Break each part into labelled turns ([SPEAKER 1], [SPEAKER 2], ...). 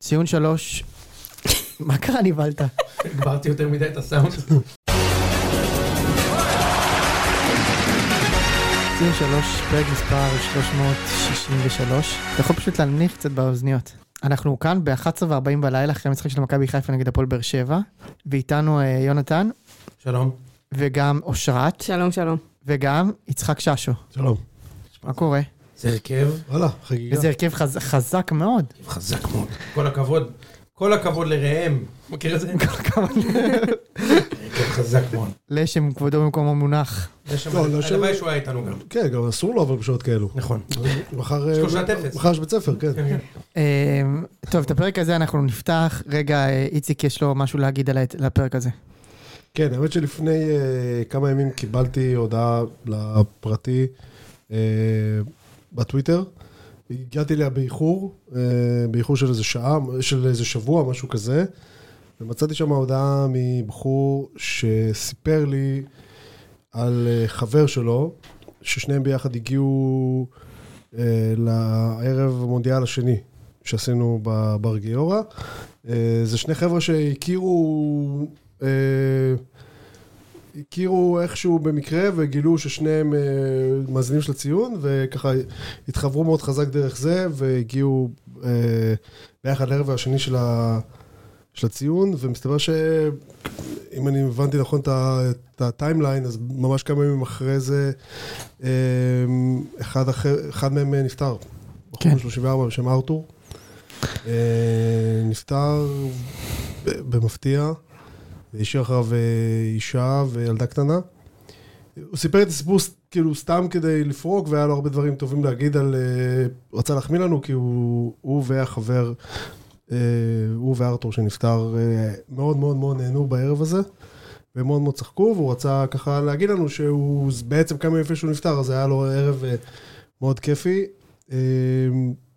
[SPEAKER 1] ציון שלוש. מה קרה נבהלת?
[SPEAKER 2] הגברתי יותר מדי את הסאונד.
[SPEAKER 1] ציון שלוש, פרק מספר 363. אתה יכול פשוט להנמיך קצת באוזניות. אנחנו כאן ב-11:40 בלילה אחרי המשחק של מכבי חיפה נגד הפועל באר שבע, ואיתנו אה, יונתן,
[SPEAKER 2] שלום.
[SPEAKER 1] וגם אושרת,
[SPEAKER 3] שלום, שלום.
[SPEAKER 1] וגם יצחק ששו.
[SPEAKER 4] שלום.
[SPEAKER 1] מה קורה?
[SPEAKER 2] זה הרכב
[SPEAKER 4] וואלה, חגיגה.
[SPEAKER 1] איזה הרכב חז- חזק מאוד.
[SPEAKER 2] חזק מאוד. כל הכבוד, כל הכבוד לראם. מכיר את זה? הרכב חזק מאוד.
[SPEAKER 1] לשם כבודו במקום המונח.
[SPEAKER 2] יש שם-
[SPEAKER 4] לא, לא שם.
[SPEAKER 2] הלוואי שהוא היה איתנו גם.
[SPEAKER 4] כן, גם אסור לו אבל בשעות כאלו.
[SPEAKER 2] נכון.
[SPEAKER 4] מחר...
[SPEAKER 2] יש
[SPEAKER 4] אה,
[SPEAKER 2] שלושה טפס.
[SPEAKER 4] מחר יש בית ספר, כן.
[SPEAKER 1] אמ, טוב, את הפרק הזה אנחנו נפתח. רגע, אה, איציק, יש לו משהו להגיד על ה- על הפרק הזה.
[SPEAKER 4] כן, האמת שלפני אה, כמה ימים קיבלתי הודעה לפרטי אה, בטוויטר. הגעתי אליה באיחור, אה, באיחור של איזה שעה, של איזה שבוע, משהו כזה. ומצאתי שם הודעה מבחור שסיפר לי על אה, חבר שלו, ששניהם ביחד הגיעו אה, לערב המונדיאל השני שעשינו ב- בר גיורא. אה, זה שני חבר'ה שהכירו... אה, הכירו איכשהו במקרה וגילו ששניהם אה, מאזינים של הציון וככה התחברו מאוד חזק דרך זה והגיעו אה, ביחד לערב השני של, ה, של הציון ומסתבר שאם אני הבנתי נכון את ה- את הטיימליין אז ממש כמה ימים אחרי זה אה, אחד, אחר, אחד מהם אה, נפטר. בחור
[SPEAKER 1] כן.
[SPEAKER 4] בן 34 בשם ארתור. אה, נפטר ב- במפתיע. השאיר אחריו אה, אישה וילדה קטנה. הוא סיפר את הסיפור ס- כאילו סתם כדי לפרוק, והיה לו הרבה דברים טובים להגיד על... אה, הוא רצה להחמיא לנו, כי הוא, הוא והחבר, אה, הוא וארתור שנפטר, אה, מאוד מאוד מאוד נהנו בערב הזה, והם מאוד מאוד צחקו, והוא רצה ככה להגיד לנו שהוא ז- בעצם כמה ימים לפני שהוא נפטר, אז היה לו ערב אה, מאוד כיפי. אה,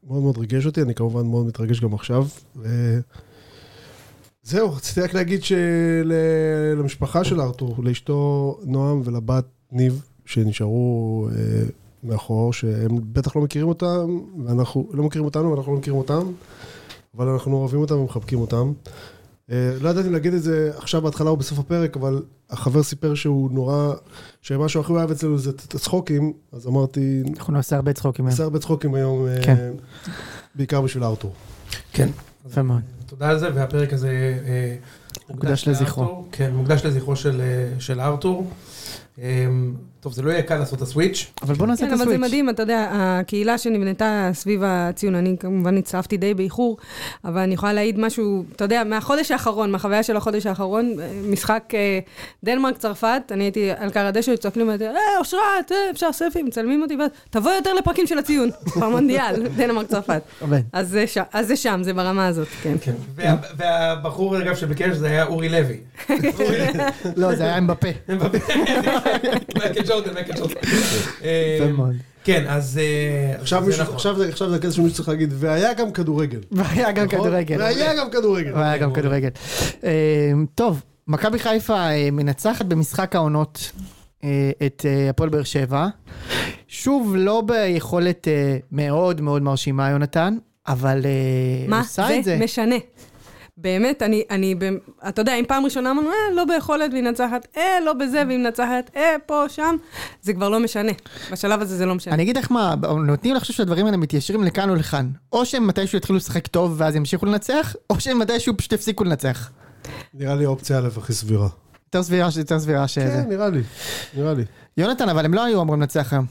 [SPEAKER 4] מאוד מאוד ריגש אותי, אני כמובן מאוד מתרגש גם עכשיו. אה, זהו, רציתי רק להגיד שלמשפחה של ארתור, לאשתו נועם ולבת ניב, שנשארו אה, מאחור, שהם בטח לא מכירים אותם, ואנחנו לא מכירים אותנו ואנחנו לא מכירים אותם, אבל אנחנו אוהבים אותם ומחבקים אותם. אה, לא ידעתי אם להגיד את זה עכשיו בהתחלה או בסוף הפרק, אבל החבר סיפר שהוא נורא, שמשהו הכי אוהב אצלנו זה את הצחוקים, אז אמרתי,
[SPEAKER 1] אנחנו נעשה הרבה צחוקים היום.
[SPEAKER 4] נעשה הרבה צחוקים היום, אה,
[SPEAKER 1] כן.
[SPEAKER 4] בעיקר בשביל ארתור.
[SPEAKER 2] כן.
[SPEAKER 1] יפה מאוד.
[SPEAKER 2] תודה על זה, והפרק הזה... אה,
[SPEAKER 1] מוקדש לזכרו.
[SPEAKER 2] לארתור. כן, מוקדש לזכרו של, אה, של ארתור. אה, טוב, זה לא יהיה קל לעשות את הסוויץ'.
[SPEAKER 1] אבל בוא נעשה את
[SPEAKER 3] כן, אבל זה
[SPEAKER 1] הסוויץ'.
[SPEAKER 3] מדהים, אתה יודע, הקהילה שנבנתה סביב הציון, אני כמובן הצטרפתי די באיחור, אבל אני יכולה להעיד משהו, אתה יודע, מהחודש האחרון, מהחוויה של החודש האחרון, אה, משחק אה, דנמרק-צרפת, אני הייתי על קר הדשא, צועקים לי, אה, אושרת, אה, אפשר סלפי, מצלמים אותי, ואז, תבוא יותר לפרקים של הציון, במונדיאל, דנמרק-צרפת.
[SPEAKER 1] עובד.
[SPEAKER 3] אז זה ש- אז זה שם, זה ברמה הזאת, כן.
[SPEAKER 2] כן. וה, והבחור, אגב, שביקש זה היה אורי לוי.
[SPEAKER 1] לא, זה היה עם בפה.
[SPEAKER 2] מייקל ג'ורדן, מייקל ג'ורדן. אה,
[SPEAKER 1] יפה מאוד.
[SPEAKER 2] כן, אז... אה,
[SPEAKER 4] עכשיו
[SPEAKER 2] זה
[SPEAKER 4] מישהו-
[SPEAKER 2] נכון.
[SPEAKER 4] עכשיו זה- עכשיו זה הקטע שמישהו צריך להגיד, והיה גם כדורגל.
[SPEAKER 1] והיה גם כן,
[SPEAKER 4] נכון?
[SPEAKER 1] כדורגל.
[SPEAKER 4] והיה גם כדורגל.
[SPEAKER 1] והיה גם כדורגל. אה, טוב, מכבי חיפה אה, מנצחת במשחק העונות אה, את אה, הפועל באר שבע. שוב, לא ביכולת אה, מאוד מאוד מרשימה, יונתן, אבל אה,
[SPEAKER 3] מה
[SPEAKER 1] עושה את
[SPEAKER 3] זה
[SPEAKER 1] זה.
[SPEAKER 3] משנה? באמת, אני, אני, במ- אתה יודע, אם פעם ראשונה אמרנו, אה, לא ביכולת והיא מנצחת, אה, לא בזה והיא מנצחת, אה, פה, שם, זה כבר לא משנה. בשלב הזה זה לא משנה.
[SPEAKER 1] אני אגיד לך מה, נותנים לחשוב שהדברים האלה מתיישרים לכאן או לכאן. או שהם מתישהו יתחילו לשחק טוב ואז ימשיכו לנצח, או שהם מתישהו פשוט יפסיקו לנצח.
[SPEAKER 4] נראה לי האופציה א' הכי סבירה.
[SPEAKER 1] יותר סבירה ש- יותר סבירה שזה.
[SPEAKER 4] כן, נראה לי. נראה לי.
[SPEAKER 1] יונתן, אבל הם לא היו אמורים לנצח היום.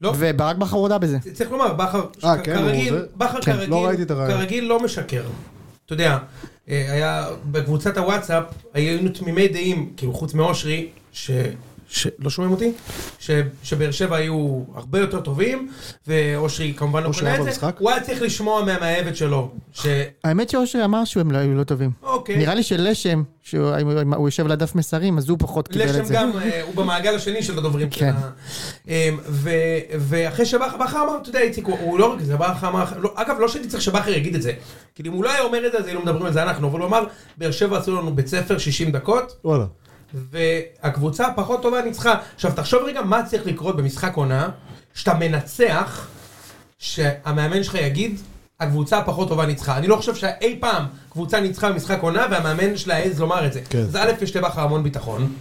[SPEAKER 2] לא.
[SPEAKER 1] וברק בכר הודה בזה.
[SPEAKER 2] צריך לומר, בכר
[SPEAKER 4] אה, כן,
[SPEAKER 2] כרגיל,
[SPEAKER 4] הוא זה?
[SPEAKER 2] בכר
[SPEAKER 4] כן,
[SPEAKER 2] כרגיל,
[SPEAKER 4] לא ראיתי את הרעיון.
[SPEAKER 2] כרגיל לא משקר. אתה יודע, אה, היה בקבוצת הוואטסאפ, היינו תמימי דעים, כאילו חוץ מאושרי, ש... ש... לא שומעים אותי? ש... שבאר שבע היו הרבה יותר טובים, ואושרי כמובן לא
[SPEAKER 4] אושרי
[SPEAKER 2] קונה
[SPEAKER 4] היה
[SPEAKER 2] את זה.
[SPEAKER 4] במשחק?
[SPEAKER 2] הוא היה צריך לשמוע מהמאהבת שלו, ש...
[SPEAKER 1] האמת שאושרי אמר שהם לא היו לא טובים.
[SPEAKER 2] אוקיי.
[SPEAKER 1] נראה לי שלשם, שהוא אם הוא יושב לדף מסרים, אז הוא פחות קיבל את
[SPEAKER 2] לשם
[SPEAKER 1] זה.
[SPEAKER 2] גם, אה, הוא במעגל השני של הדוברים. של
[SPEAKER 1] כן.
[SPEAKER 2] ה- אמ, ו- ואחרי שבכר בכר אמר, אתה יודע, איציק, הוא- הוא לא רק זה, בכר אמר, לא- אגב, לא שהייתי צריך שבכר יגיד את זה. כאילו, אם הוא לא היה אומר את זה, אז היינו מדברים על זה אנחנו, אבל הוא אמר, באר שבע עשו לנו בית ספר 60 דקות,
[SPEAKER 4] וואלה.
[SPEAKER 2] והקבוצה הפחות טובה ניצחה. עכשיו, תחשוב רגע מה צריך לקרות במשחק עונה, שאתה מנצח, שהמאמן שלך יגיד, הקבוצה הפחות טובה ניצחה. אני לא חושב שאי פעם קבוצה ניצחה במשחק עונה, והמאמן שלה העז לומר את זה.
[SPEAKER 4] כן.
[SPEAKER 2] אז א', יש לבכר המון ביטחון.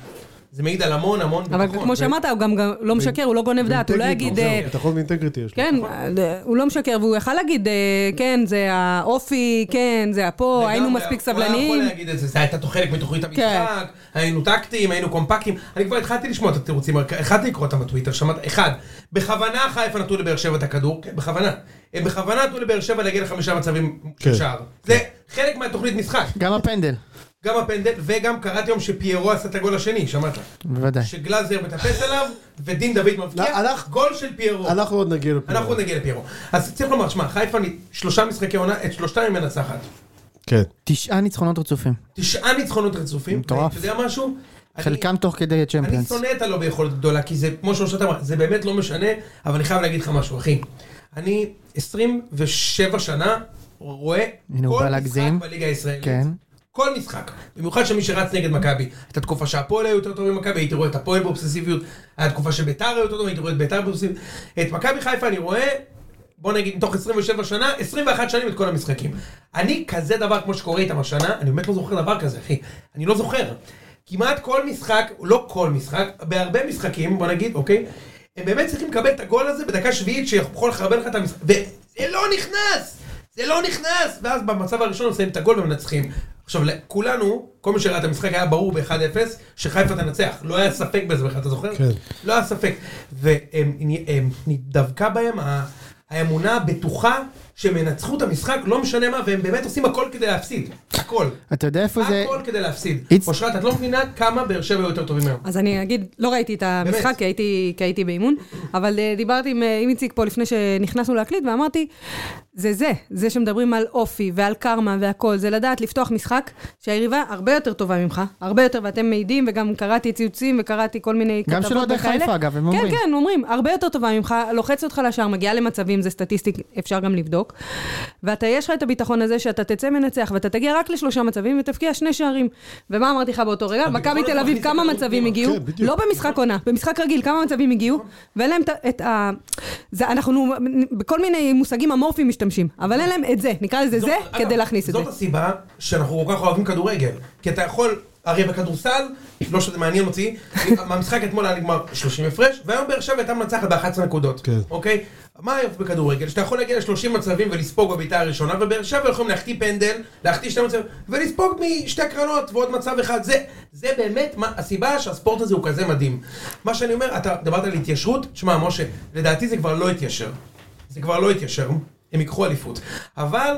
[SPEAKER 2] זה מעיד על המון המון ביטחון.
[SPEAKER 3] אבל כמו שאמרת, הוא גם גם לא משקר, הוא לא גונב דעת, הוא לא
[SPEAKER 4] אינטגריטי,
[SPEAKER 3] יגיד...
[SPEAKER 4] זהו,
[SPEAKER 3] אה,
[SPEAKER 4] ביטחון ואינטגריטי יש לו.
[SPEAKER 3] כן, אה, הוא לא משקר, והוא יכל להגיד, אה, כן, זה האופי, כן, זה הפה,
[SPEAKER 2] לגמרי,
[SPEAKER 3] היינו מספיק
[SPEAKER 2] הוא היה יכול
[SPEAKER 3] סבלניים.
[SPEAKER 2] להגיד את זה, זה הייתה חלק מתוכנית
[SPEAKER 3] כן.
[SPEAKER 2] המשחק, היינו טקטיים, היינו קומפקטיים. אני כבר התחלתי לשמוע את התירוצים, רק התחלתי לקרוא אותם בטוויטר, שמעת, אחד, בכוונה חיפה נתנו לבאר שבע את הכדור, כן, בכוונה. הם בכוונה נתנו לבאר שבע להגיע לחמישה מצבים של
[SPEAKER 4] כן.
[SPEAKER 2] שער. זה חלק מהתוכנית משחק.
[SPEAKER 1] גם הפנדל,
[SPEAKER 2] גם הפנדל, וגם קראתי היום שפיירו עשה את הגול השני, שמעת?
[SPEAKER 1] בוודאי.
[SPEAKER 2] שגלאזר מטפס עליו, ודין דוד מבקיע,
[SPEAKER 4] לא, הלך-
[SPEAKER 2] גול של
[SPEAKER 3] כן.
[SPEAKER 2] פיירו.
[SPEAKER 4] אנחנו עוד נגיע לפה.
[SPEAKER 2] אנחנו נגיע לפיירו. אז צריך לומר, שמע, חיפה שלושה משחקי עונה, את שלושתם היא מנצחת.
[SPEAKER 4] כן.
[SPEAKER 1] תשעה ניצחונות רצופים.
[SPEAKER 2] תשעה ניצחונות רצופים.
[SPEAKER 1] מטורף.
[SPEAKER 2] אתה יודע משהו? אני-
[SPEAKER 1] חלקם תוך כדי
[SPEAKER 2] אני
[SPEAKER 1] הצ'מפיונס.
[SPEAKER 2] שונא את הלא ביכולת גדולה, כי זה, כמו שאושרת אמרה, זה באמת לא משנה, אבל אני חייב להגיד לך משהו, אחי. אני 27 שנה רואה
[SPEAKER 1] הנה, הוא
[SPEAKER 2] כל
[SPEAKER 1] בא
[SPEAKER 2] משחק
[SPEAKER 1] להגזים.
[SPEAKER 2] בליגה הישראלית.
[SPEAKER 1] כן.
[SPEAKER 2] כל משחק. במיוחד שמי שרץ נגד מכבי. הייתה תקופה שהפועל היו יותר טוב ממכבי, הייתי רואה את הפועל באובססיביות. הייתה תקופה שביתר היו יותר טוב, הייתי רואה את ביתר באובססיביות. את מכבי חיפה אני רואה, בוא נגיד מתוך 27 שנה, 21 שנים את כל המשחקים. אני כזה דבר כמו שקורה איתם השנה, אני באמת לא זוכר דבר כזה, אחי. אני לא זוכר. כמעט כל משחק, לא כל משחק, בהרבה משחקים, בוא נגיד, אוקיי? הם באמת צריכים לקבל את הגול הזה בדקה שביעית שיכול לחרבן לך את המשחק. וזה לא נכנס! זה לא נכנס! ואז במצב הראשון עושים את הגול ומנצחים. עכשיו, כולנו, כל מי שראה את המשחק היה ברור ב-1-0, שחיפה תנצח. לא היה ספק בזה בכלל, אתה זוכר?
[SPEAKER 4] כן.
[SPEAKER 2] לא היה ספק. ודבקה בהם ה- האמונה הבטוחה שהם ינצחו את המשחק, לא משנה מה, והם באמת עושים הכל כדי להפסיד. הכל.
[SPEAKER 1] אתה יודע איפה זה...
[SPEAKER 2] הכל כדי להפסיד.
[SPEAKER 1] It's-
[SPEAKER 2] אושרת, את לא מבינה כמה באר שבע היו יותר טובים היום.
[SPEAKER 3] אז אני אגיד, לא ראיתי את המשחק,
[SPEAKER 2] באמת.
[SPEAKER 3] כי הייתי, כי הייתי באימון, אבל אה, דיברתי עם, אה, עם איציק פה לפני שנכנסנו להקליט, ואמרתי, זה זה, זה שמדברים על אופי ועל קרמה והכול, זה לדעת לפתוח משחק שהיריבה הרבה יותר טובה ממך, הרבה יותר, ואתם מעידים, וגם קראתי ציוצים וקראתי כל מיני
[SPEAKER 1] גם
[SPEAKER 3] כתבות
[SPEAKER 1] של אוהדי
[SPEAKER 3] וכאלה.
[SPEAKER 1] חיפה, אגב, הם אומרים.
[SPEAKER 3] כן, כן, אומרים, הרבה יותר טובה ממך, לוחצת אותך לשער, מגיעה למצבים, זה סטטיסטיק, אפשר גם לבדוק. ואתה, יש לך את הביטחון הזה שאתה תצא מנצח, ואתה תגיע רק לשלושה מצבים ותבקיע שני שערים. ומה אמרתי לך באותו רגע?
[SPEAKER 1] אוקיי,
[SPEAKER 2] הביטחון הזה
[SPEAKER 3] מכבי תל
[SPEAKER 2] מכניס
[SPEAKER 3] אביב,
[SPEAKER 2] את
[SPEAKER 3] כמה
[SPEAKER 2] הכדור
[SPEAKER 3] מצבים
[SPEAKER 2] פנימה.
[SPEAKER 3] הגיעו?
[SPEAKER 4] כן, בדיוק.
[SPEAKER 3] לא במשחק עונה, במשחק רגיל, כמה מצבים הגיעו? ואין להם את- את ה... זה, אנחנו בכל מיני מושגים אמורפיים משתמשים, אבל אין להם את זה, נקרא לזה זה,
[SPEAKER 2] זאת-
[SPEAKER 3] כדי
[SPEAKER 2] אגב,
[SPEAKER 3] להכניס את זה.
[SPEAKER 2] זאת הסיבה שאנחנו כל כך אוהבים כדורגל. כי אתה יכול, הרי בכדורסל, לא שזה מעניין אותי, מהמשחק אתמול היה נגמר 30 הפרש, והיום באר שבע הייתה מנצחת ב-11 נקודות.
[SPEAKER 4] כן.
[SPEAKER 2] אוקיי? מה היופי בכדורגל? שאתה יכול להגיע ל-30 מצבים ולספוג בבעיטה הראשונה, ובאר שבע יכולים להחטיא פנדל, להחטיא שני מצבים, ולספוג משתי הקרנות ועוד מצב אחד. זה, זה באמת מה, הסיבה שהספורט הזה הוא כזה מדהים. מה שאני אומר, אתה דיברת על התיישרות, שמע, משה, לדעתי זה כבר לא התיישר. זה כבר לא יתיישר, הם ייקחו אליפות. אבל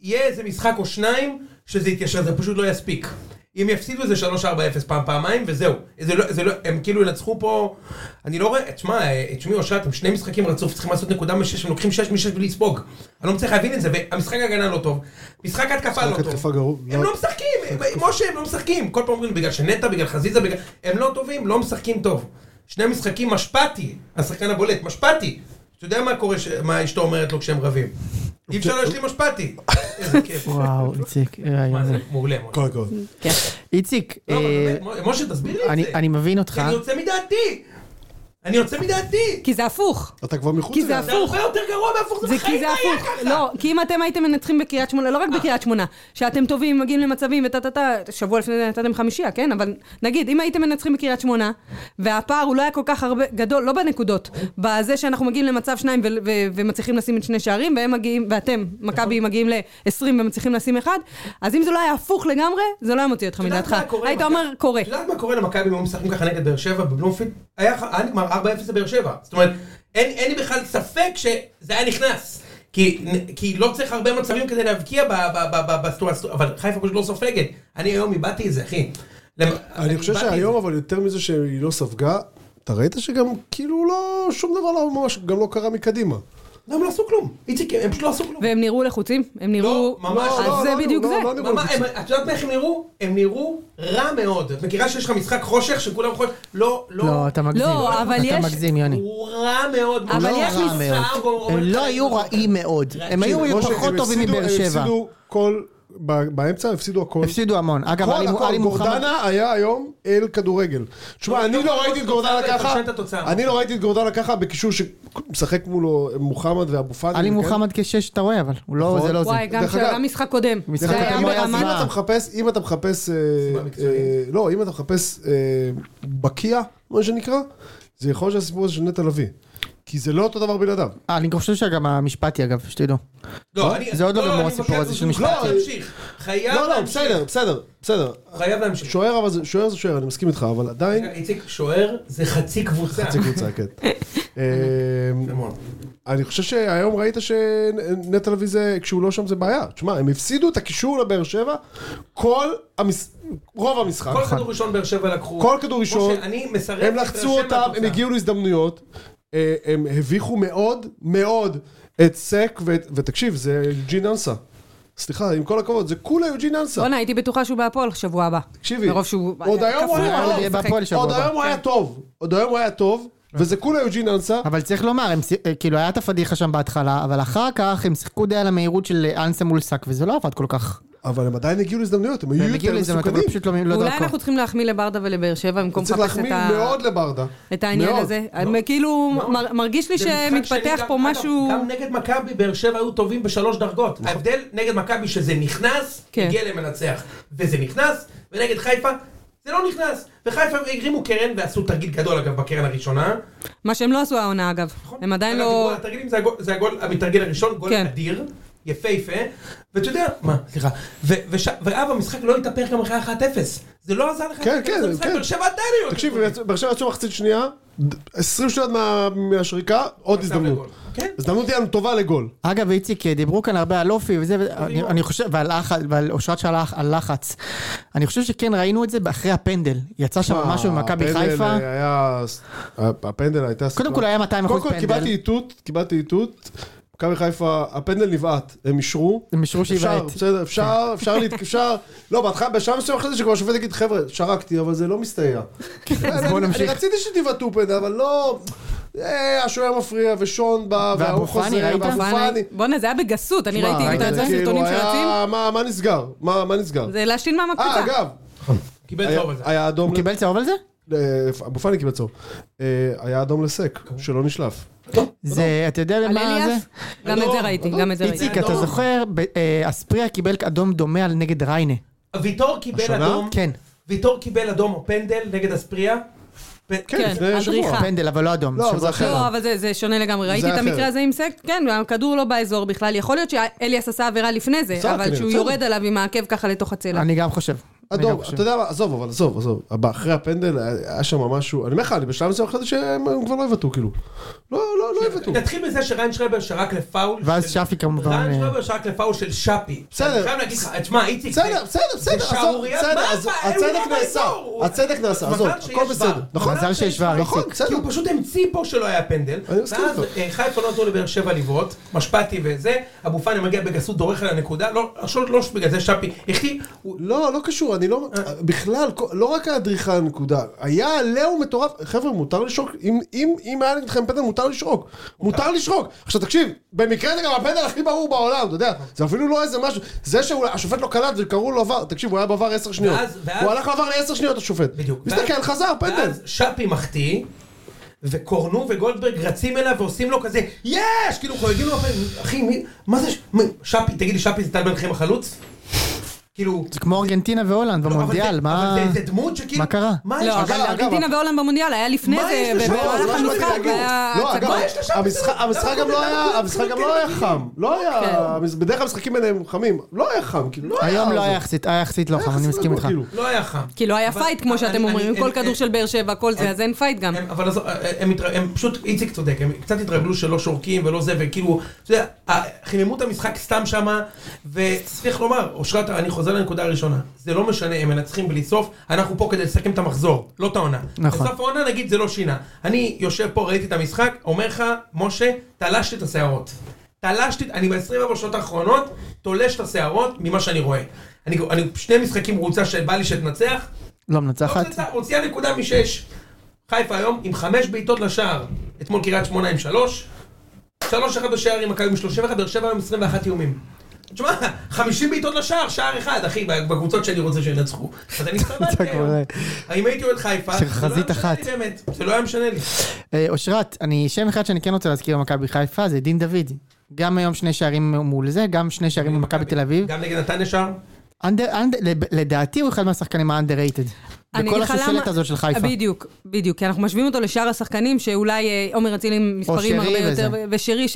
[SPEAKER 2] יהיה איזה משחק או שניים שזה יתיישר, זה פשוט לא יספיק. אם יפסידו איזה 3-4-0 פעם, פעמיים, וזהו. זה לא, זה לא, הם כאילו ינצחו פה... אני לא רואה... תשמע, אה, תשמעי אושרת, הם שני משחקים רצוף, צריכים לעשות נקודה משש, הם לוקחים שש משש בלי לספוג. אני לא מצליח להבין את זה, והמשחק הגנה לא טוב. משחק התקפה לא
[SPEAKER 4] משחק
[SPEAKER 2] טוב.
[SPEAKER 4] התקפה גרוע.
[SPEAKER 2] הם
[SPEAKER 4] לא.
[SPEAKER 2] לא משחקים, הם- משה, הם לא משחקים. כל פעם אומרים, בגלל שנטע, בגלל חזיזה, בגלל... הם לא טובים, לא משחקים טוב. שני משחקים, משפטי, השחקן הבולט, משפטי. אתה יודע מה קורה, ש- מה אשתו אומרת לו כשהם רבים. אי אפשר להשלים משפטי. איזה כיף.
[SPEAKER 1] וואו, איציק. אה,
[SPEAKER 2] מה זה,
[SPEAKER 1] זה-
[SPEAKER 2] מעולה, משה.
[SPEAKER 4] כל הכבוד.
[SPEAKER 1] איציק,
[SPEAKER 2] לא, אבל
[SPEAKER 1] אה,
[SPEAKER 2] באמת, מ- משה, תסביר לי את
[SPEAKER 1] אני-
[SPEAKER 2] זה. כן, לא-
[SPEAKER 1] אני מבין אותך.
[SPEAKER 2] כי אני יוצא מדעתי. אני יוצא מדעתי.
[SPEAKER 3] כי זה הפוך.
[SPEAKER 4] אתה כבר מחוץ
[SPEAKER 3] כי זה
[SPEAKER 4] אליה.
[SPEAKER 2] זה
[SPEAKER 3] הפוך.
[SPEAKER 2] הרבה יותר גרוע מהפוך, זה
[SPEAKER 3] זה כי
[SPEAKER 2] בחיים
[SPEAKER 3] זה
[SPEAKER 2] לא היה
[SPEAKER 3] הפוך.
[SPEAKER 2] ככה. אה.
[SPEAKER 3] לא, כי אם אתם הייתם מנצחים בקריית שמונה, לא רק בקריית שמונה, שאתם טובים, מגיעים למצבים וטה טה טה, שבוע לפני זה נתתם חמישייה, כן? אבל נגיד, אם הייתם מנצחים בקריית שמונה, והפער הוא לא היה כל כך הרבה, גדול, לא בנקודות, בזה שאנחנו מגיעים למצב שניים ו- ו- ומצליחים לשים את שני שערים, והם מגיעים, ואתם,
[SPEAKER 2] נכון.
[SPEAKER 3] מכבי, מגיעים ל-20 ומצליחים לשים אחד, אז אם זה לא היה הפוך לגמרי, זה לא היה מוציא אותך
[SPEAKER 2] את יודעת
[SPEAKER 3] מדעתך.
[SPEAKER 2] מה קורה
[SPEAKER 3] היית
[SPEAKER 2] למכבי-
[SPEAKER 3] אומר, קורה.
[SPEAKER 2] את יודעת מה קורה למכבי אם הם משחקים ככה נגד באר שבע בבלומפילד? היה ח- היה נגמר 4-0 לבאר שבע. זאת אומרת, אין אין לי בכלל ספק שזה היה נכנס. כי, כי לא צריך הרבה מצבים כדי להבקיע ב- ב- ב- ב- בסיטואציה, אבל חיפה פשוט לא סופגת. אני היום איבדתי את זה, אחי. למ-
[SPEAKER 4] אני חושב
[SPEAKER 2] איבדתי את
[SPEAKER 4] שהיום, אבל יותר מזה שהיא לא ספגה, אתה ראית שגם כאילו לא, שום דבר לא ממש, גם לא קרה מקדימה.
[SPEAKER 2] זה. הם לא עשו כלום. איציק, הם פשוט לא עשו כלום.
[SPEAKER 3] והם נראו לחוצים? הם
[SPEAKER 2] לא,
[SPEAKER 3] נראו...
[SPEAKER 2] ממש
[SPEAKER 4] לא,
[SPEAKER 3] אז זה
[SPEAKER 4] לא,
[SPEAKER 3] בדיוק
[SPEAKER 4] לא,
[SPEAKER 3] זה.
[SPEAKER 4] לא, לא,
[SPEAKER 2] מה- מה, הם- את יודעת מה איך הם נראו? הם נראו רע מאוד. את מכירה שיש לך משחק חושך שכולם חושך? לא, לא.
[SPEAKER 1] לא, אתה מגזים.
[SPEAKER 3] לא, אבל
[SPEAKER 1] אתה
[SPEAKER 3] יש-
[SPEAKER 1] מגזים, יוני.
[SPEAKER 2] הוא רע מאוד.
[SPEAKER 3] אבל
[SPEAKER 1] לא
[SPEAKER 3] יש
[SPEAKER 1] רע
[SPEAKER 3] משחק,
[SPEAKER 1] מאוד. הם לא היו רעים מאוד. הם
[SPEAKER 2] תקשיב,
[SPEAKER 1] היו
[SPEAKER 4] משה,
[SPEAKER 1] פחות
[SPEAKER 4] הם
[SPEAKER 1] טובים
[SPEAKER 4] הפסידו-
[SPEAKER 1] מבאר שבע.
[SPEAKER 4] הם הפסידו כל ב- באמצע הפסידו הכל.
[SPEAKER 1] הפסידו המון. אגב,
[SPEAKER 4] כל
[SPEAKER 1] עלי
[SPEAKER 4] הכל,
[SPEAKER 1] עלי מוחמד...
[SPEAKER 4] גורדנה היה היום אל כדורגל. תשמע,
[SPEAKER 2] לא,
[SPEAKER 4] אני
[SPEAKER 2] לא,
[SPEAKER 4] לא ראיתי את
[SPEAKER 2] התוצאה,
[SPEAKER 4] גורדנה
[SPEAKER 2] אתה
[SPEAKER 4] ככה,
[SPEAKER 2] חושב את התוצאה.
[SPEAKER 4] אני לא ראיתי את גורדנה ככה בקישור שמשחק מולו מוחמד ואבו פאני. כן?
[SPEAKER 1] עלי
[SPEAKER 4] וכאלה.
[SPEAKER 1] מוחמד כשש, אתה רואה, אבל הוא לא,
[SPEAKER 4] נכון.
[SPEAKER 1] זה לא זה.
[SPEAKER 3] וואי, גם
[SPEAKER 4] דרך
[SPEAKER 3] של-
[SPEAKER 4] אגב-
[SPEAKER 3] גם משחק קודם.
[SPEAKER 1] משחק
[SPEAKER 3] זה
[SPEAKER 4] דרך
[SPEAKER 3] היה
[SPEAKER 4] אגב, אם אתה-
[SPEAKER 1] ברמה-
[SPEAKER 4] אם אתה מחפש, אם אתה מחפש, אה,
[SPEAKER 2] סיבה מקצועית.
[SPEAKER 4] אה, לא, אם אתה מחפש אה, בקיע, מה שנקרא, זה יכול להיות שהסיפור הזה של נטע לביא. כי זה לא אותו דבר בלעדיו.
[SPEAKER 1] אה, אני חושב שגם המשפטי, אגב, שתדעו.
[SPEAKER 2] לא, אני...
[SPEAKER 1] זה עוד לא גמור
[SPEAKER 2] אני
[SPEAKER 1] הסיפור
[SPEAKER 2] מבקש,
[SPEAKER 1] הזה של
[SPEAKER 2] הוא
[SPEAKER 1] משפט.
[SPEAKER 2] חייב להמשיך. חייב
[SPEAKER 4] לא, לא,
[SPEAKER 2] להמשיך.
[SPEAKER 4] בסדר, בסדר, בסדר.
[SPEAKER 2] הוא חייב להמשיך.
[SPEAKER 4] שוער אבל זה- שוער זה שוער, אני מסכים איתך, אבל עדיין...
[SPEAKER 2] רגע, איציק, שוער זה חצי קבוצה.
[SPEAKER 4] חצי קבוצה, כן. אה,
[SPEAKER 2] זה מאוד.
[SPEAKER 4] אני חושב שהיום ראית שנטע לביא זה, כשהוא לא שם זה בעיה. תשמע, הם הפסידו את הקישור לבאר שבע כל המס... רוב המשחק.
[SPEAKER 2] כל כדור ראשון באר שבע לקחו.
[SPEAKER 4] כל כדור ראשון.
[SPEAKER 2] משה, אני מסרב.
[SPEAKER 4] הם
[SPEAKER 2] את באר
[SPEAKER 4] לחצו
[SPEAKER 2] שבע
[SPEAKER 4] אותם, הם
[SPEAKER 2] מהתוצאה.
[SPEAKER 4] הגיעו להזדמנויות. אה, הם הביכו מאוד, מאוד את סק, ואת- ותקשיב, זה יוג'ין אנסה. סליחה, עם כל הכבוד, זה כולה יוג'ין אנסה.
[SPEAKER 3] בואנה, הייתי בטוחה שהוא בהפועל שבוע הבא.
[SPEAKER 4] תקשיבי,
[SPEAKER 3] מרוב שהוא...
[SPEAKER 4] עוד היום הוא
[SPEAKER 3] כפוי,
[SPEAKER 4] היה-
[SPEAKER 3] לא
[SPEAKER 4] הוא
[SPEAKER 1] יהיה
[SPEAKER 3] משחק.
[SPEAKER 1] בהפועל שבוע
[SPEAKER 4] עוד
[SPEAKER 1] הבא. כן.
[SPEAKER 4] היום הוא היה טוב, עוד היום הוא היה טוב, וזה כולה יוג'ין אנסה.
[SPEAKER 1] אבל צריך לומר, הם, סי- אה, כאילו היה את הפדיחה שם בהתחלה, אבל אחר כך הם שיחקו די על המהירות של אה, אנסה מול שק, וזה לא עבד כל כך.
[SPEAKER 4] אבל הם עדיין הגיעו להזדמנויות, הם
[SPEAKER 1] והם
[SPEAKER 4] היו
[SPEAKER 1] הגיעו
[SPEAKER 4] יותר
[SPEAKER 1] לזה, אבל
[SPEAKER 4] מסוכנים.
[SPEAKER 1] פשוט לא לא
[SPEAKER 3] אולי
[SPEAKER 1] דרכו.
[SPEAKER 3] אנחנו צריכים להחמיא לברדה ולבאר שבע במקום
[SPEAKER 4] צריך
[SPEAKER 3] לחפש את
[SPEAKER 4] להחמיא
[SPEAKER 3] ה-
[SPEAKER 4] מאוד לברדה.
[SPEAKER 3] את העניין
[SPEAKER 4] מאוד.
[SPEAKER 3] הזה. הם כאילו,
[SPEAKER 2] מאוד.
[SPEAKER 3] מר- מרגיש לי
[SPEAKER 2] זה משחק שני,
[SPEAKER 3] שמתפתח
[SPEAKER 2] גם-
[SPEAKER 3] פה
[SPEAKER 2] אגב,
[SPEAKER 3] משהו...
[SPEAKER 2] גם נגד מכבי באר שבע היו טובים בשלוש
[SPEAKER 4] נכון.
[SPEAKER 2] דרגות. ההבדל נגד מכבי שזה נכנס,
[SPEAKER 3] כן.
[SPEAKER 2] הגיע למנצח. וזה נכנס, ונגד חיפה זה לא נכנס. וחיפה הגרימו קרן ועשו תרגיל גדול אגב בקרן הראשונה.
[SPEAKER 3] מה שהם לא עשו העונה אגב.
[SPEAKER 4] נכון.
[SPEAKER 3] הם עדיין
[SPEAKER 2] אגב,
[SPEAKER 3] לא...
[SPEAKER 2] דיברו נכון. על התרגילים זה הגול, זה הגול המתרגיל הראשון, גול
[SPEAKER 3] כן.
[SPEAKER 2] אדיר, יפהפה, ואתה יודע, מה, סליחה, ו- וש- ואב המשחק לא התהפך גם אחרי 1-0, זה לא עזר לך,
[SPEAKER 4] כן,
[SPEAKER 2] להיכנס
[SPEAKER 4] כן,
[SPEAKER 2] למשחק,
[SPEAKER 4] כן.
[SPEAKER 2] באר שבע עדיין היו...
[SPEAKER 4] תקשיב,
[SPEAKER 2] יותר
[SPEAKER 4] באר שבע יצאו מחצית שנייה, 20 שניות מה- מהשריקה, עוד
[SPEAKER 2] טובים.
[SPEAKER 4] הזדמנות.
[SPEAKER 2] כן,
[SPEAKER 4] הזדמנות היא לנו טובה לגול.
[SPEAKER 1] אגב, איציק, אה, דיברו כאן הרבה על אופי וזה, ואני אני חושב, ועל לחץ, ועל אושרת שאלה על לחץ. אני חושב שכן ראינו את זה אחרי הפנדל. יצא שם משהו ממכבי
[SPEAKER 4] הפנדל אה,
[SPEAKER 1] חיפה.
[SPEAKER 4] היה... הפנדל הייתה... סיטואציה-
[SPEAKER 1] כל היה 200%
[SPEAKER 4] קודם כל
[SPEAKER 1] פנדל.
[SPEAKER 4] קיבלתי איתות, קיבלתי איתות. מכבי חיפה, הפנדל נבעט, הם אישרו.
[SPEAKER 1] הם אישרו
[SPEAKER 4] אפשר,
[SPEAKER 1] שיבעט.
[SPEAKER 4] בסדר, אפשר, אפשר, להת- אפשר, לא, בהתחלה, בשלב מסוים אחרי זה שכבר השופט יגיד, חבר'ה, שרקתי, אבל זה לא מסתייע.
[SPEAKER 1] אז בואו
[SPEAKER 4] אני-
[SPEAKER 1] נמשיך.
[SPEAKER 4] אני רציתי שתבעטו פנדל, אבל לא, אה, השוער מפריע, ושון בא, וההוא
[SPEAKER 1] פאני,
[SPEAKER 4] חוזר,
[SPEAKER 1] ראית?
[SPEAKER 4] והבו
[SPEAKER 3] בואנה,
[SPEAKER 4] פאני.
[SPEAKER 3] בואנה, זה היה בגסות, אני
[SPEAKER 4] מה,
[SPEAKER 3] ראיתי את
[SPEAKER 4] זה
[SPEAKER 3] ה-
[SPEAKER 4] כאילו
[SPEAKER 3] הסרטונים
[SPEAKER 4] היה-
[SPEAKER 3] שרצים.
[SPEAKER 4] מה מה נסגר? מה מה נסגר?
[SPEAKER 3] זה להשתין
[SPEAKER 4] אה,
[SPEAKER 3] מהמקפצה.
[SPEAKER 4] אגב,
[SPEAKER 2] קיבל
[SPEAKER 4] היה-
[SPEAKER 2] טוב על זה.
[SPEAKER 4] היה אדום,
[SPEAKER 1] הוא קיבל צהוב על זה?
[SPEAKER 4] אה, אבו פאני קיבל צהוב. אה, היה אדום לסק, שלא נשלף. לא.
[SPEAKER 1] זה, אתה יודע
[SPEAKER 3] על
[SPEAKER 1] למה זה?
[SPEAKER 3] אליאס? גם את זה
[SPEAKER 4] אדום,
[SPEAKER 3] ראיתי,
[SPEAKER 4] אדום.
[SPEAKER 3] גם את זה ראיתי.
[SPEAKER 1] איציק, אתה
[SPEAKER 2] אדום.
[SPEAKER 1] זוכר, ב- אה, אספריה קיבל אדום דומה על נגד ריינה.
[SPEAKER 3] אה.
[SPEAKER 2] ויטור קיבל
[SPEAKER 4] השנה?
[SPEAKER 2] אדום,
[SPEAKER 1] כן.
[SPEAKER 2] ויטור קיבל אדום או פנדל נגד אספריה. פ-
[SPEAKER 3] כן,
[SPEAKER 4] לפני שבוע.
[SPEAKER 3] אדריכה.
[SPEAKER 1] פנדל, אבל לא אדום.
[SPEAKER 4] לא, אבל
[SPEAKER 1] שבוע
[SPEAKER 4] זה
[SPEAKER 1] אחר.
[SPEAKER 4] אחרת.
[SPEAKER 3] לא, אבל זה- זה שונה לגמרי. ראיתי את
[SPEAKER 4] אחרת.
[SPEAKER 3] המקרה הזה עם סק, כן, הכדור לא באזור בכלל. יכול להיות שאליאס עשה עבירה לפני
[SPEAKER 4] בסדר,
[SPEAKER 3] זה, אבל
[SPEAKER 4] כנראה,
[SPEAKER 3] כשהוא
[SPEAKER 4] בסדר.
[SPEAKER 3] יורד עליו עם העקב ככה לתוך הצלע.
[SPEAKER 1] אני גם חושב. אני גם
[SPEAKER 4] אדום,
[SPEAKER 1] חושב.
[SPEAKER 4] אתה יודע מה, עזוב, אבל עזוב, עזוב. הבא, אחרי הפנדל היה היה שם משהו, אני אומר לך, אני בשלב מסוים חשבתי שהם הם כבר לא יבטאו, כאילו. לא, לא, לא יבטאו.
[SPEAKER 2] נתחיל בזה שריין שרבר שרק לפאול.
[SPEAKER 1] ואז
[SPEAKER 2] של-
[SPEAKER 1] שפי כמובן,
[SPEAKER 2] ריין
[SPEAKER 1] אה,
[SPEAKER 2] שרבר שרק לפאול של שפי.
[SPEAKER 4] בסדר.
[SPEAKER 2] אני חייב להגיד לך, תשמע, איציק.
[SPEAKER 4] בסדר,
[SPEAKER 2] זה-
[SPEAKER 4] בסדר, בסדר,
[SPEAKER 2] זה
[SPEAKER 4] עזוב,
[SPEAKER 2] שערורייה.
[SPEAKER 4] בסדר,
[SPEAKER 2] מה
[SPEAKER 4] אז-
[SPEAKER 2] הבעיה? הוא
[SPEAKER 4] הצדק
[SPEAKER 2] לא
[SPEAKER 4] נעשה,
[SPEAKER 2] באזור, הוא-
[SPEAKER 4] הצדק נעשה,
[SPEAKER 2] מזל
[SPEAKER 4] עזוב,
[SPEAKER 2] שיש
[SPEAKER 4] הכל
[SPEAKER 2] בר.
[SPEAKER 4] בסדר, נכון?
[SPEAKER 1] מזל שיש בר,
[SPEAKER 4] נכון,
[SPEAKER 1] איציק.
[SPEAKER 2] כי
[SPEAKER 4] בסדר.
[SPEAKER 2] הוא פשוט המציא פה שלא היה פנדל,
[SPEAKER 4] אני
[SPEAKER 2] ואז
[SPEAKER 4] מסכים איתך.
[SPEAKER 2] אה, חיפה לא נתנו לבאר שבע לבעוט, משפטי וזה, אבו פאני מגיע בגסות, דורך על הנקודה, לא, עכשיו לא בגלל זה שפי, החטיא, הוא-
[SPEAKER 4] לא, לא קשור, אני לא,
[SPEAKER 2] אה.
[SPEAKER 4] בכלל, כל- לא רק האדריכה הנקודה, היה עליהו מטורף, חבר'ה, מותר לשרוק, אם, אם, אם היה נגדכם פנדל, מותר לשרוק, מותר לשרוק. עכשיו תקשיב, במקרה זה גם הפנדל הכי ברור בעולם, אתה יודע, זה אפילו לא איזה משהו, זה שהשופט לא קלט וקראו לו עבר, תקשיב, הוא היה בעבר עשר שניות,
[SPEAKER 2] ואז- ואז-
[SPEAKER 4] הוא הלך לעבר לעשר שניות השופט,
[SPEAKER 2] בדיוק.
[SPEAKER 4] מסתכל,
[SPEAKER 2] ואז-
[SPEAKER 4] חזר, פנדל.
[SPEAKER 2] ואז שפי מחטיא, וקורנו וגולדברג רצים אליו ועושים לו כזה, יש! כאילו חוגגים לו, אחי, מי- מה זה, ש- מה- שפי, תגיד לי, שפי זה טל בן חיים החלוץ? כאילו...
[SPEAKER 1] זה כמו ארגנטינה והולנד
[SPEAKER 2] לא, אבל זה-
[SPEAKER 1] במונדיאל, מה...
[SPEAKER 2] אבל זה- זה דמות שכאילו...
[SPEAKER 1] מה קרה?
[SPEAKER 2] מה יש
[SPEAKER 3] לא,
[SPEAKER 2] לך?
[SPEAKER 3] אבל
[SPEAKER 4] אגב,
[SPEAKER 3] ארגנטינה
[SPEAKER 4] אגב,
[SPEAKER 3] והולנד במונדיאל היה לפני
[SPEAKER 2] מה יש
[SPEAKER 3] זה,
[SPEAKER 2] לשם?
[SPEAKER 3] במהלך
[SPEAKER 2] זה מה שבאתי
[SPEAKER 3] המשחק,
[SPEAKER 2] להגיד.
[SPEAKER 3] והיה
[SPEAKER 4] לא, אגב,
[SPEAKER 3] הצגות.
[SPEAKER 2] אה, יש לשם?
[SPEAKER 4] המשחק- המשחק גם לא היה- המשחק גם לא היה חם, לא היה,
[SPEAKER 2] כן.
[SPEAKER 4] בדרך כלל המשחקים האלה הם חמים, לא היה חם, כאילו, לא היה...
[SPEAKER 1] היום לא
[SPEAKER 4] זה.
[SPEAKER 1] היה יחסית, היה יחסית לא חם, אני
[SPEAKER 4] יחסית
[SPEAKER 1] מסכים
[SPEAKER 4] רגוע,
[SPEAKER 1] איתך.
[SPEAKER 4] כאילו.
[SPEAKER 2] לא היה חם.
[SPEAKER 3] כי לא היה
[SPEAKER 2] אבל-
[SPEAKER 3] פייט, כמו
[SPEAKER 2] אבל
[SPEAKER 3] שאתם
[SPEAKER 2] אני-
[SPEAKER 3] אומרים,
[SPEAKER 2] אני-
[SPEAKER 3] כל
[SPEAKER 2] אני-
[SPEAKER 3] כדור של באר שבע, כל זה, אז אין פייט גם.
[SPEAKER 2] הם- אבל עזוב, אה, הם התר- הם פשוט, איציק צודק, הם קצת התרגלו שלא שורקים ולא זה, וכאילו, אתה יודע, ה- חיממו את המשחק סתם שמה, וצריך לומר, אושרת, אני חוזר לנקודה הראשונה, זה לא משנה, הם מנצחים בלי סוף, אנחנו פה כדי לסכם את המחזור, לא את העונה.
[SPEAKER 1] נכון.
[SPEAKER 2] בסוף העונה נגיד זה לא שינה. אני יושב פה, ראיתי את המשחק, אומר לך, משה, תלשתי את השערות. תלשתי, אני ב-24 שעות האחרונות, תולש את השערות ממה שאני רואה. אני, אני שני משחקים רוצה שבא לי שתנצח,
[SPEAKER 1] לא
[SPEAKER 2] לא
[SPEAKER 1] מנצחת.
[SPEAKER 2] מנצח, הוציאה נקודה משש. חיפה היום עם חמש בעיטות לשער. אתמול קריית שמונה עם שלוש. שלוש אחד בשער עם מכבי עם 31, באר שבע עם 21 איומים. תשמע, 50 בעיטות לשער, שער אחד, אחי, בקבוצות שאני רוצה שינצחו. אז אני
[SPEAKER 1] אתה
[SPEAKER 2] הסתבלתי
[SPEAKER 1] כבר-
[SPEAKER 2] היום. אם הייתי אוהד חיפה,
[SPEAKER 1] יש לך
[SPEAKER 2] זה לא היה
[SPEAKER 1] חזית
[SPEAKER 2] משנה לי
[SPEAKER 1] אחת.
[SPEAKER 2] באמת, זה לא היה משנה לי.
[SPEAKER 1] אה, אושרת, אני שם אחד שאני כן רוצה להזכיר במכבי חיפה, זה דין דוד. גם היום שני שערים מול זה, גם שני שערים במכבי תל אביב.
[SPEAKER 2] גם נגד נתניה שער?
[SPEAKER 1] אנדר- אנדר- לב- לדעתי הוא אחד מהשחקנים האנדררייטד.
[SPEAKER 3] אני
[SPEAKER 1] בכל
[SPEAKER 3] אגיד לך
[SPEAKER 1] השושלת
[SPEAKER 3] למה-
[SPEAKER 1] הזאת של חיפה.
[SPEAKER 3] בדיוק, בדיוק, כי אנחנו משווים אותו לשאר השחקנים, שאולי אה, עומר אצילי עם
[SPEAKER 1] שרי
[SPEAKER 3] מספרים הרבה
[SPEAKER 1] וזה.
[SPEAKER 3] יותר, ו- ושרי,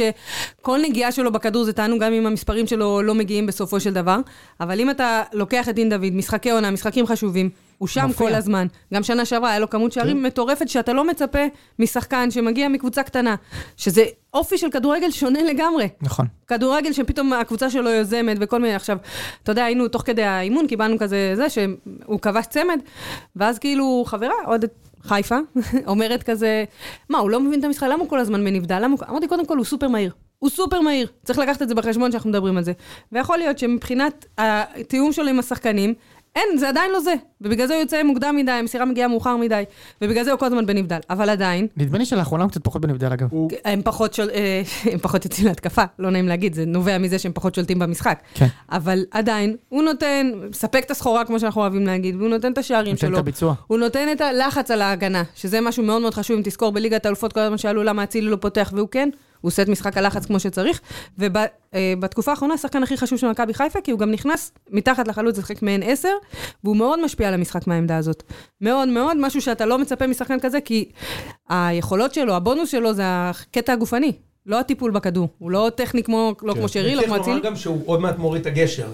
[SPEAKER 3] שכל נגיעה שלו בכדור זה טענו גם אם המספרים שלו לא מגיעים בסופו של דבר, אבל אם אתה לוקח את דין דוד, משחקי עונה, משחקים חשובים, הוא שם
[SPEAKER 1] מופיע. כן.
[SPEAKER 3] כל הזמן. גם שנה שעברה היה לו כמות שערים מטורפת, שאתה לא מצפה משחקן שמגיע מקבוצה קטנה, שזה אופי של כדורגל שונה לגמרי.
[SPEAKER 1] נכון.
[SPEAKER 3] כדורגל שפתאום הקבוצה שלו יוזמת וכל מיני, עכשיו, אתה יודע, היינו תוך כדי האימון, קיבלנו כזה זה, שהוא כבש צמד, ואז כאילו חברה, עוד חיפה, אומרת כזה, מה, הוא לא מבין את המשחק, למה הוא כל הזמן בנבדל? למה הוא... אמרתי, קודם כל, הוא סופר מהיר. הוא סופר מהיר, צריך לקחת את זה בחשבון שאנחנו מדברים על זה. ויכול להיות שמבחינת התיאום שלו עם השחקנים, אין, זה עדיין לא זה. ובגלל זה הוא יוצא מוקדם מדי, המסירה מגיעה מאוחר מדי, ובגלל זה הוא כל הזמן בנבדל. אבל עדיין,
[SPEAKER 1] נדמה לי שלאחרונה הוא קצת פחות בנבדל אגב.
[SPEAKER 3] הם פחות, שול... אה, הם פחות יוצאים להתקפה, לא נעים להגיד, זה נובע מזה שהם פחות שולטים במשחק.
[SPEAKER 1] כן.
[SPEAKER 3] אבל עדיין, הוא נותן, מספק את הסחורה, כמו שאנחנו אוהבים להגיד, והוא נותן את השערים
[SPEAKER 1] נותן
[SPEAKER 3] שלו.
[SPEAKER 1] את הביצוע.
[SPEAKER 3] הוא נותן את הלחץ על ההגנה, שזה משהו מאוד מאוד חשוב, אם תזכור בליגת האלופות, כל הזמן שאלו למה אצילי לא פותח, והוא כן, הוא עושה את משחק הלחץ כמו שצריך, ובתקופה האחרונה, השחקן הכי חשוב של מכבי חיפה, כי הוא גם נכנס מתחת לחלוץ, לשחק מעין עשר, והוא מאוד משפיע על המשחק מהעמדה הזאת. מאוד מאוד, משהו שאתה לא מצפה משחקן כזה, כי היכולות שלו, הבונוס שלו, זה הקטע הגופני. לא הטיפול בכדור, הוא לא טכני כמו, לא כמו שרי, לא
[SPEAKER 2] צריך
[SPEAKER 3] כמו
[SPEAKER 2] לומר
[SPEAKER 3] אצילי.
[SPEAKER 2] גם שהוא עוד מעט מוריד את הגשר.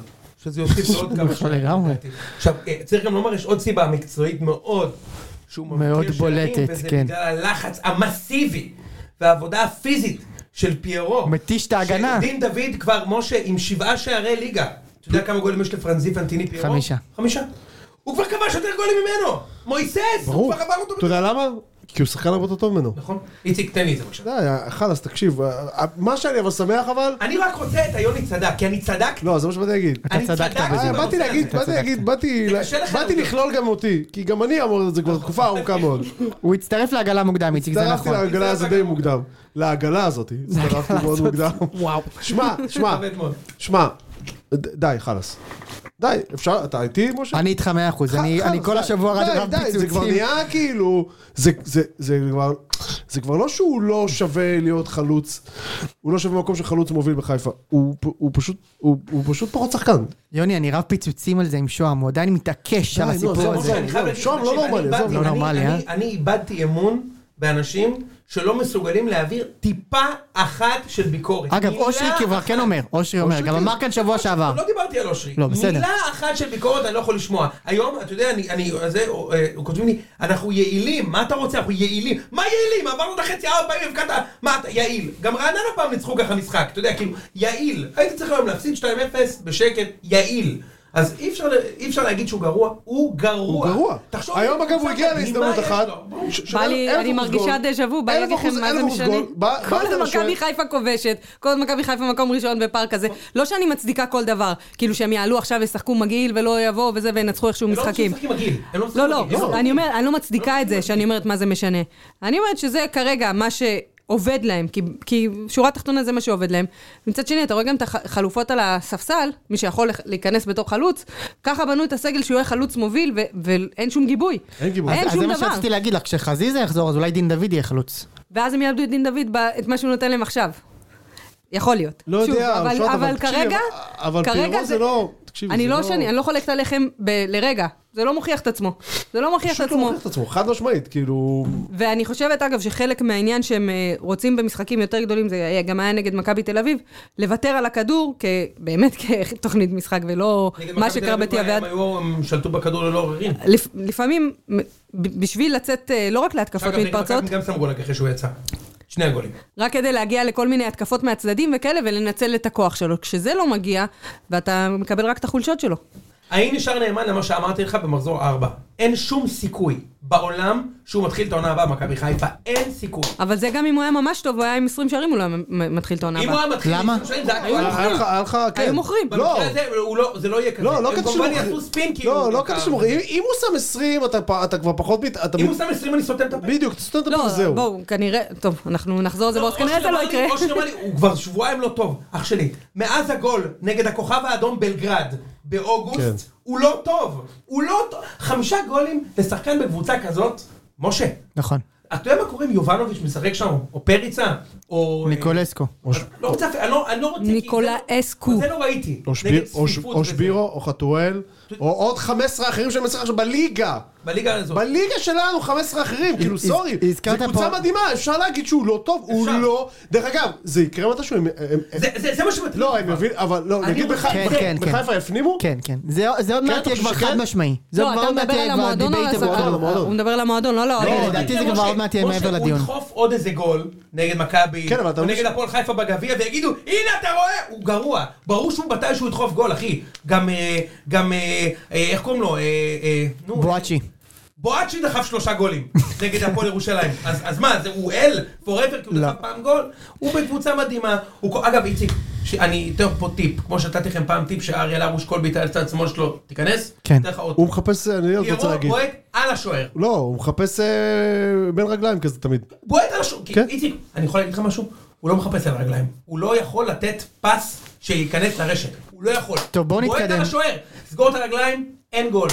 [SPEAKER 2] שזה יוסיף לו עוד כמה
[SPEAKER 1] נכון,
[SPEAKER 2] שנים.
[SPEAKER 1] לגמרי.
[SPEAKER 2] לדעתי. עכשיו, אה, צריך גם לומר, יש עוד סיבה מקצועית מאוד, שהוא מבקיע
[SPEAKER 1] מאוד
[SPEAKER 2] שערים,
[SPEAKER 1] בולטת,
[SPEAKER 2] וזה
[SPEAKER 1] כן.
[SPEAKER 2] בגלל הלחץ המסיבי והעבודה הפיזית של פיירו.
[SPEAKER 1] הוא מתיש את ההגנה.
[SPEAKER 2] שדין דוד כבר, משה, עם שבעה שערי ליגה. אתה יודע כמה גולים יש לפרנזי פנטיני פיירו?
[SPEAKER 1] חמישה.
[SPEAKER 2] חמישה. הוא כבר כבש יותר גולים ממנו! מויסס! הוא
[SPEAKER 4] ברור.
[SPEAKER 2] כבר עבר אותו.
[SPEAKER 4] אתה יודע למה? כי הוא שחקן הרבה יותר טוב ממנו.
[SPEAKER 2] נכון? איציק, תן לי את זה בבקשה.
[SPEAKER 4] די, חלאס, תקשיב, אה, מה שאני אבל שמח אבל,
[SPEAKER 2] אני רק רוצה את היוני צדק, כי אני צדקתי.
[SPEAKER 4] לא, זה מה שבאתי להגיד.
[SPEAKER 1] אתה
[SPEAKER 2] אני
[SPEAKER 1] צדקת
[SPEAKER 2] צדקתי
[SPEAKER 1] בזה.
[SPEAKER 4] אה, באתי להגיד,
[SPEAKER 1] אתה
[SPEAKER 4] באתי
[SPEAKER 1] צדקת.
[SPEAKER 4] להגיד, באתי
[SPEAKER 2] זה
[SPEAKER 4] ל-
[SPEAKER 2] קשה לך
[SPEAKER 4] באתי
[SPEAKER 2] אבל.
[SPEAKER 4] לכלול גם אותי, כי גם אני אמור את זה כבר תקופה ארוכה מאוד.
[SPEAKER 1] הוא הצטרף לעגלה מוקדם, איציק, זה
[SPEAKER 4] הצטרפתי
[SPEAKER 1] נכון.
[SPEAKER 4] לעגלה הזאת די מוקדם. לעגלה הזאת, הצטרפתי מאוד מוקדם.
[SPEAKER 1] וואו.
[SPEAKER 4] שמע, שמע,
[SPEAKER 2] עובד מאוד.
[SPEAKER 4] שמע, ד- די, חלאס. די, אפשר, אתה איתי, משה?
[SPEAKER 1] אני איתך מאה אחוז,
[SPEAKER 4] ח-
[SPEAKER 1] אני
[SPEAKER 4] חלאס,
[SPEAKER 1] אני כל
[SPEAKER 4] די,
[SPEAKER 1] השבוע
[SPEAKER 4] די,
[SPEAKER 1] רב
[SPEAKER 4] אה, די,
[SPEAKER 1] רב
[SPEAKER 4] זה כבר
[SPEAKER 1] פיצוצים.
[SPEAKER 4] נהיה כאילו, זה- זה- זה כבר- זה כבר לא שהוא לא שווה להיות חלוץ, הוא לא שווה במקום שחלוץ מוביל בחיפה, הוא פ- הוא פשוט, הוא הוא פשוט פחות שחקן.
[SPEAKER 1] יוני, אני רב פיצוצים על זה עם שוהם, הוא עדיין מתעקש
[SPEAKER 4] די,
[SPEAKER 1] על
[SPEAKER 4] נו,
[SPEAKER 1] הסיפור
[SPEAKER 4] עזוב,
[SPEAKER 1] הזה.
[SPEAKER 4] עזוב.
[SPEAKER 2] אני חייב להגיד,
[SPEAKER 4] שום, לא
[SPEAKER 2] תקשיב, אני
[SPEAKER 4] נורמלי,
[SPEAKER 2] איבדתי-
[SPEAKER 4] עזוב,
[SPEAKER 1] לא
[SPEAKER 2] אני-
[SPEAKER 1] נורמלי, אה?
[SPEAKER 2] אני- אני איבדתי אמון באנשים שלא מסוגלים להעביר טיפה אחת של ביקורת.
[SPEAKER 1] אגב,
[SPEAKER 2] מילה
[SPEAKER 1] אושרי כבר
[SPEAKER 2] אחת.
[SPEAKER 1] כן אומר, אושרי אומר,
[SPEAKER 4] אושרי
[SPEAKER 1] גם
[SPEAKER 4] כן.
[SPEAKER 1] אמר כאן שבוע שעבר.
[SPEAKER 2] לא דיברתי על אושרי.
[SPEAKER 1] לא, בסדר.
[SPEAKER 2] מילה אחת של ביקורת אני לא יכול לשמוע. היום, אתה יודע, אני, אני, זה, אה, כותבים לי, אנחנו יעילים, מה אתה רוצה? אנחנו יעילים. מה יעילים? עברנו את החצי ארבע פעמים, הבקעת, מה אתה, יעיל. גם רעננה פעם ניצחו ככה משחק, אתה יודע, כאילו, יעיל. הייתי צריך היום להפסיד 2-0 בשקט, יעיל. אז אי אפשר, אי אפשר להגיד שהוא גרוע, הוא גרוע.
[SPEAKER 4] הוא גרוע.
[SPEAKER 2] תחשוב,
[SPEAKER 4] היום אגב הוא
[SPEAKER 2] קבוצה
[SPEAKER 4] הגיע
[SPEAKER 2] מדהימה
[SPEAKER 4] להזדמנות
[SPEAKER 2] יש
[SPEAKER 4] אחת.
[SPEAKER 2] לו.
[SPEAKER 4] ש- של
[SPEAKER 3] בא לי-
[SPEAKER 4] אלף
[SPEAKER 3] אני
[SPEAKER 4] אחוז
[SPEAKER 3] מרגישה
[SPEAKER 4] גול.
[SPEAKER 3] דז'ה וו, בא לי
[SPEAKER 4] אלף
[SPEAKER 3] להגיד
[SPEAKER 4] אחוז-
[SPEAKER 3] לכם מה זה
[SPEAKER 4] אלף אחוז
[SPEAKER 3] משנה.
[SPEAKER 4] גול. בא- בא
[SPEAKER 3] כל
[SPEAKER 4] אתה
[SPEAKER 3] הזמן
[SPEAKER 4] לשוער.
[SPEAKER 3] מכבי חיפה כובשת, כל הזמן מכבי חיפה מקום ראשון בפארק הזה. לא שאני מצדיקה כל דבר, כאילו שהם יעלו עכשיו ישחקו מגעיל ולא יבואו וזה וינצחו איכשהו
[SPEAKER 2] הם לא
[SPEAKER 3] משחקים.
[SPEAKER 2] משחקים מגעיל. הם
[SPEAKER 3] לא,
[SPEAKER 2] משחקים
[SPEAKER 3] לא,
[SPEAKER 2] מגעיל.
[SPEAKER 3] אני אומרת, אני לא מצדיקה את זה שאני אומרת מה זה משנה. אני אומרת שזה כרגע מה שעובד להם, כי- כי שורה תחתונה זה מה שעובד להם. מצד שני, אתה רואה גם את החלופות על הספסל, מי שיכול לח- להיכנס בתור חלוץ, ככה בנו את הסגל שהוא יהיה חלוץ מוביל, ו- ואין שום גיבוי.
[SPEAKER 4] אין גיבוי.
[SPEAKER 1] אז
[SPEAKER 3] אין
[SPEAKER 1] אז זה
[SPEAKER 3] שום
[SPEAKER 1] מה
[SPEAKER 3] דבר.
[SPEAKER 1] שרציתי להגיד לך, כשחזיזה יחזור, אז אולי דין דוד יהיה חלוץ.
[SPEAKER 3] ואז הם יאבדו את דין דוד, ב- את מה שהוא נותן להם עכשיו. יכול להיות.
[SPEAKER 4] לא יודע,
[SPEAKER 3] שוב,
[SPEAKER 4] שעות,
[SPEAKER 3] אבל
[SPEAKER 4] תקשיב,
[SPEAKER 3] כרגע,
[SPEAKER 4] אבל
[SPEAKER 3] כרגע
[SPEAKER 4] פיירו זה לא, תקשיב,
[SPEAKER 3] אני
[SPEAKER 4] זה
[SPEAKER 3] לא שאני, אני לא חולקת עליכם ב- לרגע. זה לא מוכיח את עצמו. זה לא מוכיח את
[SPEAKER 4] פשוט לא
[SPEAKER 3] עצמו.
[SPEAKER 4] מוכיח את עצמו, חד משמעית, כאילו,
[SPEAKER 3] ואני חושבת, אגב, שחלק מהעניין שהם אה, רוצים במשחקים יותר גדולים, זה היה- גם היה נגד מכבי תל אביב, לוותר על הכדור, כ- באמת כתוכנית משחק, ולא
[SPEAKER 2] נגד
[SPEAKER 3] מה
[SPEAKER 2] מכבי תל
[SPEAKER 3] שקרה
[SPEAKER 2] אביב
[SPEAKER 3] בתיאביה.
[SPEAKER 2] הם היו- הם שלטו בכדור ללא עוררין.
[SPEAKER 3] לפ- לפעמים, מ- ב- בשביל לצאת אה, לא רק להתקפות
[SPEAKER 2] אגב, נגד
[SPEAKER 3] מתפרצות,
[SPEAKER 2] מכבי גם שמו גול אחרי שהוא יצא. שני הגולים.
[SPEAKER 3] רק כדי להגיע לכל מיני התקפות מהצדדים וכאלה, ולנצל את הכוח שלו. כשזה לא מגיע, ואתה מקבל רק את החולשות שלו.
[SPEAKER 2] האם נשאר נאמן למה שאמרתי לך במחזור 4? אין שום סיכוי בעולם שהוא מתחיל את העונה הבאה במכבי חיפה. אין סיכוי.
[SPEAKER 3] אבל זה גם אם הוא היה ממש טוב, הוא היה עם 20 שערים, הוא לא היה מ- מתחיל את העונה
[SPEAKER 2] אם הוא
[SPEAKER 3] הבאה.
[SPEAKER 2] היה מתחיל...
[SPEAKER 1] למה?
[SPEAKER 2] לפני שנים, זה היה
[SPEAKER 4] היה
[SPEAKER 2] כבר-
[SPEAKER 4] לך- היה לך, כן.
[SPEAKER 3] היו מוכרים.
[SPEAKER 4] לא,
[SPEAKER 2] במקרה הזה, הוא לא- זה לא יהיה כזה.
[SPEAKER 4] לא, לא
[SPEAKER 2] הם
[SPEAKER 4] כתוב
[SPEAKER 2] כמובן
[SPEAKER 4] שמוכרים.
[SPEAKER 2] יעשו ספין, כאילו.
[SPEAKER 4] לא, לא
[SPEAKER 2] אתה-
[SPEAKER 4] כתוב שמוכרים. אם- אם הוא שם 20, אתה פ- אתה כבר פחות... מת- אתה
[SPEAKER 2] אם הוא
[SPEAKER 4] מת-
[SPEAKER 2] שם 20 אני סותם את הפה.
[SPEAKER 4] בדיוק, אתה סותם את הפה
[SPEAKER 3] לא,
[SPEAKER 4] וזהו.
[SPEAKER 3] בואו, כנראה, טוב, אנחנו נחזור לזה, בואו, אז כנראה
[SPEAKER 2] אושר
[SPEAKER 3] זה לא
[SPEAKER 2] אמר לי-
[SPEAKER 3] יקרה.
[SPEAKER 2] אושר אמר לי, הוא כבר שבועיים לא טוב, אח שלי. מאז הגול נגד הכוכב האדום בלגרד
[SPEAKER 4] כן.
[SPEAKER 2] באוגוסט, הוא לא טוב. הוא לא טוב. חמישה גולים לשחקן בקבוצה כזאת, משה.
[SPEAKER 1] נכון.
[SPEAKER 2] אתה יודע מה קורה אם יובנוביץ' משחק שם, או פריצה, או... אה,
[SPEAKER 1] ניקולסקו.
[SPEAKER 2] אני לא רוצה, אפילו- אני לא- אני לא רוצה... כי
[SPEAKER 3] ניקולה
[SPEAKER 2] זה לא-
[SPEAKER 3] אסקו.
[SPEAKER 2] זה לא ראיתי.
[SPEAKER 4] או שביר-
[SPEAKER 2] נגד
[SPEAKER 4] או ש-
[SPEAKER 2] צפיפות
[SPEAKER 4] או
[SPEAKER 2] וזה.
[SPEAKER 4] שבירו, או חתואל, או עוד 15 אחרים שאני מצליח עכשיו בליגה.
[SPEAKER 2] בליגה הזאת.
[SPEAKER 4] בליגה שלנו 15 אחרים, כאילו
[SPEAKER 1] הז-
[SPEAKER 4] סורי, זו
[SPEAKER 1] הזכרת
[SPEAKER 4] קבוצה
[SPEAKER 1] פה-
[SPEAKER 4] מדהימה, אפשר להגיד שהוא לא טוב, הוא
[SPEAKER 2] אפשר.
[SPEAKER 4] לא, דרך אגב, זה יקרה מתישהו, הם- הם- הם-
[SPEAKER 2] זה- זה זה מה שמטריד.
[SPEAKER 4] לא,
[SPEAKER 2] אותי.
[SPEAKER 4] הם יבינו, אבל לא,
[SPEAKER 2] אני
[SPEAKER 4] נגיד
[SPEAKER 2] רוצה-
[SPEAKER 4] בח-
[SPEAKER 1] כן,
[SPEAKER 4] בח-
[SPEAKER 1] כן, כן.
[SPEAKER 4] בחיפה יפנימו?
[SPEAKER 1] כן, כן. זה זה עוד מעט
[SPEAKER 4] אתה
[SPEAKER 1] יהיה
[SPEAKER 4] חושב
[SPEAKER 1] כבר
[SPEAKER 4] שכן?
[SPEAKER 1] חד משמעי. זה
[SPEAKER 3] לא,
[SPEAKER 1] עוד
[SPEAKER 3] אתה
[SPEAKER 1] מעט
[SPEAKER 3] מדבר על
[SPEAKER 1] יהיה כבר
[SPEAKER 3] המועדון או על
[SPEAKER 1] דיבייט
[SPEAKER 2] לא,
[SPEAKER 3] השחקן?
[SPEAKER 1] עבור.
[SPEAKER 4] המועדון.
[SPEAKER 3] הוא מדבר על המועדון, לא על
[SPEAKER 1] לא,
[SPEAKER 3] האוהדים.
[SPEAKER 1] לדעתי זה
[SPEAKER 2] משה,
[SPEAKER 1] כבר עוד מעט יהיה
[SPEAKER 2] משה,
[SPEAKER 1] מעבר לדיון.
[SPEAKER 2] הוא ידחוף עוד איזה גול נגד מכבי,
[SPEAKER 4] כן, אבל אתה
[SPEAKER 2] או
[SPEAKER 4] מבין
[SPEAKER 2] נגד
[SPEAKER 4] ש-
[SPEAKER 2] הפועל חיפה בגביע, ויגידו, הנה אתה רואה, הוא גרוע. ברור שהוא מתי שהוא ידחוף גול, אחי. גם, אה, גם, אה, אה, איך קוראים לו? אה, אה, נו,
[SPEAKER 1] בואצ'י.
[SPEAKER 2] בואצ'י דחף שלושה גולים נגד הפועל ירושלים. אז, אז מה, זה הוא אל forever כי הוא
[SPEAKER 1] לא.
[SPEAKER 2] דחף פעם גול? הוא בקבוצה מדהימה. הוא, כל- אגב, איציק, ש- אני אתן לך פה טיפ, כמו שנתתי לכם פעם טיפ שאריאל הרוש כל בעיטה לצד שמאל שלו, תיכנס,
[SPEAKER 1] כן.
[SPEAKER 2] אתן לך עוד
[SPEAKER 4] הוא מחפש, אני עוד רוצה
[SPEAKER 2] ירוק
[SPEAKER 4] להגיד.
[SPEAKER 2] בועט על השוער.
[SPEAKER 4] לא, הוא מחפש אה, בין רגליים כזה תמיד.
[SPEAKER 2] בועט על השוק.
[SPEAKER 4] כן.
[SPEAKER 2] כן. איציק, אני יכול להגיד לך משהו? הוא לא מחפש על הרגליים. הוא לא יכול לתת פס שייכנס לרשת. הוא לא יכול.
[SPEAKER 1] טוב, בואו
[SPEAKER 2] בועט
[SPEAKER 1] נתקדם.
[SPEAKER 2] על השוער, סגור את הרגליים, אין גול.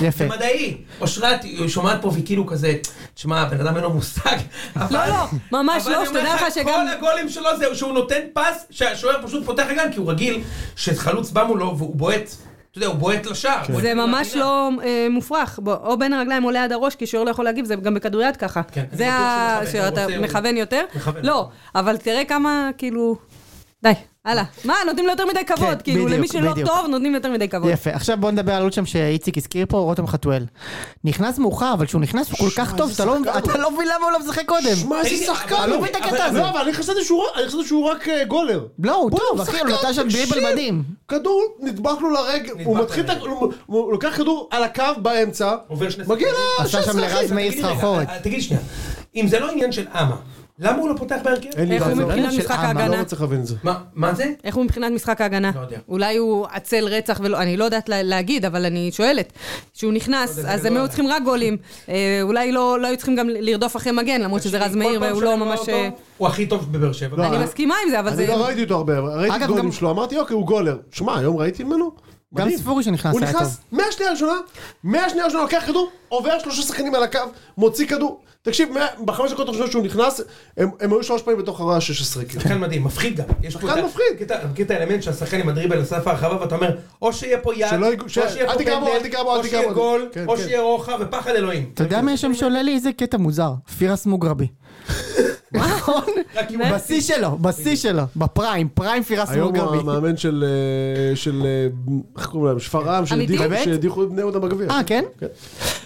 [SPEAKER 1] יפה.
[SPEAKER 2] זה מדעי. אושרת, היא שומעת פה והיא כאילו כזה, תשמע, הבן אדם אין לו מושג. אבל-
[SPEAKER 3] לא, לא, ממש
[SPEAKER 2] אבל
[SPEAKER 3] לא,
[SPEAKER 2] אני אומר
[SPEAKER 3] שתדע לך שגם-
[SPEAKER 2] כל הגולים שלו זה שהוא נותן פס, שהשוער פשוט פותח רגליים, כי הוא רגיל שחלוץ בא מולו והוא בועט. אתה יודע, הוא בועט לשער. בועט
[SPEAKER 3] זה ממש
[SPEAKER 2] לפינה.
[SPEAKER 3] לא אה, מופרך, בוא, או בין הרגליים או ליד הראש, כי שוער לא יכול להגיב, זה גם בכדוריד ככה.
[SPEAKER 2] כן, אני
[SPEAKER 3] זה
[SPEAKER 2] בטוח
[SPEAKER 3] ה...
[SPEAKER 2] שהוא מכוון, הוא
[SPEAKER 3] שאתה
[SPEAKER 2] רוצה, הוא-
[SPEAKER 3] מכוון יותר?
[SPEAKER 2] מכוון.
[SPEAKER 3] לא, אבל תראה כמה, כאילו... די, הלאה. מה, נותנים לו יותר מדי כבוד,
[SPEAKER 1] כן,
[SPEAKER 3] כאילו,
[SPEAKER 1] בדיוק,
[SPEAKER 3] למי שלא
[SPEAKER 1] בדיוק.
[SPEAKER 3] טוב, נותנים יותר מדי כבוד.
[SPEAKER 1] יפה, עכשיו בוא נדבר על עוד שם שאיציק הזכיר פה, רותם חתואל. נכנס מאוחר, אבל כשהוא נכנס הוא כל כך
[SPEAKER 4] שמע,
[SPEAKER 1] טוב,
[SPEAKER 4] איזה
[SPEAKER 1] אתה לא-
[SPEAKER 4] שחקן.
[SPEAKER 1] אתה לא מבין למה הוא לא משחק קודם.
[SPEAKER 4] שמע, איזה
[SPEAKER 2] תגיד,
[SPEAKER 4] שחקן!
[SPEAKER 2] אבל
[SPEAKER 1] לא
[SPEAKER 4] הוא.
[SPEAKER 1] מבין את
[SPEAKER 4] אבל-
[SPEAKER 1] הקטע הזה.
[SPEAKER 4] לא, אבל אני חשבתי שהוא רק- אני חשבתי שהוא רק אה, גולר.
[SPEAKER 1] לא, הוא
[SPEAKER 4] בוא'נה,
[SPEAKER 1] טוב, אחי, הוא
[SPEAKER 4] שחקן,
[SPEAKER 1] נתן שם
[SPEAKER 4] תקשיב.
[SPEAKER 1] דריבל מדהים.
[SPEAKER 4] כדור נדבך לו לרגל, הוא
[SPEAKER 2] נדבך
[SPEAKER 4] מתחיל את ה...
[SPEAKER 2] לרגל.
[SPEAKER 4] הוא- הוא לוקח כדור על הקו באמצע,
[SPEAKER 2] עובר שני
[SPEAKER 4] מגיע
[SPEAKER 2] שחקנים.
[SPEAKER 1] עשה שם
[SPEAKER 4] ל-16 אחי.
[SPEAKER 1] לרז מאיר
[SPEAKER 2] תגיד לי רגע,
[SPEAKER 1] סחרחורת.
[SPEAKER 2] אה, תגיד שנייה, אם זה לא עניין של אמה, למה הוא לא פותח בהרכב?
[SPEAKER 4] אין לי
[SPEAKER 3] איך הוא
[SPEAKER 4] בעיה, זה
[SPEAKER 1] עניין
[SPEAKER 3] מבחינת
[SPEAKER 1] של
[SPEAKER 3] משחק
[SPEAKER 1] עם,
[SPEAKER 2] אה,
[SPEAKER 1] אני לא
[SPEAKER 4] אני לא
[SPEAKER 3] ההגנה?
[SPEAKER 4] מצליח להבין את זה.
[SPEAKER 2] מה- מה זה?
[SPEAKER 3] איך הוא מבחינת משחק ההגנה?
[SPEAKER 2] לא יודע.
[SPEAKER 3] אולי הוא עצל רצח ולא... אני לא יודעת לה- להגיד, אבל אני שואלת. כשהוא נכנס,
[SPEAKER 2] לא יודע,
[SPEAKER 3] אז
[SPEAKER 2] זה
[SPEAKER 3] הם
[SPEAKER 2] לא
[SPEAKER 3] היו
[SPEAKER 2] עליי.
[SPEAKER 3] צריכים רק גולים. אה, אולי לא לא היו צריכים גם לרדוף אחרי מגן, למרות שזה רז
[SPEAKER 2] כל
[SPEAKER 3] מאיר
[SPEAKER 2] פעם
[SPEAKER 3] והוא
[SPEAKER 2] שאני
[SPEAKER 3] לא
[SPEAKER 2] רואה
[SPEAKER 3] ממש...
[SPEAKER 2] אותו,
[SPEAKER 3] אה,
[SPEAKER 2] הוא הכי טוב בבאר שבע.
[SPEAKER 4] לא,
[SPEAKER 3] אני
[SPEAKER 4] אה,
[SPEAKER 3] מסכימה עם זה, אבל
[SPEAKER 4] אני
[SPEAKER 3] זה...
[SPEAKER 4] לא ראיתי אותו הרבה, אבל ראיתי
[SPEAKER 1] אגב,
[SPEAKER 4] את גולים
[SPEAKER 1] גם-
[SPEAKER 4] שלו, אמרתי, אוקיי, הוא גולר. שמע, היום ראיתי ממנו.
[SPEAKER 1] גם
[SPEAKER 4] מדהים.
[SPEAKER 1] ספורי שנכנס
[SPEAKER 4] הוא
[SPEAKER 1] היה
[SPEAKER 4] נכנס מהשנייה הראשונה, מהשנייה הראשונה לוקח כדור, עובר שלושה שחקנים על הקו, מוציא כדור. תקשיב, מה- בחמש דקות הראשונות שהוא נכנס, הם הם היו שלוש פעמים בתוך הרעש 16 כאילו.
[SPEAKER 2] שחקן מדהים, מפחיד גם. יש פה
[SPEAKER 4] שחקן
[SPEAKER 2] את ה-
[SPEAKER 4] מפחיד.
[SPEAKER 2] קטע- קטע האלמנט שהשחקן עם הדריבל לסף הרחבה, ואתה אומר, או שיהיה פה יד,
[SPEAKER 4] שלא יג-
[SPEAKER 2] או
[SPEAKER 4] ש-
[SPEAKER 2] שיהיה
[SPEAKER 4] אל
[SPEAKER 2] פה
[SPEAKER 4] תיגע בו, אל
[SPEAKER 2] פנדל,
[SPEAKER 4] תיגע בו, אל
[SPEAKER 2] או
[SPEAKER 4] תיגע
[SPEAKER 2] שיהיה
[SPEAKER 4] בו.
[SPEAKER 2] גול,
[SPEAKER 4] כן,
[SPEAKER 2] או
[SPEAKER 4] כן.
[SPEAKER 2] שיהיה רוחב, ופחד אלוהים.
[SPEAKER 1] אתה יודע מי שם שעולה לי איזה קטע מוזר? פירס מוגרבי. נכון?
[SPEAKER 2] רק אם הוא בס-
[SPEAKER 1] בשיא שלו, בשיא שלו, בפריים, פריים פירס
[SPEAKER 4] היום הוא
[SPEAKER 1] מוגרבי.
[SPEAKER 4] המאמן של, אה, של, אה, איך קוראים להם? שפרעם,
[SPEAKER 3] אמיתי?
[SPEAKER 4] שהדיחו-
[SPEAKER 1] באמת?
[SPEAKER 4] שהדיחו את בני יהודה בגביע.
[SPEAKER 1] אה, כן?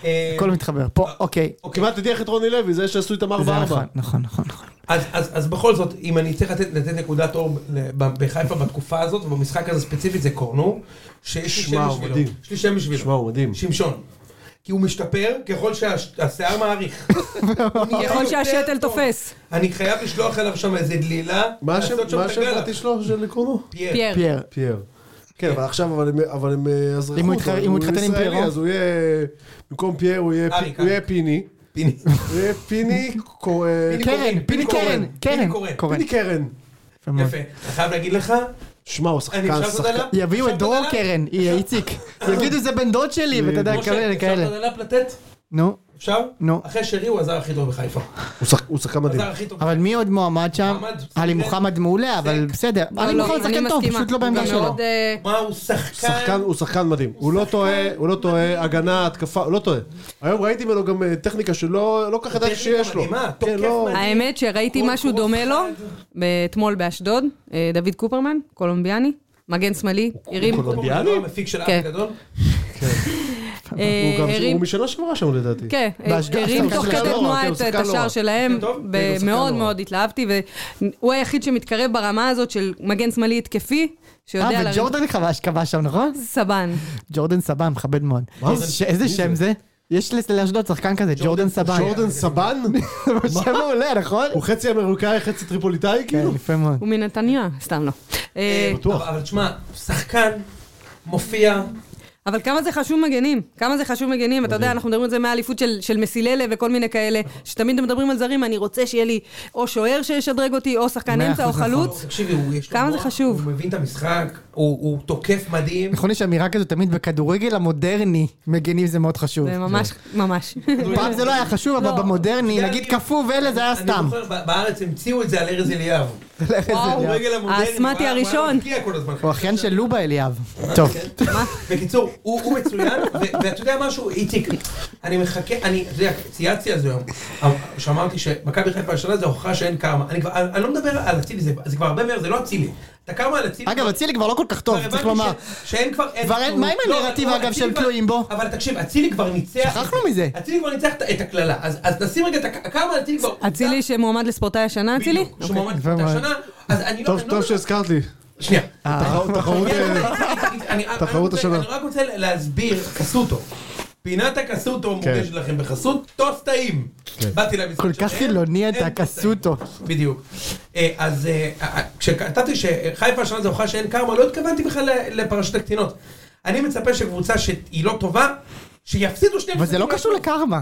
[SPEAKER 2] אה,
[SPEAKER 1] הכל מתחבר. פה, אוקיי.
[SPEAKER 4] הוא כמעט הדיח את רוני לוי, זה שעשו איתם
[SPEAKER 1] זה
[SPEAKER 4] 4-4.
[SPEAKER 1] נכון, נכון, נכון, נכון.
[SPEAKER 2] אז, אז, אז בכל זאת, אם אני צריך לתת, לתת נקודת אור ל- ב- בחיפה בתקופה הזאת, ובמשחק הזה ספציפית זה קורנו, שיש לי
[SPEAKER 4] שמע,
[SPEAKER 2] שם
[SPEAKER 4] הוא
[SPEAKER 2] בשבילו.
[SPEAKER 4] מדהים.
[SPEAKER 2] יש לי שם בשבילו.
[SPEAKER 4] שמע, הוא מדהים.
[SPEAKER 2] שמשון. כי הוא משתפר ככל שהשיער מעריך. הוא נהיה
[SPEAKER 3] ככל
[SPEAKER 2] יותר
[SPEAKER 3] שהשתל
[SPEAKER 2] טוב.
[SPEAKER 3] תופס.
[SPEAKER 2] אני חייב לשלוח אליו שם איזה דלילה.
[SPEAKER 4] מה השם
[SPEAKER 2] לעשות שם
[SPEAKER 4] מה
[SPEAKER 2] את
[SPEAKER 4] השם
[SPEAKER 2] הגאלה.
[SPEAKER 4] הפרטי שלו של קורנו?
[SPEAKER 2] פייר.
[SPEAKER 3] פייר.
[SPEAKER 1] פייר.
[SPEAKER 4] פייר. כן, אבל עכשיו, אבל הם- אבל הם אה, אזרחות.
[SPEAKER 1] אם הוא התח-
[SPEAKER 4] אבל
[SPEAKER 1] אם הוא התחתן עם
[SPEAKER 4] ישראלי,
[SPEAKER 1] פיירו?
[SPEAKER 4] אז הוא יהיה, במקום פייר הוא יהיה
[SPEAKER 2] אריק,
[SPEAKER 4] פי- הוא יהיה
[SPEAKER 2] אריק.
[SPEAKER 4] פיני.
[SPEAKER 2] פיני.
[SPEAKER 4] הוא יהיה פיני קו- אה,
[SPEAKER 2] פיני
[SPEAKER 1] קרן, פיני קרן, קרן.
[SPEAKER 2] קורן.
[SPEAKER 1] קורן.
[SPEAKER 4] פיני קרן.
[SPEAKER 1] יפה מאוד.
[SPEAKER 2] יפה. אני חייב להגיד לך,
[SPEAKER 4] שמע, הוא
[SPEAKER 2] אני
[SPEAKER 4] שחקן,
[SPEAKER 2] אפשר לעשות
[SPEAKER 4] שחקן.
[SPEAKER 2] עליו?
[SPEAKER 1] יביאו
[SPEAKER 2] אפשר
[SPEAKER 1] את דרור
[SPEAKER 2] לעשות עליו?
[SPEAKER 1] קרן, היא איציק. יגידו זה בן דוד שלי, ואתה יודע,
[SPEAKER 2] משה,
[SPEAKER 1] כאלה
[SPEAKER 2] אפשר
[SPEAKER 1] כאלה.
[SPEAKER 2] לעשות עליו לתת?
[SPEAKER 1] נו,
[SPEAKER 2] אפשר?
[SPEAKER 1] נו.
[SPEAKER 2] אחרי שרי הוא הזר הכי טוב בחיפה.
[SPEAKER 4] הוא שחק- הוא שחקן מדהים.
[SPEAKER 2] הזר הכי טוב.
[SPEAKER 1] אבל מי עוד מועמד שם?
[SPEAKER 2] מועמד,
[SPEAKER 1] עלי
[SPEAKER 2] סק.
[SPEAKER 1] מוחמד מעולה, אבל
[SPEAKER 2] סק.
[SPEAKER 1] בסדר.
[SPEAKER 3] לא,
[SPEAKER 1] עלי
[SPEAKER 3] לא,
[SPEAKER 1] מוחמד
[SPEAKER 3] אני
[SPEAKER 1] שחקן טוב,
[SPEAKER 3] מסכימה.
[SPEAKER 1] פשוט לא בעמדה
[SPEAKER 3] הוא גם
[SPEAKER 1] שלו.
[SPEAKER 3] מאוד, אה,
[SPEAKER 2] מה, הוא שחקן.
[SPEAKER 4] שחקן, הוא שחקן מדהים. הוא לא טועה, הוא לא טועה, הגנה, התקפה, הוא לא טועה. היום ראיתי ממנו גם אה, טכניקה שלא לא כל כך ידעתי
[SPEAKER 2] טכניקה
[SPEAKER 4] שיש לו.
[SPEAKER 2] מדהימה,
[SPEAKER 4] כן,
[SPEAKER 2] תוקף
[SPEAKER 4] לא-
[SPEAKER 2] מדהים.
[SPEAKER 3] האמת שראיתי
[SPEAKER 2] כל
[SPEAKER 3] משהו
[SPEAKER 2] קרוב
[SPEAKER 3] דומה לו
[SPEAKER 2] אחד.
[SPEAKER 3] ב- אתמול באשדוד, אה, דוד קופרמן, קולומביאני, מגן שמאלי, הרים,
[SPEAKER 4] קולומביאני?
[SPEAKER 2] הוא המפיק של
[SPEAKER 3] כן.
[SPEAKER 2] אף גדול.
[SPEAKER 3] אה,
[SPEAKER 4] הוא גם-
[SPEAKER 3] הרים,
[SPEAKER 4] הוא משנה שעברה שם לדעתי.
[SPEAKER 3] כן, אה,
[SPEAKER 1] באשדוד,
[SPEAKER 3] הרים
[SPEAKER 1] שחקן
[SPEAKER 3] תוך
[SPEAKER 1] לא
[SPEAKER 3] כדי
[SPEAKER 1] רע,
[SPEAKER 3] תנועה
[SPEAKER 4] כן,
[SPEAKER 3] את
[SPEAKER 4] הוא
[SPEAKER 3] את
[SPEAKER 4] שחקן לא
[SPEAKER 3] השער
[SPEAKER 4] רע.
[SPEAKER 3] שלהם,
[SPEAKER 2] כן, טוב. כן,
[SPEAKER 3] ב-
[SPEAKER 4] הוא שחקן
[SPEAKER 3] מאוד
[SPEAKER 4] לא רע.
[SPEAKER 3] מאוד התלהבתי, והוא היחיד שמתקרב ברמה הזאת של מגן שמאלי התקפי,
[SPEAKER 1] אה,
[SPEAKER 3] שיודע להרים
[SPEAKER 1] וג'ורדן כבש- כבש שם, נכון?
[SPEAKER 3] סבן.
[SPEAKER 1] ג'ורדן סבא, מכבד מאוד.
[SPEAKER 4] מה
[SPEAKER 1] איזה
[SPEAKER 4] זה?
[SPEAKER 1] ש- איזה
[SPEAKER 4] מי
[SPEAKER 1] שם
[SPEAKER 4] זה?
[SPEAKER 1] זה? יש לס- לאשדוד שחקן כזה, ג'ורדן סבן.
[SPEAKER 4] ג'ורדן סבן?
[SPEAKER 1] זה שם מעולה, נכון?
[SPEAKER 4] הוא חצי אמריקאי, חצי טריפוליטאי, כאילו?
[SPEAKER 1] כן, יפה מאוד.
[SPEAKER 3] הוא מנתניה, סתם לא. אה,
[SPEAKER 4] בטוח.
[SPEAKER 2] אבל- אבל תשמע, שחקן מופיע,
[SPEAKER 3] אבל כמה זה חשוב מגנים, כמה זה חשוב מגנים, אתה יודע, אנחנו מדברים על זה מהאליפות של, של מסיללה וכל מיני כאלה, שתמיד מדברים על זרים, אני רוצה שיהיה לי או שוער שישדרג אותי, או שחקן
[SPEAKER 1] מאה
[SPEAKER 3] אמצע, או
[SPEAKER 1] אחוז נכון.
[SPEAKER 3] חלוץ.
[SPEAKER 2] תקשיבי, הוא יש לו
[SPEAKER 3] כמה זה
[SPEAKER 2] מוח,
[SPEAKER 3] חשוב.
[SPEAKER 2] הוא מבין את המשחק, הוא הוא תוקף מדהים.
[SPEAKER 1] נכון, יש אמירה כזו תמיד בכדורגל המודרני, מגנים זה מאוד חשוב.
[SPEAKER 3] זה ממש, ממש.
[SPEAKER 1] פעם זה לא היה חשוב,
[SPEAKER 3] לא.
[SPEAKER 1] אבל במודרני,
[SPEAKER 2] אתה יודע,
[SPEAKER 1] נגיד
[SPEAKER 2] כן, אני-
[SPEAKER 1] כפוף ואלה, זה היה
[SPEAKER 2] אני
[SPEAKER 1] סתם.
[SPEAKER 2] זוכר, ב- בארץ המציאו את זה על ארז אליאב.
[SPEAKER 3] וואו,
[SPEAKER 2] הרגל המודרני,
[SPEAKER 3] האסמטי
[SPEAKER 2] הוא היה- הוא היה
[SPEAKER 3] הראשון.
[SPEAKER 2] מבקיע כל הזמן.
[SPEAKER 1] הוא אחיין של לובה אליאב. טוב.
[SPEAKER 2] כן. בקיצור, הוא הוא מצוין, ו- ואתה יודע משהו, איציק, אני מחכה, אני, אתה יודע, צייצתי על זה היום, שאמרתי שמכבי חיפה השנה זה הוכחה שאין קרמה. אני כבר, אני לא מדבר על אצילי, זה- זה כבר הרבה מעבר, זה לא אצילי. את הקרמה על אצילי...
[SPEAKER 1] אגב, אצילי כבר לא כל כך טוב,
[SPEAKER 2] כבר
[SPEAKER 1] צריך
[SPEAKER 2] הבנתי
[SPEAKER 1] לומר.
[SPEAKER 2] ש- שאין כבר... אין-
[SPEAKER 1] כבר אין- מה עם
[SPEAKER 2] לא,
[SPEAKER 1] הנרטיב,
[SPEAKER 2] לא,
[SPEAKER 1] אגב,
[SPEAKER 2] אצילי
[SPEAKER 1] שהם
[SPEAKER 2] כבר-
[SPEAKER 1] תלויים בו?
[SPEAKER 2] אבל תקשיב, אצילי כבר ניצח...
[SPEAKER 1] שכחנו מזה.
[SPEAKER 2] אצילי כבר ניצח את- את הקללה, אז אז נשים רגע את הכ- הכמה על אצילי כבר...
[SPEAKER 3] אצילי שמועמד לספורטאי השנה, אצילי?
[SPEAKER 2] בדיוק, שהוא מועמד
[SPEAKER 1] יפה
[SPEAKER 2] את
[SPEAKER 1] מאוד.
[SPEAKER 2] השנה, אז אני לא...
[SPEAKER 4] טוב,
[SPEAKER 2] אני לא כן.
[SPEAKER 4] טוב
[SPEAKER 2] מדבר-
[SPEAKER 4] שהזכרת לי.
[SPEAKER 2] שנייה.
[SPEAKER 4] תחרות- תחרות... אה,
[SPEAKER 2] אני- אני-
[SPEAKER 4] תחרות
[SPEAKER 2] אני רוצה-
[SPEAKER 4] השנה.
[SPEAKER 2] אני רק רוצה להסביר, קסוטו. פינת הקסוטו
[SPEAKER 4] כן.
[SPEAKER 2] מוגשת לכם בחסות טוס טעים. באתי למשחק
[SPEAKER 1] כל כך
[SPEAKER 2] שלהם,
[SPEAKER 1] חילוני אתה,
[SPEAKER 2] אין טוס טעים.
[SPEAKER 1] הקסוטו.
[SPEAKER 2] בדיוק. אה, אז אה, אה, כשכתבתי שחיפה השנה זה הוכחה שאין קרמה, לא התכוונתי בכלל לפרשת הקטינות. אני מצפה שקבוצה שהיא לא טובה, שיפסידו שני
[SPEAKER 1] אבל זה לא
[SPEAKER 2] משחקים
[SPEAKER 1] קשור לקרמה.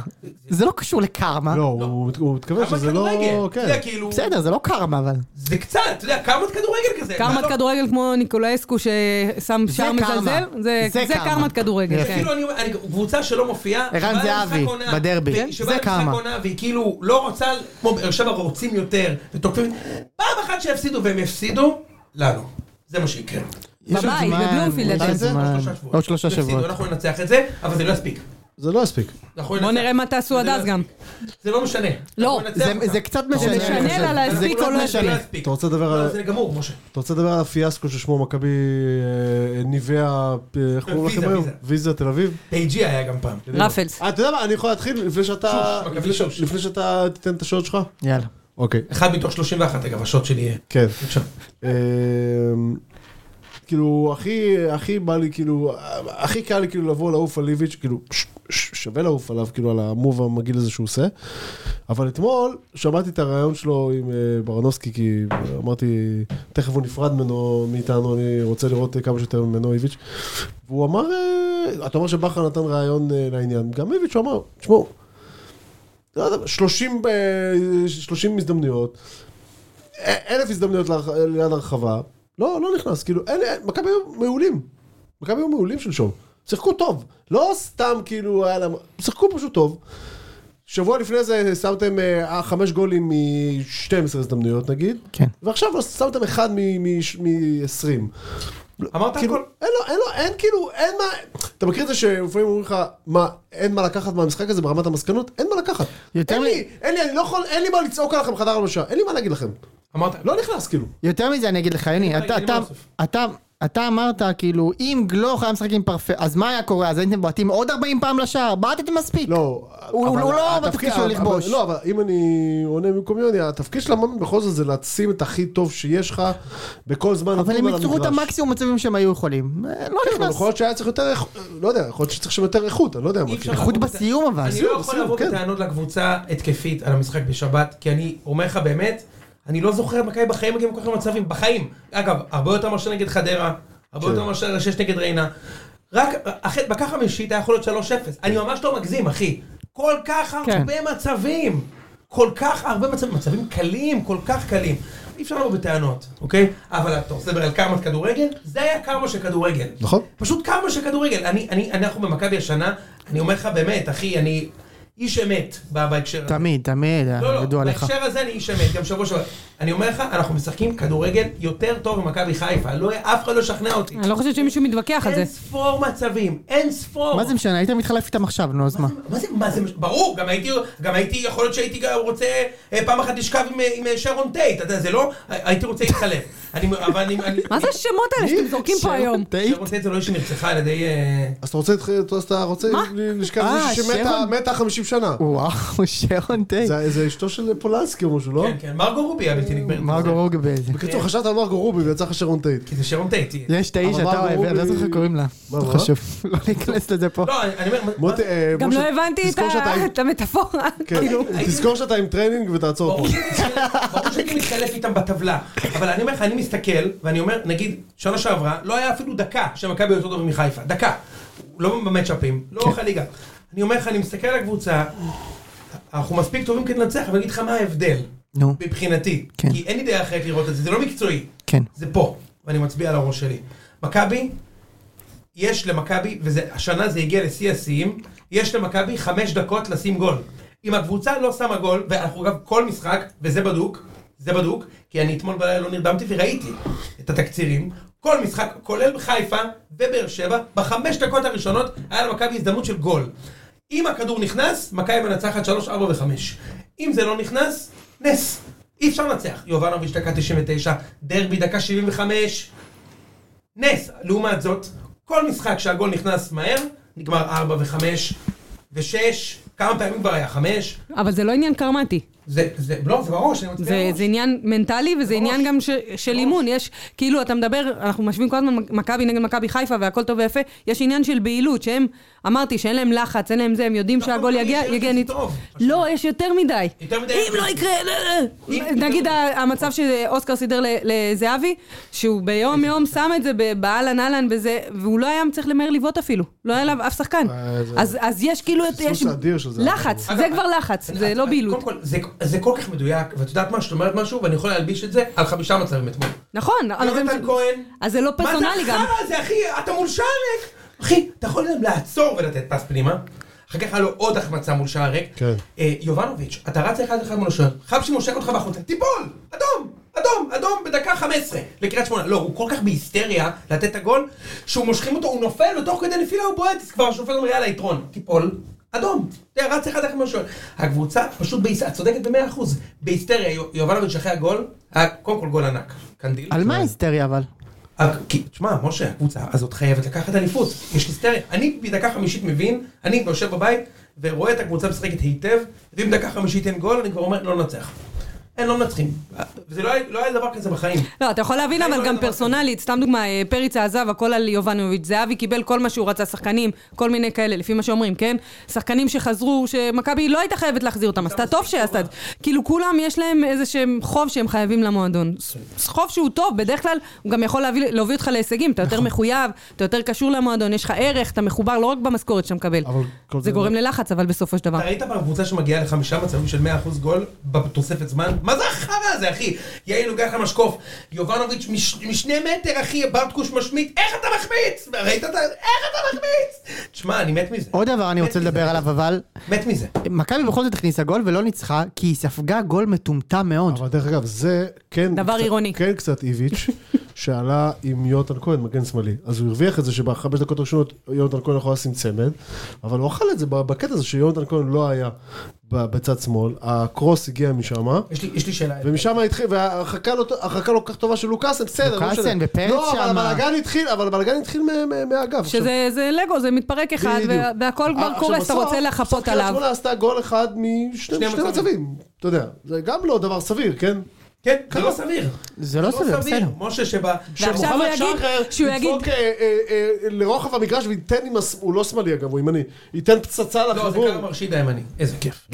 [SPEAKER 1] זה לא קשור לקרמה.
[SPEAKER 4] לא, הוא מת- הוא מתכוון
[SPEAKER 2] קרמת
[SPEAKER 4] שזה לא...
[SPEAKER 2] כדורגל. אתה יודע,
[SPEAKER 4] כן.
[SPEAKER 2] כאילו,
[SPEAKER 1] בסדר, זה לא קרמה, אבל.
[SPEAKER 2] זה קצת, אתה יודע, קרמת כדורגל כזה.
[SPEAKER 3] קרמת
[SPEAKER 2] מה לא-
[SPEAKER 3] כדורגל כמו ניקולאסקו ששם
[SPEAKER 1] זה
[SPEAKER 3] שער
[SPEAKER 1] קרמה.
[SPEAKER 3] מזלזל? זה
[SPEAKER 1] זה
[SPEAKER 3] זה
[SPEAKER 1] קרמה.
[SPEAKER 3] קרמת כדורגל,
[SPEAKER 1] יפה.
[SPEAKER 3] כן.
[SPEAKER 2] כאילו אני אומר, אני- קבוצה שלא מופיעה,
[SPEAKER 1] ערן
[SPEAKER 2] שבאה
[SPEAKER 1] זהבי,
[SPEAKER 2] למשחק עונה,
[SPEAKER 1] בדרבי.
[SPEAKER 2] והיא-
[SPEAKER 1] כן,
[SPEAKER 2] שבאה
[SPEAKER 1] זה
[SPEAKER 2] למשחק
[SPEAKER 1] קרמה.
[SPEAKER 2] עונה, והיא כאילו לא רוצה, כמו באר שבע רוצים יותר, ותוקפים, פעם אחת שיפסידו והם יפסידו, לנו. זה מה שיקרה.
[SPEAKER 1] יש עוד
[SPEAKER 3] בבית,
[SPEAKER 1] זמן,
[SPEAKER 3] בבלומפילד,
[SPEAKER 1] יש עוד
[SPEAKER 2] זה עוד
[SPEAKER 1] זמן.
[SPEAKER 2] שלושה שבועות.
[SPEAKER 1] אה,
[SPEAKER 2] לא
[SPEAKER 1] עוד שלושה
[SPEAKER 2] יפסידו,
[SPEAKER 1] שבועות.
[SPEAKER 2] אנחנו ננצח את זה, אבל זה לא יספיק.
[SPEAKER 4] זה לא יספיק.
[SPEAKER 2] אנחנו
[SPEAKER 3] בואו
[SPEAKER 2] ננצח.
[SPEAKER 3] נראה מה תעשו עד
[SPEAKER 2] זה לא
[SPEAKER 3] אז גם.
[SPEAKER 2] זה לא משנה.
[SPEAKER 3] לא.
[SPEAKER 2] אנחנו ננצח
[SPEAKER 1] זה-
[SPEAKER 2] אותם. לא
[SPEAKER 1] זה קצת
[SPEAKER 4] זה
[SPEAKER 1] משנה. אני
[SPEAKER 3] משנה
[SPEAKER 1] חושב.
[SPEAKER 3] לה
[SPEAKER 1] זה
[SPEAKER 3] להספיק
[SPEAKER 1] קצת
[SPEAKER 3] או לא
[SPEAKER 2] זה
[SPEAKER 1] משנה.
[SPEAKER 2] לא יספיק.
[SPEAKER 4] אתה רוצה לדבר
[SPEAKER 2] לא,
[SPEAKER 4] על-
[SPEAKER 2] זה גמור, משה.
[SPEAKER 4] אתה רוצה לדבר על הפיאסקו ששמו מכבי אה, ניביה, אה, איך קוראים
[SPEAKER 2] ויזה,
[SPEAKER 4] לכם היום?
[SPEAKER 2] ויזה.
[SPEAKER 4] ויזה תל אביב?
[SPEAKER 2] פייג'י היה גם פעם.
[SPEAKER 3] רפלס.
[SPEAKER 4] אה, אתה יודע מה, אני יכול להתחיל לפני שאתה...
[SPEAKER 2] שוש, מכבי
[SPEAKER 4] לפני ש-
[SPEAKER 2] שוש.
[SPEAKER 4] לפני שאתה תיתן את השעות שלך?
[SPEAKER 1] יאללה.
[SPEAKER 4] אוקיי.
[SPEAKER 2] אחד מתוך 31 אגב, השוט שלי יהיה.
[SPEAKER 4] כן.
[SPEAKER 2] בבקשה.
[SPEAKER 4] אמ, כאילו, הכי, הכי בא לי, כאילו, הכי קל לי כאילו לבוא לעוף על ליביץ', כאילו, ש- ש- שווה לעוף עליו, כאילו, על המוב המגעיל הזה שהוא עושה. אבל אתמול שמעתי את הרעיון שלו עם אה, ברנובסקי, כי אמרתי, תכף הוא נפרד ממנו, מאיתנו, אני רוצה לראות אה, כמה שיותר ממנו איביץ'. והוא אמר, אה, אתה אומר שבכר נתן רעיון אה, לעניין, גם איביץ' הוא אמר, תשמעו, לא יודע, 30, אה, 30 הזדמנויות, א- אלף הזדמנויות להרח- ליד הרחבה, לא, לא נכנס, כאילו, אין, אין, מכבי היו מעולים, מכבי היו מעולים שלשום, שיחקו טוב, לא סתם כאילו, היה להם, שיחקו פשוט טוב. שבוע לפני זה שמתם אה, חמש גולים מ-12 הזדמנויות נגיד,
[SPEAKER 1] כן.
[SPEAKER 4] ועכשיו לא, שמתם אחד מ-20.
[SPEAKER 1] לא,
[SPEAKER 2] אמרת
[SPEAKER 4] כאילו,
[SPEAKER 2] הכל?
[SPEAKER 4] אין לו, אין לו, אין כאילו, אין מה, אתה מכיר את זה שלפעמים אומרים לך, מה, אין מה לקחת מהמשחק הזה ברמת המסקנות? אין מה לקחת.
[SPEAKER 1] יותר
[SPEAKER 4] אין
[SPEAKER 1] מ-
[SPEAKER 4] לי, אין לי, אני לא יכול, אין לי מה לצעוק עליכם חדר הלבשה, אין לי מה להגיד לכם.
[SPEAKER 2] אמרת.
[SPEAKER 4] לא נכנס כאילו.
[SPEAKER 1] יותר מזה אני אגיד לך, יוני, אתה-
[SPEAKER 2] אין לי
[SPEAKER 1] אתה-
[SPEAKER 2] מה להוסיף.
[SPEAKER 1] אתה... אתה אמרת כאילו אם גלוך היה משחק עם פרפה אז מה היה קורה אז הייתם בועטים עוד 40 פעם לשער בעטתם מספיק
[SPEAKER 4] לא.
[SPEAKER 1] הוא-
[SPEAKER 4] אבל
[SPEAKER 1] הוא לא
[SPEAKER 4] התפקיד-
[SPEAKER 1] בתפקיד שלו
[SPEAKER 4] אבל-
[SPEAKER 1] לכבוש.
[SPEAKER 4] לא, אבל אם אני עונה במקום יוני, התפקיד של המאמן בכל זאת זה להשים את הכי טוב שיש לך בכל זמן נתון
[SPEAKER 1] אבל
[SPEAKER 4] על
[SPEAKER 1] הם ייצרו את
[SPEAKER 4] המגרש.
[SPEAKER 1] המקסימום מצבים שהם היו יכולים אה, לא
[SPEAKER 4] כן, אבל
[SPEAKER 1] נכנס
[SPEAKER 4] יכול להיות שהיה צריך יותר, איכ- לא יודע, יכול להיות שצריך שם יותר איכות, אני לא יודע מה.
[SPEAKER 2] אי אפשר
[SPEAKER 4] כאילו.
[SPEAKER 1] איכות
[SPEAKER 2] לבוא בטע-
[SPEAKER 1] אוקיי, בסיום אבל.
[SPEAKER 2] אני לא
[SPEAKER 4] בסיום,
[SPEAKER 2] יכול
[SPEAKER 4] בסיום,
[SPEAKER 2] לבוא
[SPEAKER 4] כן.
[SPEAKER 2] בטענות לקבוצה התקפית על המשחק בשבת, כי אני אומר לך באמת, אני לא זוכר מכבי בחיים מגיעים כל כך למצבים, בחיים. אגב, הרבה יותר מאשר נגד חדרה, הרבה
[SPEAKER 4] כן.
[SPEAKER 2] יותר מאשר שש נגד ריינה. רק אחרי, בכה חמישית היה יכול להיות 3-0.
[SPEAKER 4] כן.
[SPEAKER 2] אני ממש לא מגזים, אחי. כל כך
[SPEAKER 1] כן.
[SPEAKER 2] הרבה מצבים. כל כך הרבה מצבים, מצבים קלים, כל כך קלים. אי אפשר לבוא בטענות, אוקיי? אבל אתה רוצה לדבר על קרמת כדורגל? זה היה קרמה של כדורגל.
[SPEAKER 4] נכון.
[SPEAKER 2] פשוט כמה שכדורגל. אני, אני, אנחנו במכבי השנה, אני אומר לך באמת, אחי, אני איש אמת ב- בהקשר הזה.
[SPEAKER 1] תמיד תמיד אה,
[SPEAKER 2] לא, לא,
[SPEAKER 1] ידוע לך.
[SPEAKER 2] בהקשר הזה אני איש אמת, גם שבוע שעבר. אני אומר לך, אנחנו משחקים כדורגל יותר טוב ממכבי חיפה. לא, אף אחד לא ישכנע אותי.
[SPEAKER 3] אני לא חושבת שמישהו מתווכח על זה.
[SPEAKER 2] אין ספור מצבים, אין ספור.
[SPEAKER 1] מה זה משנה הייתם מתחלף איתם עכשיו נו אז מה.
[SPEAKER 2] מה זה, מה זה, ברור, גם הייתי, גם הייתי, יכול להיות שהייתי גם רוצה אה, פעם אחת לשכב עם, אה, עם אה, שרון טייט, אתה יודע, זה לא, הייתי רוצה להתחלף. אני, אבל אני, אני,
[SPEAKER 3] מה זה השמות האלה שאתם זורקים פה היום?
[SPEAKER 2] שרון טייט זה לא איש שנרצחה על ידי... אה,
[SPEAKER 4] אז אתה רוצה, להתחיל- אז אתה רוצה
[SPEAKER 3] מה?
[SPEAKER 4] לשכב
[SPEAKER 1] אה,
[SPEAKER 4] מישהו
[SPEAKER 1] שבע?
[SPEAKER 4] שמתה 50 שנה.
[SPEAKER 1] וואו, שרון טייק.
[SPEAKER 4] זה זה אשתו של פולנסקי או משהו, לא?
[SPEAKER 2] כן, כן, מרגו רובי הבלתי נגמרת.
[SPEAKER 1] מרגו רוגבל.
[SPEAKER 4] בקיצור, חשבת על מרגו רובי ויצא לך שרון טייט.
[SPEAKER 2] כי זה שרון טייטי.
[SPEAKER 1] יש את האיש
[SPEAKER 4] אבל
[SPEAKER 1] שאתה
[SPEAKER 4] מרגו
[SPEAKER 1] אוהב, אני לא זוכר
[SPEAKER 4] רובי-
[SPEAKER 1] איך קוראים לה.
[SPEAKER 4] מה,
[SPEAKER 1] לא
[SPEAKER 4] מה?
[SPEAKER 1] חשוב, לא ניכנס לזה פה.
[SPEAKER 2] לא, אני אני אומר, מה-
[SPEAKER 4] מוטי, אה,
[SPEAKER 3] גם
[SPEAKER 4] משה,
[SPEAKER 3] לא הבנתי את
[SPEAKER 4] תזכור שאתה
[SPEAKER 3] ה-
[SPEAKER 4] עם-
[SPEAKER 3] את המטאפורה. כאילו.
[SPEAKER 4] כן, תזכור שאתה עם טרנינג ותעצור
[SPEAKER 1] לא
[SPEAKER 2] ברור
[SPEAKER 4] פה.
[SPEAKER 2] שאני- ברור שאני מתחלף איתם בטבלה, אבל אני אומר לך, אני מסתכל, ואני אומר, נגיד, שנה שעברה, לא היה אפילו דקה שמכבי יותר טוב מחיפה, דקה. לא במצ'אפים,
[SPEAKER 1] כן.
[SPEAKER 2] לא חליגה. אני אומר לך, אני מסתכל על הקבוצה, אנחנו מספיק טובים כדי לנצח, אבל אני אגיד לך מה ההבדל,
[SPEAKER 1] נו,
[SPEAKER 2] מבחינתי.
[SPEAKER 1] כן.
[SPEAKER 2] כי אין לי דרך אחרת לראות את זה, זה לא מקצועי.
[SPEAKER 1] כן.
[SPEAKER 2] זה פה, ואני מצביע על הראש שלי. מכבי, יש למכבי, והשנה זה הגיע לשיא השיאים, יש למכבי חמש דקות לשים גול. אם הקבוצה לא שמה גול, ואנחנו אגב כל משחק, וזה בדוק, זה בדוק, כי אני אתמול בלילה לא נרדמתי וראיתי את התקצירים, כל משחק, כולל בחיפה ובאר שבע, בחמש דקות הראשונות היה למכבי הזדמנות של גול. אם הכדור נכנס, מכבי מנצחת 3, 4 ו-5. אם זה לא נכנס, נס. אי אפשר לנצח. יובנוביץ' דקה 99, דרבי דקה 75, נס. לעומת זאת, כל משחק שהגול נכנס מהר, נגמר 4 ו-5 ו-6, כמה פעמים כבר היה? 5?
[SPEAKER 3] אבל זה לא עניין קרמטי.
[SPEAKER 2] זה, זה, לא, זה בראש, אני מצביע
[SPEAKER 3] זה,
[SPEAKER 2] בראש.
[SPEAKER 3] זה עניין מנטלי וזה עניין גם ש, של אימון. יש, כאילו, אתה מדבר, אנחנו משווים כל הזמן מכבי נגד מכבי חיפה והכל טוב ויפה, יש עניין של בהילות, שהם, אמרתי שאין להם לחץ, אין להם זה, הם יודעים
[SPEAKER 2] נכון,
[SPEAKER 3] שהגול
[SPEAKER 2] אבל
[SPEAKER 3] יגיע,
[SPEAKER 2] יש
[SPEAKER 3] יגיע
[SPEAKER 2] לחץ
[SPEAKER 3] ניצ...
[SPEAKER 2] טוב.
[SPEAKER 3] לא, יש יותר מדי.
[SPEAKER 2] יותר מדי
[SPEAKER 3] אם
[SPEAKER 2] לחץ.
[SPEAKER 3] לא יקרה, לא, לא.
[SPEAKER 2] אם-
[SPEAKER 3] נגיד ה- המצב שאוסקר סידר ל- לזהבי, שהוא ביום יום שם את זה ב- באהלן אהלן בזה, והוא לא היה צריך למהר לבעוט אפילו, לא היה עליו אף שחקן.
[SPEAKER 4] אה, זה-
[SPEAKER 3] אז אז יש כאילו, את-
[SPEAKER 4] פספוס
[SPEAKER 3] יש
[SPEAKER 4] אדיר של זהבי.
[SPEAKER 3] לחץ,
[SPEAKER 2] אגב,
[SPEAKER 3] זה כבר לחץ,
[SPEAKER 2] אני-
[SPEAKER 3] זה
[SPEAKER 2] את-
[SPEAKER 3] לא
[SPEAKER 2] את-
[SPEAKER 3] בהילות.
[SPEAKER 2] קודם כל, זה, זה כל כך מדויק, ואת יודעת מה, שאת אומרת משהו, ואני יכול להלביש את זה על חמישה מצבים אתמול.
[SPEAKER 3] נכון, אבל זה-
[SPEAKER 2] יונתן לא כהן.
[SPEAKER 3] אז זה לא פרסונלי גם.
[SPEAKER 2] מה זה החרא הזה, אחי? אתה מול שערק. אחי, אתה יכול גם לעצור ולתת פס פנימה. אחר כך היה לו עוד החמצה מול שער ריק.
[SPEAKER 4] כן.
[SPEAKER 2] אה, יובנוביץ', אתה רץ אחד אחד מול השוער. חבשי מושך אותך בחוצה. תיפול! אדום! אדום! אדום! בדקה 15 לקריית שמונה. לא, הוא כל כך בהיסטריה לתת את הגול, שהוא מושכים אותו, הוא נופל, ותוך כדי נפילה הוא בועט, אז כבר השופט אומר יאללה יתרון. תיפול. אדום, אתה יודע, רץ אחד אחד מול השוער. הקבוצה פשוט בהיסטריה, את צודקת במאה אחוז, בהיסטריה, יו- יובנוביץ' אחרי הגול, היה קודם כל גול ענק, קנדיל.
[SPEAKER 1] על מה ההיסטריה אבל?
[SPEAKER 2] אבל כי, תשמע, משה, הקבוצה הזאת חייבת לקחת אליפות. יש היסטריה. אני בדקה חמישית מבין, אני יושב בבית ורואה את הקבוצה משחקת היטב, ואם דקה חמישית אין גול, אני כבר אומר, לא ננצח. אין, לא מנצחים. וזה לא היה, לא היה דבר כזה בחיים.
[SPEAKER 3] לא, אתה יכול להבין,
[SPEAKER 2] אני
[SPEAKER 3] אבל
[SPEAKER 2] לא
[SPEAKER 3] גם
[SPEAKER 2] יודע מה
[SPEAKER 3] פרסונלית, סתם דוגמה, אה, פריצה עזב, הכל על יובנוביץ'. זהבי קיבל כל מה שהוא רצה, שחקנים, כל מיני כאלה, לפי מה שאומרים, כן? שחקנים שחזרו, שמכבי לא הייתה חייבת להחזיר אותם, עשתה טוב שעשתה. את זה. כאילו, כולם יש להם איזה שהם חוב שהם חייבים למועדון. ס- ס- חוב שהוא טוב, בדרך כלל הוא גם יכול להביא- להוביל אותך להישגים, אתה יותר מחויב, אתה יותר קשור למועדון, יש לך ערך, אתה מחובר לא רק במשכורת שאתה מקבל.
[SPEAKER 4] אבל כל
[SPEAKER 3] זה
[SPEAKER 4] זה-
[SPEAKER 3] גורם ללחץ, אבל בסופו של דבר.
[SPEAKER 2] אתה ראית פעם קבוצה שמגיעה לחמישה מצבים של 100% גול בתוספת זמן? מה זה החרא הזה, אחי? יעיל לוקח למשקוף, יובנוביץ' מש, משני מטר, אחי, ברטקוש משמיט, איך אתה מחמיץ? ראית את ה... איך אתה מחמיץ? תשמע, אני מת מזה.
[SPEAKER 1] עוד דבר אני רוצה
[SPEAKER 2] מת מזה.
[SPEAKER 1] לדבר עליו אבל,
[SPEAKER 2] מת מזה.
[SPEAKER 1] מכבי בכל זאת הכניסה גול ולא ניצחה, כי היא ספגה גול מטומטם מאוד.
[SPEAKER 4] אבל דרך אגב, זה כן...
[SPEAKER 3] דבר
[SPEAKER 4] קצת-
[SPEAKER 3] עירוני.
[SPEAKER 4] כן קצת איביץ', שעלה עם יונתן כהן, מגן שמאלי. אז הוא הרוויח את זה שבחמש דקות הראשונות יונתן כהן יכול לשים צמד, אבל הוא אכל את זה בקטע הזה שיונתן כהן לא היה ב- בצד שמאל, הקרוס הגיע משם.
[SPEAKER 2] יש לי, יש לי שאלה.
[SPEAKER 4] ומשם התחיל, וההרחקה לא, הרחקה לא כל כך טובה של לוקאסן, בסדר, לא
[SPEAKER 1] לוקאסן
[SPEAKER 4] משנה.
[SPEAKER 1] ופרץ
[SPEAKER 4] לא, אבל
[SPEAKER 1] שמה.
[SPEAKER 4] הבלאגן התחיל, אבל הבלאגן התחיל מה- מה- מהגב. עכשיו,
[SPEAKER 3] שזה זה לגו, זה מתפרק אחד,
[SPEAKER 4] בדיוק. אה,
[SPEAKER 3] וה- והכל כבר
[SPEAKER 4] עכשיו,
[SPEAKER 3] קורס, אתה
[SPEAKER 4] בסוף-
[SPEAKER 3] רוצה
[SPEAKER 4] בסוף
[SPEAKER 3] לחפות
[SPEAKER 4] קריית
[SPEAKER 3] עליו.
[SPEAKER 4] שמונה עשתה גול אחד משני
[SPEAKER 2] שני
[SPEAKER 4] שני
[SPEAKER 2] מצבים.
[SPEAKER 4] מצבים, אתה יודע. זה גם לא דבר סביר, כן?
[SPEAKER 2] כן, זה לא סביר.
[SPEAKER 1] זה לא סביר, בסדר.
[SPEAKER 2] משה שבא...
[SPEAKER 3] ועכשיו הוא
[SPEAKER 4] שמוחמד
[SPEAKER 3] יגיד-
[SPEAKER 4] שחר
[SPEAKER 3] שהוא
[SPEAKER 4] ידפוק,
[SPEAKER 3] יגיד-
[SPEAKER 4] אה, אה, אה, לרוחב המגרש וייתן עם... הס- הוא לא שמאלי אגב, הוא ימני. ייתן פצצה
[SPEAKER 2] לא, זה
[SPEAKER 4] לחיבור.
[SPEAKER 2] קרה מרשיד הימני. איזה כיף.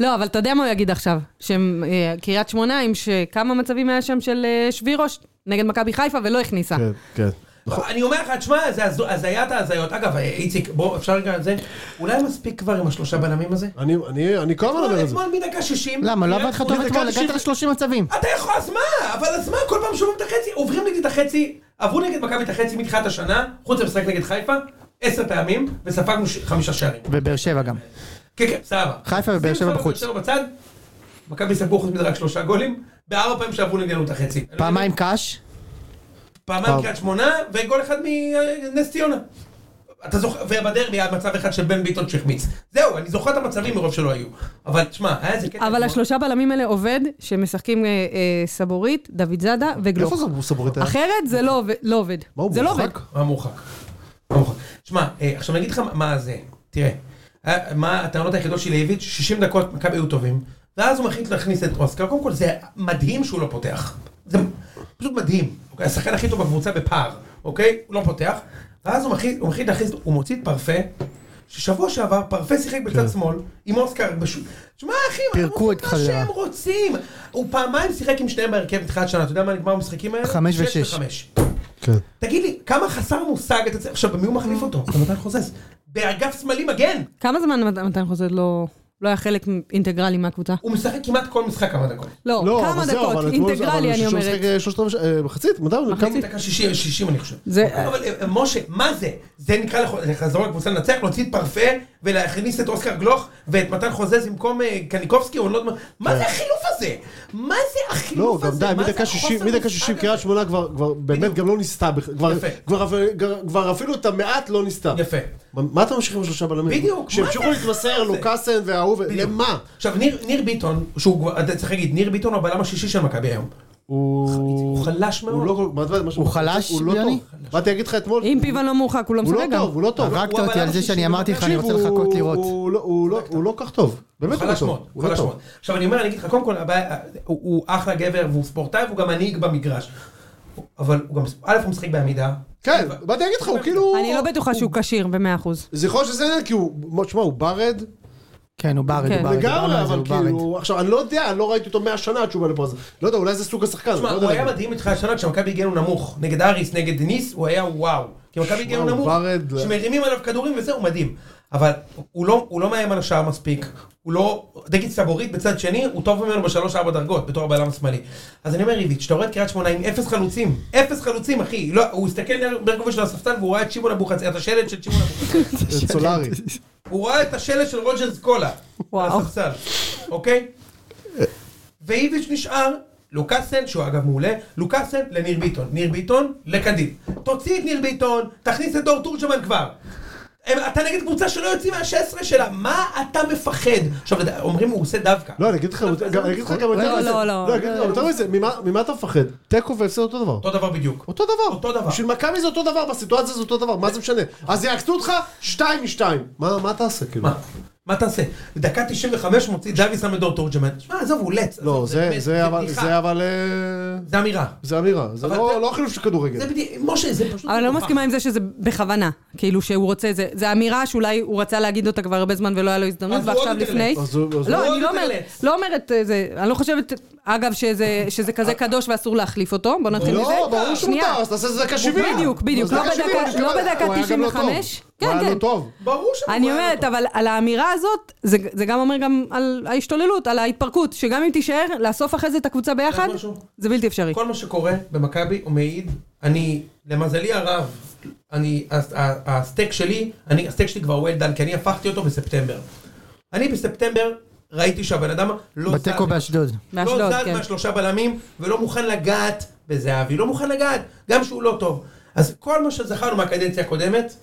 [SPEAKER 3] לא, אבל אתה יודע מה הוא יגיד עכשיו? שקריית שמונה, עם שכמה מצבים היה שם של אה, שבירוש נגד מכבי חיפה ולא הכניסה.
[SPEAKER 4] כן, כן.
[SPEAKER 2] נכון. אני אומר לך, תשמע, זה הזו- הזיית ההזיות. אגב, אה, איציק, בוא, אפשר רגע על זה? אולי מספיק כבר עם השלושה בלמים הזה?
[SPEAKER 4] אני- אני אני כל
[SPEAKER 1] לא,
[SPEAKER 4] הזמן אומר
[SPEAKER 2] אתמול-
[SPEAKER 4] את זה.
[SPEAKER 2] אתמול מדקה 60.
[SPEAKER 1] למה, לא עבד לך טוב
[SPEAKER 4] הוא
[SPEAKER 1] אתמול?
[SPEAKER 4] דקה
[SPEAKER 1] הגעת ל-30 מצבים.
[SPEAKER 2] אתה יכול, אז מה? אבל אז מה? כל פעם שוברים את החצי, עוברים נגד את החצי, עברו נגד מכבי את החצי מתחילת השנה, חוץ למשחק נגד חיפה, עשר פעמים, וספגנו ש- חמישה שערים.
[SPEAKER 4] אה,
[SPEAKER 1] ובאר שבע גם.
[SPEAKER 2] כן, כן, סבבה.
[SPEAKER 1] חיפה ובאר שבע בחוץ.
[SPEAKER 2] שים שבע בצד, מכבי ספגו חוץ מזה רק שלושה גולים, בארבע פעמים שעברו נגדנו את החצי. לא
[SPEAKER 1] פעמיים
[SPEAKER 4] אה,
[SPEAKER 1] קאש,
[SPEAKER 2] פעמיים קריית שמונה, וגול אחד מנס ציונה. אתה זוכר, ובדרבי היה מצב אחד של בן ביטון שהחמיץ. זהו, אני זוכר את המצבים מרוב שלא היו. אבל תשמע, היה איזה קטע.
[SPEAKER 3] אבל
[SPEAKER 2] אתמול.
[SPEAKER 3] השלושה בלמים האלה עובד, שמשחקים אה, אה, סבורית, דוד זאדה וגלוך.
[SPEAKER 4] איפה זה סבורית היה?
[SPEAKER 3] אחרת זה לא עובד- לא עובד.
[SPEAKER 4] מה, הוא
[SPEAKER 3] זה לא עובד.
[SPEAKER 4] מורחק?
[SPEAKER 2] מה מורחק? מה מורחק? שמע, אה, עכשיו אני אגיד לך מה זה. תראה, אה, מה הטענות היחידות של איביץ', 60 דקות מכבי היו טובים, ואז הוא מחליט להכניס את אוסקר. קודם כל זה מדהים שהוא לא פותח. זה פשוט מדהים. אוקיי? השחקן הכי טוב בקבוצה בפער, אוקיי? הוא לא פותח. ואז הוא מחליט, הוא מחליט להכניס, הוא מוציא את פרפה, ששבוע שעבר פרפה שיחק בצד שמאל, עם אוסקר בשו... תשמע אחי, הם
[SPEAKER 1] כן. פירקו
[SPEAKER 2] עושים
[SPEAKER 1] את
[SPEAKER 2] מה
[SPEAKER 1] חדרה.
[SPEAKER 2] שהם רוצים. הוא פעמיים שיחק עם שניהם בהרכב בתחילת שנה, אתה יודע מה נגמר במשחקים האלה?
[SPEAKER 1] חמש
[SPEAKER 2] שש
[SPEAKER 1] ושש.
[SPEAKER 2] וחמש.
[SPEAKER 4] כן.
[SPEAKER 2] תגיד לי, כמה חסר מושג אתה צריך... עכשיו, במי הוא מחליף אותו? במתן חוזז. באגף שמאלי מגן!
[SPEAKER 3] כמה זמן מת- מתן חוזד לא לא היה חלק אינטגרלי מהקבוצה?
[SPEAKER 2] הוא משחק כמעט כל משחק כמה דקות.
[SPEAKER 3] לא,
[SPEAKER 4] לא, אבל
[SPEAKER 3] כמה
[SPEAKER 4] זהו,
[SPEAKER 3] דקות,
[SPEAKER 4] אבל אתמול-
[SPEAKER 3] אינטגרלי
[SPEAKER 4] אבל
[SPEAKER 3] אני
[SPEAKER 4] שהוא
[SPEAKER 3] אומרת.
[SPEAKER 4] משחק שלושת רבעי שעה, אה, מחצית, מדי, אבל כמה...
[SPEAKER 2] דקה שישים, שישים אני חושב.
[SPEAKER 3] זה-
[SPEAKER 2] אבל אה, משה, מה זה? זה נקרא לח- לחזור לקבוצה לנצח, להוציא את פרפה ולהכניס את אוסקר גלוך ואת מתן חוזז במקום אה, קניקובסקי או לא יודע מה. מה זה החילוף הזה? מה זה
[SPEAKER 4] כן. לא,
[SPEAKER 2] החילוף הזה?
[SPEAKER 4] גם די,
[SPEAKER 2] מה זה
[SPEAKER 4] מדקה
[SPEAKER 2] החוסר
[SPEAKER 4] 60, מדקה
[SPEAKER 2] מושג
[SPEAKER 4] 60,
[SPEAKER 2] הזה?
[SPEAKER 4] קריית שמונה כבר, כבר באמת
[SPEAKER 2] בדיוק.
[SPEAKER 4] גם לא ניסתה, בכ- כבר-
[SPEAKER 2] יפה.
[SPEAKER 4] כבר אפ- כבר אפילו את המעט לא ניסתה.
[SPEAKER 2] יפה.
[SPEAKER 4] מה- מה אתה ממשיך עם שלושה בלמים?
[SPEAKER 2] בדיוק, מה
[SPEAKER 4] שימשיכו
[SPEAKER 2] זה
[SPEAKER 4] להתמסר,
[SPEAKER 2] הזה?
[SPEAKER 4] לוקאסן וההוא, ו-
[SPEAKER 2] בדיוק.
[SPEAKER 4] למה?
[SPEAKER 2] עכשיו, ניר- ניר ביטון, שהוא כבר, אתה צריך להגיד, ניר ביטון הוא הבלם השישי של מכבי היום.
[SPEAKER 4] הוא
[SPEAKER 2] הוא חלש מאוד.
[SPEAKER 4] הוא לא כל- מה אתה- מה ש-
[SPEAKER 1] הוא חלש,
[SPEAKER 4] הוא לא
[SPEAKER 1] יוני?
[SPEAKER 4] טוב. באתי להגיד לך אתמול,
[SPEAKER 3] אם פיבן לא מורחק, הוא לא
[SPEAKER 4] הוא לא
[SPEAKER 3] משחק גם.
[SPEAKER 4] טוב, הוא לא טוב.
[SPEAKER 1] הרגת
[SPEAKER 2] הוא
[SPEAKER 1] אותי
[SPEAKER 2] הבלם
[SPEAKER 1] על זה
[SPEAKER 2] השלישי
[SPEAKER 1] שאני אמרתי לך, אני
[SPEAKER 4] תקשיב,
[SPEAKER 1] רוצה לחכות
[SPEAKER 4] הוא-
[SPEAKER 1] לראות.
[SPEAKER 4] הוא לא- הוא לא- הוא לא כל כך טוב. באמת הוא לא
[SPEAKER 2] חלש מאוד,
[SPEAKER 4] טוב.
[SPEAKER 2] הוא
[SPEAKER 4] הוא לא
[SPEAKER 2] חלש
[SPEAKER 4] טוב.
[SPEAKER 2] מאוד. עכשיו אני אומר, אני אגיד לך, קודם כל, הבעיה- הוא הוא אחלה גבר והוא ספורטאי והוא גם מנהיג במגרש. אבל הוא גם, א', הוא משחק בעמידה.
[SPEAKER 4] כן, באתי להגיד לך, הוא כאילו...
[SPEAKER 3] אני לא בטוחה שהוא כשיר ב-100%.
[SPEAKER 4] זה יכול להיות שזה עניין, כי הוא... תשמע, הוא
[SPEAKER 3] אה,
[SPEAKER 4] ברד.
[SPEAKER 1] כן, הוא ברד, הוא
[SPEAKER 3] כן.
[SPEAKER 1] ברד. דיברנו
[SPEAKER 4] לגמרי,
[SPEAKER 1] על זה,
[SPEAKER 4] אבל
[SPEAKER 1] הוא ברד.
[SPEAKER 4] כאילו... עכשיו, אני לא יודע, אני לא ראיתי אותו מאה שנה עד שהוא בא לפה. אז לא יודע, אולי זה סוג השחקן.
[SPEAKER 2] תשמע,
[SPEAKER 4] לא יודע
[SPEAKER 2] הוא היה
[SPEAKER 4] להגיד.
[SPEAKER 2] מדהים איתך השנה כשמכבי הגיענו נמוך. נגד אריס, נגד ניס, הוא היה וואו. כי מכבי הגיענו
[SPEAKER 4] וואו,
[SPEAKER 2] נמוך,
[SPEAKER 4] ורד.
[SPEAKER 2] שמרימים עליו כדורים וזה, הוא מדהים. אבל הוא לא- הוא לא מאיים על השער מספיק. הוא לא, נגיד סבורית בצד שני, הוא טוב ממנו בשלוש ארבע דרגות, בתור הבלם השמאלי. אז אני אומר, איביץ', אתה רואה את קריית שמונה עם אפס חלוצים. אפס חלוצים, אחי. לא, הוא הסתכל ברקוביץ' על הספסל והוא ראה את שמעון אבוחצירא, את השלד של שמעון אבוחצירא.
[SPEAKER 4] זה סולארי.
[SPEAKER 2] הוא ראה את השלט של רוג'רס קולה.
[SPEAKER 3] וואו.
[SPEAKER 2] על הספסל, אוקיי? ואיביץ' נשאר, לוקאסן, שהוא אגב מעולה, לוקאסן לניר ביטון, ניר ביטון לקנדיל. תוציא את ניר ביטון, תכניס את דור תורג'מן כבר. הם- אתה נגד קבוצה שלא יוצאים מה-16 שלה, מה אתה מפחד? עכשיו, לד- אומרים הוא עושה דווקא.
[SPEAKER 4] לא, אני אגיד לך גם- אני אגיד לך גם יותר
[SPEAKER 3] לא,
[SPEAKER 4] מזה.
[SPEAKER 3] לא, לא.
[SPEAKER 4] אני אגיד לך גם יותר מזה. ממה- ממה אתה מפחד? תיקו והפסד אותו דבר.
[SPEAKER 2] אותו דבר בדיוק.
[SPEAKER 4] אותו דבר.
[SPEAKER 2] אותו דבר.
[SPEAKER 4] בשביל מכבי זה אותו דבר, בסיטואציה זה אותו דבר, מה זה משנה? אז יעקצו אותך, שתיים משתיים. מה מה תעשה, כאילו?
[SPEAKER 2] מה? מה תעשה? דקה 95 מוציא דויסה מדור תורג'מן. שמע, עזוב, הוא לץ.
[SPEAKER 4] לא,
[SPEAKER 2] עזוב,
[SPEAKER 4] זה,
[SPEAKER 2] באמת,
[SPEAKER 4] זה אבל,
[SPEAKER 2] בדיחה.
[SPEAKER 4] זה אבל, אה,
[SPEAKER 2] זה אמירה.
[SPEAKER 4] זה אמירה, זה
[SPEAKER 2] אבל
[SPEAKER 4] לא
[SPEAKER 2] זה-
[SPEAKER 4] לא חילוף של כדורגל.
[SPEAKER 2] זה בדיוק, משה, זה פשוט...
[SPEAKER 3] אבל אני לא
[SPEAKER 2] מגוחך.
[SPEAKER 3] מסכימה עם זה שזה בכוונה, כאילו שהוא רוצה, זה, זה אמירה שאולי הוא רצה להגיד אותה כבר הרבה זמן ולא היה לו הזדמנות,
[SPEAKER 2] אז הוא
[SPEAKER 3] ועכשיו
[SPEAKER 2] עוד יותר
[SPEAKER 3] לפני.
[SPEAKER 2] לץ.
[SPEAKER 4] אז הוא- אז
[SPEAKER 3] לא,
[SPEAKER 2] הוא
[SPEAKER 3] אני
[SPEAKER 2] עוד
[SPEAKER 3] לא
[SPEAKER 2] יותר
[SPEAKER 3] אומרת,
[SPEAKER 2] לץ.
[SPEAKER 3] לא אומרת אה, זה, אני לא חושבת, אגב, שזה, שזה כזה קדוש ואסור להחליף אותו, בוא נתחיל מזה.
[SPEAKER 4] לא, אה, ברור
[SPEAKER 3] שנייה.
[SPEAKER 4] שמותר, אז תעשה את זה דקה 70.
[SPEAKER 3] בדיוק, בדיוק,
[SPEAKER 4] אז
[SPEAKER 3] לא
[SPEAKER 4] דקה 70,
[SPEAKER 3] בדקה-
[SPEAKER 4] אני מקבל.
[SPEAKER 3] לא בדקה
[SPEAKER 4] הוא היה גם לא טוב.
[SPEAKER 3] 95.
[SPEAKER 4] הוא
[SPEAKER 3] כן,
[SPEAKER 4] היה
[SPEAKER 3] כן.
[SPEAKER 4] לא טוב.
[SPEAKER 2] ברור שהוא
[SPEAKER 3] אני
[SPEAKER 2] היה לו
[SPEAKER 3] אומרת,
[SPEAKER 2] טוב.
[SPEAKER 3] אבל על האמירה הזאת, זה, זה גם אומר גם על ההשתוללות, על ההתפרקות, שגם אם תישאר, לאסוף אחרי זה את הקבוצה ביחד,
[SPEAKER 2] משהו?
[SPEAKER 3] זה בלתי אפשרי.
[SPEAKER 2] כל מה שקורה במכבי הוא מעיד, אני, למזלי הרב, אני, הס- ה- הסטייק שלי, אני, הסטייק שלי כבר well done, כי אני הפכתי אותו בספטמבר. אני בספטמבר ראיתי שהבן אדם לא זז,
[SPEAKER 1] בתיקו באשדוד.
[SPEAKER 4] אה,
[SPEAKER 3] באשדוד,
[SPEAKER 2] לא זז
[SPEAKER 3] כן.
[SPEAKER 2] מהשלושה בלמים, ולא מוכן לגעת בזהבי, לא מוכן לגעת, גם שהוא לא טוב. אז כל מה שזכרנו מהקדנציה הקודמת,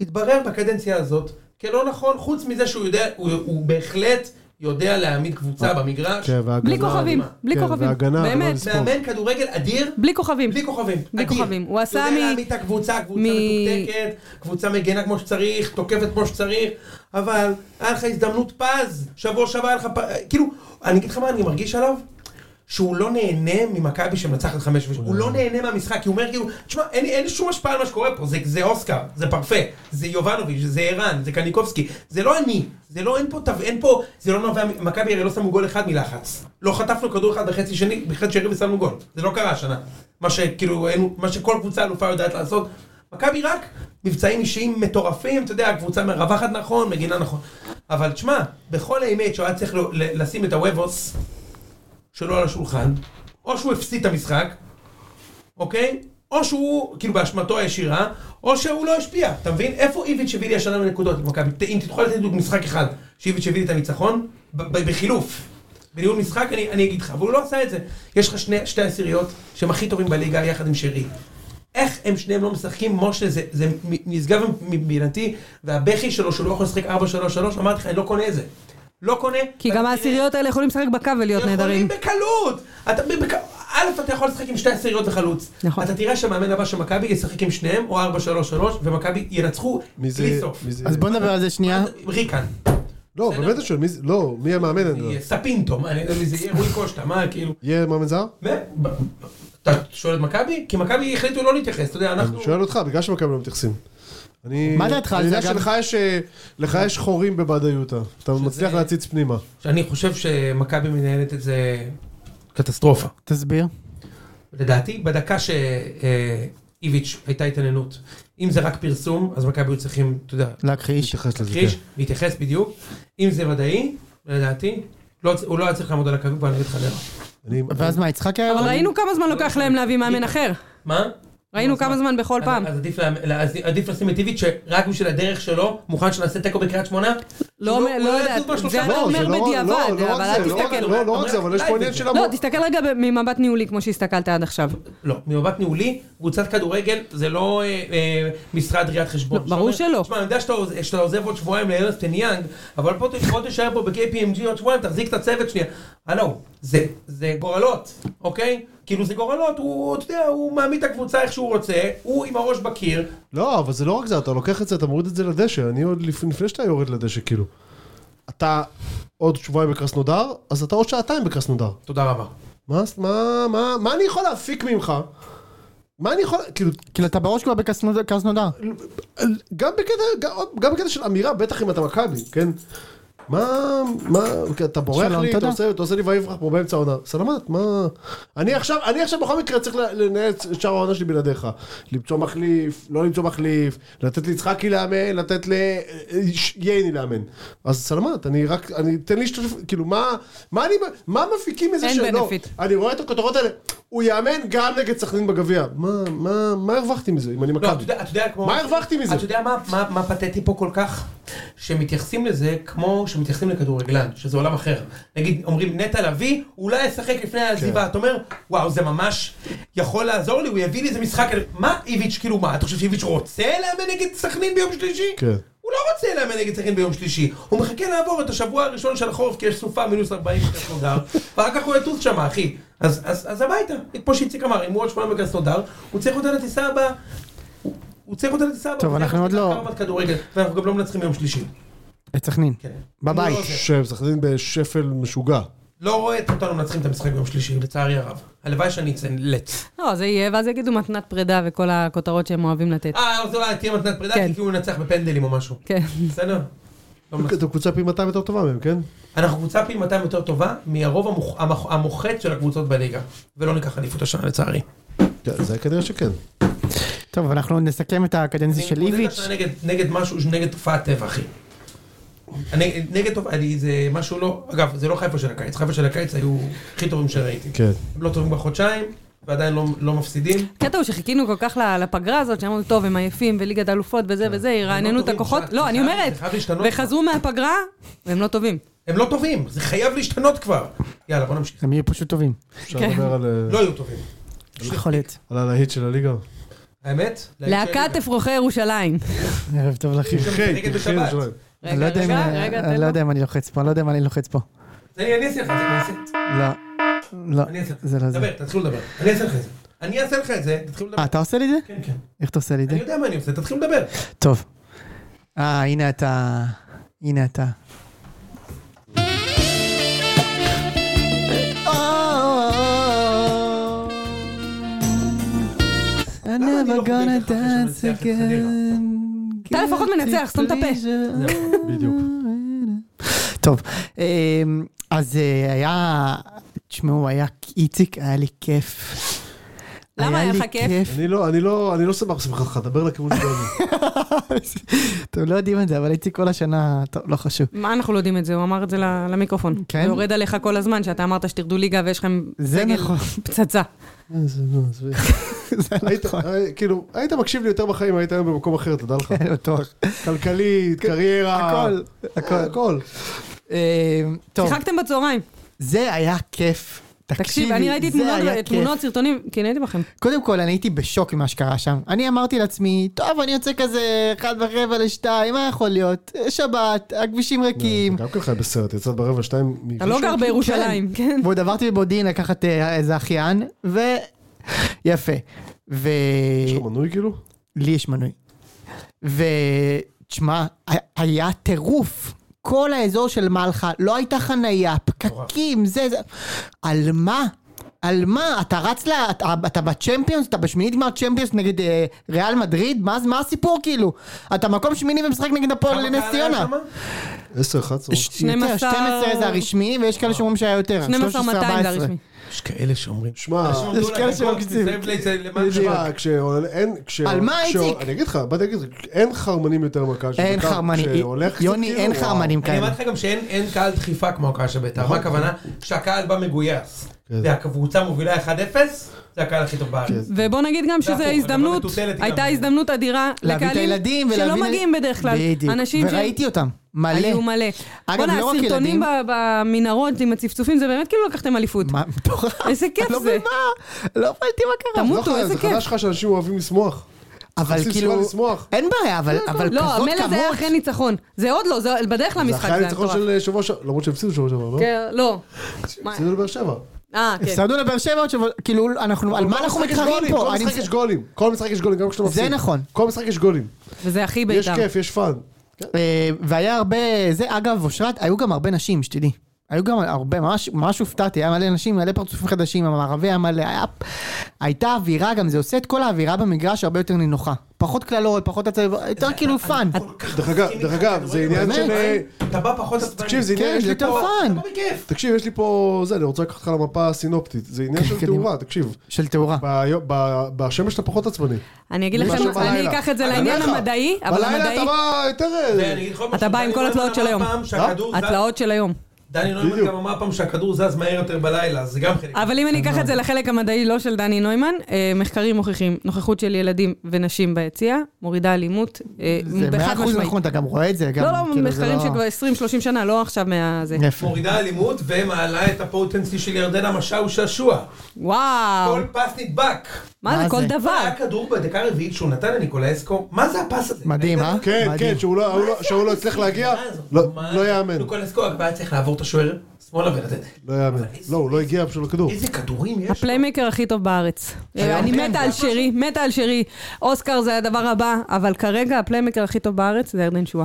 [SPEAKER 2] התברר בקדנציה הזאת כלא נכון, חוץ מזה שהוא יודע, הוא, הוא בהחלט יודע להעמיד קבוצה במגרש.
[SPEAKER 4] כן, והגנה-
[SPEAKER 3] בלי כוכבים, בלי
[SPEAKER 4] כן,
[SPEAKER 3] כוכבים.
[SPEAKER 4] והגנה, אבל לא
[SPEAKER 3] באמת.
[SPEAKER 4] לספור.
[SPEAKER 2] מאמן כדורגל אדיר,
[SPEAKER 3] בלי כוכבים.
[SPEAKER 2] בלי כוכבים.
[SPEAKER 3] בלי
[SPEAKER 2] אדיר.
[SPEAKER 3] כוכבים. הוא עשה מ-
[SPEAKER 2] יודע להעמיד את הקבוצה, קבוצה
[SPEAKER 3] מ-
[SPEAKER 2] מתוקתקת, קבוצה מגנה כמו שצריך, תוקפת כמו שצריך, אבל היה לך הזדמנות פז, שבוע שעבר היה לך פ... כאילו, אני אגיד לך מה אני מרגיש עליו? שהוא לא נהנה ממכבי שמנצחת חמש ושש, הוא לא נהנה מהמשחק, כי הוא אומר כאילו, תשמע, אין, אין לי שום השפעה על מה שקורה פה, זה, זה אוסקר, זה פרפה, זה יובנוביץ', זה ערן, זה קניקובסקי, זה לא אני, זה לא, אין פה, תו- אין פה, זה לא נובע, מ- מכבי הרי לא שמו גול אחד מלחץ, לא חטפנו כדור אחד בחצי שני, בחצי שני ושמנו גול, זה לא קרה השנה, מה שכאילו, אין, מה שכל קבוצה אלופה יודעת לעשות, מכבי רק מבצעים אישיים מטורפים, אתה יודע, הקבוצה מרווחת נכון, מגינה נכון, אבל תשמע, בכל האמת שהוא היה צריך ל- ל- לשים את הוובוס, שלא על השולחן, או שהוא הפסיד את המשחק, אוקיי? או שהוא, כאילו באשמתו הישירה, או שהוא לא השפיע. אתה מבין? איפה איביץ' הביא לי השנה בנקודות עם מכבי? ת- אם תוכל לתת לי משחק אחד, שאיביץ' הביא לי את הניצחון, ב- ב- בחילוף. בניהול משחק אני, אני אגיד לך, אבל הוא לא עשה את זה. יש לך שני, שתי עשיריות שהם הכי טובים בליגה יחד עם שרי. איך הם שניהם לא משחקים, משה, זה, זה מ- נשגב מבינתי, והבכי שלו שהוא לא יכול לשחק 4-3-3, אמרתי לך, אני לא קונה את זה. לא קונה.
[SPEAKER 3] כי גם
[SPEAKER 2] ואני-
[SPEAKER 3] העשיריות האלה יכולים לשחק בקו ולהיות נהדרים.
[SPEAKER 2] יכולים בקלות! אתה, בק... א', אתה יכול לשחק עם שתי עשיריות וחלוץ.
[SPEAKER 3] נכון.
[SPEAKER 2] אתה תראה שהמאמן הבא של מכבי ישחק עם שניהם, או 4-3-3, ומכבי ינצחו
[SPEAKER 4] מי זה...
[SPEAKER 2] בלי סוף.
[SPEAKER 4] מי זה...
[SPEAKER 1] אז בוא נדבר על זה שנייה.
[SPEAKER 2] ריקן, אה,
[SPEAKER 4] לא, באמת אני שואל, מי זה... לא, מי המאמן? אני לא יודע.
[SPEAKER 2] ספינטו, מה, אני יודע מי זה יהיה, רועי קושטה, מה, כאילו...
[SPEAKER 4] יהיה מאמן זר?
[SPEAKER 2] ו- ב- ב- אתה שואל את מכבי? כי מכבי החליטו לא להתייחס, אתה יודע, אנחנו...
[SPEAKER 4] אני שואל אותך, בגלל שמכבי לא מתייחסים. אני...
[SPEAKER 1] מה דעתך על
[SPEAKER 4] אני יודע
[SPEAKER 1] זה, אגב?
[SPEAKER 4] שלך יש... אה, לך יש חורים בבדיותה. אתה מצליח להציץ פנימה.
[SPEAKER 2] שאני חושב שמכבי מנהלת את זה קטסטרופה.
[SPEAKER 1] תסביר.
[SPEAKER 2] לדעתי, בדקה שאיביץ' הייתה התעניינות, אם זה רק פרסום, אז מכבי היו צריכים, אתה יודע,
[SPEAKER 1] להכחיש.
[SPEAKER 4] להתייחס לזה,
[SPEAKER 2] להכחיש,
[SPEAKER 4] כן.
[SPEAKER 2] להתייחס בדיוק. אם זה ודאי, לדעתי, לא- הוא לא היה צריך לעמוד על הקווים פה נגד חדרה.
[SPEAKER 4] אני-
[SPEAKER 1] ואז מה, יצחק היה...
[SPEAKER 3] אבל ראינו כמה זמן לוקח להם להביא מאמן אחר.
[SPEAKER 2] מה?
[SPEAKER 3] ראינו כמה זמן בכל פעם.
[SPEAKER 2] אז עדיף לה- לה- אז עדיף לשים את איביץ' שרק בשביל הדרך שלו, מוכן שנעשה תיקו בקריית שמונה?
[SPEAKER 3] לא
[SPEAKER 2] הוא
[SPEAKER 3] אומר-
[SPEAKER 2] הוא
[SPEAKER 3] לא
[SPEAKER 2] יזוז
[SPEAKER 3] יודעת,
[SPEAKER 2] בשלושה
[SPEAKER 3] זה
[SPEAKER 2] מטר.
[SPEAKER 3] אתה
[SPEAKER 4] לא, זה
[SPEAKER 3] אומר
[SPEAKER 4] לא-
[SPEAKER 3] בדיעבד,
[SPEAKER 4] לא, לא רק
[SPEAKER 3] אבל
[SPEAKER 4] זה,
[SPEAKER 3] אל
[SPEAKER 4] לא רק-
[SPEAKER 3] תסתכל.
[SPEAKER 4] לא, לא רק זה, אבל יש פה עניין של
[SPEAKER 3] לא,
[SPEAKER 4] המון.
[SPEAKER 3] תסתכל רגע ב- ממבט ניהולי כמו שהסתכלת עד עכשיו.
[SPEAKER 2] לא, ממבט ניהולי, קבוצת כדורגל זה לא אה, אה, משרד ראיית חשבון.
[SPEAKER 3] לא, ברור
[SPEAKER 2] שאתה אומר,
[SPEAKER 3] שלא.
[SPEAKER 2] תשמע, אני יודע שאתה עוז- שאתה עוזב עוד שבועיים לארנסטן יאנג, אבל פה ת- בוא תישאר פה ב-KPMG עוד שבועיים, תחזיק את הצוות שנייה. הלו, זה- זה גורלות, אוקיי? כאילו זה גורלות, הוא, אתה יודע, הוא מעמיד את הקבוצה איך שהוא רוצה, הוא עם הראש בקיר,
[SPEAKER 4] לא, אבל זה לא רק זה, אתה לוקח את זה, אתה מוריד את זה לדשא. אני עוד לפ- לפני שאתה יורד לדשא, כאילו. אתה עוד שבועיים בקרסנודר, אז אתה עוד שעתיים בקרסנודר.
[SPEAKER 2] תודה רבה.
[SPEAKER 4] מה, מה, מה, מה אני יכול להפיק ממך? מה אני יכול, כאילו,
[SPEAKER 1] כאילו, אתה בראש כבר בקרסנודר.
[SPEAKER 4] גם בקטע, גם, גם בקטע של אמירה, בטח אם אתה מכבי, כן? מה, מה, אתה בורח
[SPEAKER 1] שלום,
[SPEAKER 4] לי, אתה
[SPEAKER 1] תודה.
[SPEAKER 4] עושה, אתה עושה לי ויברח פה באמצע העונה. סלמת, מה... אני עכשיו, אני עכשיו בכל מקרה צריך ל- לנהל את שאר העונה שלי בלעדיך. למצוא מחליף, לא למצוא מחליף, לתת ליצחקי לאמן, לתת לייני לאמן. אז סלמת, אני רק, אני, תן לי להשתתף, כאילו, מה, מה אני, מה מפיקים מזה
[SPEAKER 3] אין
[SPEAKER 4] שלא?
[SPEAKER 3] benefit.
[SPEAKER 4] אני רואה את הכותרות האלה, הוא יאמן גם נגד סכנין בגביע. מה, מה, מה הרווחתי מזה, אם אני
[SPEAKER 2] לא,
[SPEAKER 4] מכבי?
[SPEAKER 2] אתה יודע, אתה יודע כמו...
[SPEAKER 4] מה הרווחתי מזה?
[SPEAKER 2] אתה יודע מה, מה, מה פתטי פה כל כך? שמתייחסים לזה כמו שמתייחסים לכדורגלן, שזה עולם אחר. נגיד, אומרים נטע לביא, אולי ישחק לפני
[SPEAKER 4] כן.
[SPEAKER 2] העזיבה. אתה אומר, וואו, זה ממש יכול לעזור לי, הוא יביא לי איזה משחק... מה איביץ', כאילו מה, אתה חושב שאיביץ' רוצה לאמן נגד סכנין ביום שלישי?
[SPEAKER 4] כן.
[SPEAKER 2] הוא לא רוצה לאמן נגד סכנין ביום שלישי. הוא מחכה לעבור את השבוע הראשון של החורף, כי יש סופה מינוס 40 בקרסנודר, ואחר כך הוא יטוס שם, אחי. אז, אז, אז הביתה. כמו שאיציק אמר, אם הוא עוד שבועיים בקרסנודר, הוא צריך אותה לטיסה הבאה. הוא צריך אותה לטיסה הבאה.
[SPEAKER 1] טוב,
[SPEAKER 2] הוא צריך
[SPEAKER 1] אנחנו עוד לא-
[SPEAKER 2] לקחת ארבעת כדורגל, ואנחנו גם לא מנצחים ביום שלישי.
[SPEAKER 1] את סכנין.
[SPEAKER 2] כן.
[SPEAKER 1] בבית.
[SPEAKER 2] לא עוזר.
[SPEAKER 4] שהם משחקים בשפל משוגע.
[SPEAKER 2] לא רואה את אותנו מנצחים את המשחק ביום שלישי, לצערי הרב. הלוואי שאני אצא לץ.
[SPEAKER 3] לא, זה יהיה, ואז יגידו מתנת פרידה וכל הכותרות שהם אוהבים לתת.
[SPEAKER 2] אה, אז אולי תהיה מתנת פרידה,
[SPEAKER 3] כן.
[SPEAKER 2] כי הוא ינצח בפנדלים או משהו.
[SPEAKER 3] כן.
[SPEAKER 2] בסדר? לא מנצח.
[SPEAKER 4] אתם קבוצה פי 200 יותר טובה מהם, כן?
[SPEAKER 2] אנחנו קבוצה פי 200 יותר טובה מהרוב המוח- המח- המוחץ של הקבוצות בליגה. ולא ניקח אליפות השנה לצערי.
[SPEAKER 4] כן, זה כנראה שכן.
[SPEAKER 1] טוב, אבל אנחנו נסכם את הקדנציה של
[SPEAKER 2] אני מתמודד
[SPEAKER 1] איביץ'.
[SPEAKER 2] השנה נגד- נגד משהו, נגד תופעת טבע, אחי. אני- נגד תופעה, אני- זה משהו לא, אגב, זה לא חיפה של הקיץ, חיפה של הקיץ היו הכי טובים שראיתי.
[SPEAKER 4] כן.
[SPEAKER 2] הם לא טובים בחודשיים, ועדיין לא- לא מפסידים.
[SPEAKER 3] הקטע הוא שחיכינו כל כך ל- לפגרה הזאת, שאמרנו, טוב, הם עייפים, וליגת אלופות וזה וזה,
[SPEAKER 2] לא
[SPEAKER 3] ירעננו את
[SPEAKER 2] טובים,
[SPEAKER 3] הכוחות.
[SPEAKER 2] שי,
[SPEAKER 3] לא,
[SPEAKER 2] זה
[SPEAKER 3] אני
[SPEAKER 2] חייב-
[SPEAKER 3] אומרת,
[SPEAKER 2] זה חייב להשתנות.
[SPEAKER 3] וחזרו מהפגרה, והם לא טובים.
[SPEAKER 2] הם לא טובים, זה חייב להשתנות כבר. יאללה, בוא נמשיך.
[SPEAKER 1] הם יהיו פשוט טובים.
[SPEAKER 4] אפשר
[SPEAKER 3] כן.
[SPEAKER 4] לדבר על, אה,
[SPEAKER 2] לא כן, היו טובים.
[SPEAKER 1] יכול להיות.
[SPEAKER 4] על הלהיט של הליגה.
[SPEAKER 2] האמת?
[SPEAKER 3] להקת אפרוחי ירושלים.
[SPEAKER 1] ערב טוב לכם.
[SPEAKER 4] תרחי,
[SPEAKER 2] נגד
[SPEAKER 4] תרחי
[SPEAKER 2] בשבת.
[SPEAKER 4] לשלם.
[SPEAKER 1] אני לא יודע אם- אני לא יודע אם אני לוחץ פה, אני לא יודע אם אני לוחץ פה.
[SPEAKER 2] אני אני אעשה לך את זה, אני אעשה.
[SPEAKER 1] לא. לא,
[SPEAKER 2] אני אעשה לך את
[SPEAKER 1] זה לא
[SPEAKER 2] זה.
[SPEAKER 1] זה.
[SPEAKER 2] דבר, תתחילו לדבר. אני אעשה לך את זה. אני אעשה לך את זה, תתחילו לדבר.
[SPEAKER 1] אה, אתה עושה לי את זה?
[SPEAKER 2] כן, כן.
[SPEAKER 1] איך אתה עושה לי את זה?
[SPEAKER 2] אני יודע מה אני עושה, תתחילו לדבר.
[SPEAKER 1] טוב. אה, הנה אתה. הנה אתה. I'm
[SPEAKER 2] למה אני לא
[SPEAKER 1] never
[SPEAKER 2] חוגג
[SPEAKER 1] gonna
[SPEAKER 2] לך אחרי
[SPEAKER 1] dance
[SPEAKER 2] שמנצח את חדרה?
[SPEAKER 1] again.
[SPEAKER 3] אתה לפחות מנצח, סתום את הפה.
[SPEAKER 4] בדיוק.
[SPEAKER 1] טוב, אמ, אז אה, היה, תשמעו, היה, איציק, היה לי כיף.
[SPEAKER 3] למה היה
[SPEAKER 1] לי
[SPEAKER 3] לך כיף?
[SPEAKER 4] אני לא, אני לא, אני לא שמח שמחתך, דבר לכיוון שלנו.
[SPEAKER 1] אתם לא יודעים את זה, אבל איציק כל השנה, טוב, לא חשוב.
[SPEAKER 3] מה אנחנו לא יודעים את זה? הוא אמר את זה ל- למיקרופון.
[SPEAKER 1] כן?
[SPEAKER 3] זה יורד עליך כל הזמן, שאתה אמרת שתרדו ליגה ויש לכם
[SPEAKER 1] זה
[SPEAKER 3] סגל
[SPEAKER 1] נכון.
[SPEAKER 3] פצצה.
[SPEAKER 4] איזה, נו, עזבי.
[SPEAKER 1] זה
[SPEAKER 4] היית-
[SPEAKER 1] נכון.
[SPEAKER 4] אה, כאילו, היית מקשיב לי יותר בחיים, היית היום במקום אחר, תדע לך.
[SPEAKER 1] אני בטוח.
[SPEAKER 4] כלכלית, קריירה.
[SPEAKER 1] הכל,
[SPEAKER 4] כן. הכל.
[SPEAKER 1] אמ, טוב,
[SPEAKER 3] שיחקתם בצהריים.
[SPEAKER 1] זה היה כיף.
[SPEAKER 3] תקשיב, אני ראיתי
[SPEAKER 1] זה
[SPEAKER 3] תמונות,
[SPEAKER 1] היה
[SPEAKER 3] תמונות, סרטונים, כי נהייתי בכם.
[SPEAKER 1] קודם כל, אני הייתי בשוק ממה שקרה שם. אני אמרתי לעצמי, טוב, אני יוצא כזה אחד ורבע לשתיים, מה יכול להיות? שבת, הכבישים ריקים.
[SPEAKER 4] גם כן חי בסרט, יצאת ברבע שתיים.
[SPEAKER 3] אתה לא גר בירושלים, כן?
[SPEAKER 1] ועוד עברתי לבודין לקחת אה, איזה אחיין, ו... יפה. ו...
[SPEAKER 4] יש לך מנוי כאילו?
[SPEAKER 1] לי יש מנוי. ותשמע, היה- היה טירוף. כל האזור של מלחה, לא הייתה חנייה, פקקים, זה, זה... על מה? על מה? אתה רץ ל... אתה, אתה בצ'מפיונס? אתה בשמינית גמר צ'מפיונס נגד אה, ריאל מדריד? מה, מה הסיפור כאילו? אתה מקום שמיני במשחק נגד הפועל נס ציונה.
[SPEAKER 4] עשר, אחת עשרה.
[SPEAKER 1] ש- יותר, 12 זה הרשמי, ויש
[SPEAKER 4] אה.
[SPEAKER 1] כאלה שאומרים שהיה יותר.
[SPEAKER 3] 12 200
[SPEAKER 1] 13-14.
[SPEAKER 3] זה הרשמי.
[SPEAKER 2] יש כאלה שאומרים.
[SPEAKER 4] שמע,
[SPEAKER 1] אה, יש כאלה שמקציב.
[SPEAKER 4] תשמע, כשעולה- אין... כש-
[SPEAKER 1] על מה,
[SPEAKER 4] כש-
[SPEAKER 1] איציק?
[SPEAKER 4] אני אגיד לך, באתי להגיד, אין חרמנים יותר מהקהל של
[SPEAKER 1] אין
[SPEAKER 4] בית"ר,
[SPEAKER 1] חרמנים.
[SPEAKER 4] כשהולך קצת
[SPEAKER 1] יוני,
[SPEAKER 4] כאילו,
[SPEAKER 1] אין
[SPEAKER 4] וואו.
[SPEAKER 1] חרמנים
[SPEAKER 2] אני
[SPEAKER 1] כאלה.
[SPEAKER 2] אמרתי לך גם שאין אין קהל דחיפה כמו הקהל של בית"ר. מה הכוונה? כשהקהל בא מגויס.
[SPEAKER 4] נכון. כן.
[SPEAKER 2] והקבוצה מובילה 1-0, זה הקהל הכי טוב בארץ.
[SPEAKER 3] ובוא נגיד גם
[SPEAKER 2] זה
[SPEAKER 3] שזו
[SPEAKER 2] הפוך,
[SPEAKER 3] הזדמנות,
[SPEAKER 2] אבל מטוטלת היא
[SPEAKER 3] הייתה
[SPEAKER 2] גם-
[SPEAKER 3] הזדמנות אדירה
[SPEAKER 1] כן. להביא את
[SPEAKER 3] לקהלים
[SPEAKER 1] הילדים ולהביא...
[SPEAKER 3] שלא מגיעים בדרך כלל.
[SPEAKER 1] בדיוק.
[SPEAKER 3] אנשים
[SPEAKER 1] וראיתי אותם. מלא.
[SPEAKER 3] היו מלא.
[SPEAKER 1] אגב,
[SPEAKER 3] בוא'נה,
[SPEAKER 1] לא רק
[SPEAKER 3] הסרטונים
[SPEAKER 1] ילדים.
[SPEAKER 3] ב- במנהרות עם הצפצופים, זה באמת כאילו לקחתם אליפות.
[SPEAKER 1] מה, מטורף.
[SPEAKER 3] איזה כיף
[SPEAKER 1] לא
[SPEAKER 3] זה.
[SPEAKER 1] מבין מה, לא הבנתי מה קרה.
[SPEAKER 4] לא
[SPEAKER 3] תמות. מוטו,
[SPEAKER 4] חרא,
[SPEAKER 3] איזה
[SPEAKER 4] זה
[SPEAKER 3] כיף.
[SPEAKER 4] חדש שלך שאנשים אוהבים לשמוח.
[SPEAKER 1] אבל
[SPEAKER 4] עושים
[SPEAKER 1] כאילו,
[SPEAKER 4] סיבה לשמוח.
[SPEAKER 1] אין בעיה, אבל אבל
[SPEAKER 3] לא,
[SPEAKER 1] כזאת
[SPEAKER 3] המלך זה היה אחרי
[SPEAKER 1] כמות.
[SPEAKER 3] ניצחון. זה עוד לא, זה בדרך
[SPEAKER 4] זה
[SPEAKER 3] למשחק
[SPEAKER 4] אחרי
[SPEAKER 3] זה היה
[SPEAKER 4] הניצחון
[SPEAKER 3] מטורף.
[SPEAKER 4] של אה, שבוע שעבר, למרות שהפסידו שבוע שעבר, לא?
[SPEAKER 3] כן, לא. מה-
[SPEAKER 4] הפסידו לבאר שבע.
[SPEAKER 3] אה, כן.
[SPEAKER 1] הפסדנו לבאר שבע עוד שבוע, כאילו, אנחנו, על מה
[SPEAKER 4] כל
[SPEAKER 1] אנחנו
[SPEAKER 4] משחק יש
[SPEAKER 1] מתחרים
[SPEAKER 4] גולים,
[SPEAKER 1] פה?
[SPEAKER 4] כל
[SPEAKER 1] אני-
[SPEAKER 4] משחק יש גולים. כל משחק יש גולים, גם כשאתה
[SPEAKER 1] זה
[SPEAKER 4] מפסיד.
[SPEAKER 1] נכון.
[SPEAKER 4] כל משחק יש גולים.
[SPEAKER 3] וזה הכי
[SPEAKER 4] יש
[SPEAKER 3] בית"ר.
[SPEAKER 4] כיף, יש פאן.
[SPEAKER 1] אה, והיה הרבה, זה אגב, אושרת, היו גם הרבה נשים, שתדעי. היו גם הרבה, ממש, ממש הופתעתי, היה מלא נשים, מלא פרצופים חדשים, המערבי היה מלא, היה... הייתה אווירה גם, זה עושה את כל האווירה במגרש הרבה יותר נינוחה. פחות קללות, פחות עצבים, יותר כאילו פאן.
[SPEAKER 4] דרך אגב, דרך אגב, זה עניין של... אה,
[SPEAKER 2] אתה בא פחות עצבני.
[SPEAKER 4] תקשיב, זה
[SPEAKER 1] כן,
[SPEAKER 4] עניין, יש
[SPEAKER 1] זה
[SPEAKER 4] לי
[SPEAKER 1] יותר
[SPEAKER 4] פה...
[SPEAKER 1] פאן.
[SPEAKER 2] אתה בא בכיף.
[SPEAKER 4] תקשיב, יש לי פה... זה, אני רוצה לקחת אותך למפה הסינופטית. זה עניין
[SPEAKER 1] כן,
[SPEAKER 4] של
[SPEAKER 1] קדימה.
[SPEAKER 4] תאורה, תקשיב.
[SPEAKER 1] של תאורה.
[SPEAKER 4] ביו- ב- בשמש אתה פחות עצבני.
[SPEAKER 3] אני אגיד
[SPEAKER 4] מאשר
[SPEAKER 3] לכם, אני
[SPEAKER 4] בלילה.
[SPEAKER 3] אקח את זה
[SPEAKER 4] אני
[SPEAKER 3] לעניין
[SPEAKER 4] אומר לך,
[SPEAKER 3] המדעי, אבל
[SPEAKER 4] בלילה
[SPEAKER 3] המדעי,
[SPEAKER 4] אתה בא יותר... אה,
[SPEAKER 2] ואני אגיד לך עוד משהו,
[SPEAKER 3] אתה בא עם
[SPEAKER 2] דני
[SPEAKER 3] כל
[SPEAKER 2] נוימן
[SPEAKER 3] התלאות
[SPEAKER 2] אמר
[SPEAKER 3] של היום.
[SPEAKER 2] פעם שהכדור זז-
[SPEAKER 3] התלאות של היום.
[SPEAKER 2] דני נוימן
[SPEAKER 4] בדיוק.
[SPEAKER 2] גם אמר פעם שהכדור זז מהר יותר בלילה, זה גם חלק.
[SPEAKER 3] אבל אם אני אקח את זה לחלק המדעי לא של דני נוימן, אה, מחקרים מוכיחים, נוכחות של ילדים ונשים ביציע מורידה אלימות אה,
[SPEAKER 1] זה מאה
[SPEAKER 3] בחד
[SPEAKER 1] אחוז
[SPEAKER 3] משמעית.
[SPEAKER 1] נכון, אתה גם רואה את זה, גם,
[SPEAKER 3] לא, לא,
[SPEAKER 1] כאילו, זה
[SPEAKER 3] מחקרים
[SPEAKER 1] לא- כן.
[SPEAKER 3] שכבר 20-30 שנה, לא עכשיו מהזה.
[SPEAKER 1] יפה.
[SPEAKER 2] מורידה אלימות ומעלה את הפוטנסי של ירדנה משאו שעשוע.
[SPEAKER 3] וואו,
[SPEAKER 2] כל פס נדבק.
[SPEAKER 3] מה
[SPEAKER 1] מה
[SPEAKER 3] זה, כל
[SPEAKER 1] זה?
[SPEAKER 3] דבר.
[SPEAKER 2] היה כדור בדקה הרביעית שהוא נתן לניקולסקו, מה זה הפס הזה?
[SPEAKER 1] מדהים, אה?
[SPEAKER 4] כן,
[SPEAKER 1] מדהים.
[SPEAKER 4] כן, שהוא לא- הוא לא- שהוא לא הצליח להגיע, לא לא יאמן.
[SPEAKER 2] ניקולסקו רק היה צריך לעבור את השוער שמאלה ולתת.
[SPEAKER 4] לא יאמן. לא, הוא לא הגיע בשביל הכדור.
[SPEAKER 2] איזה כדורים יש לו.
[SPEAKER 3] הפליימייקר הכי טוב בארץ. אה, אני
[SPEAKER 2] כן,
[SPEAKER 3] מתה על
[SPEAKER 2] ממש.
[SPEAKER 3] שרי, מתה על שרי. אוסקר זה הדבר הבא, אבל כרגע הפליימייקר הכי טוב בארץ זה ירדן שואה.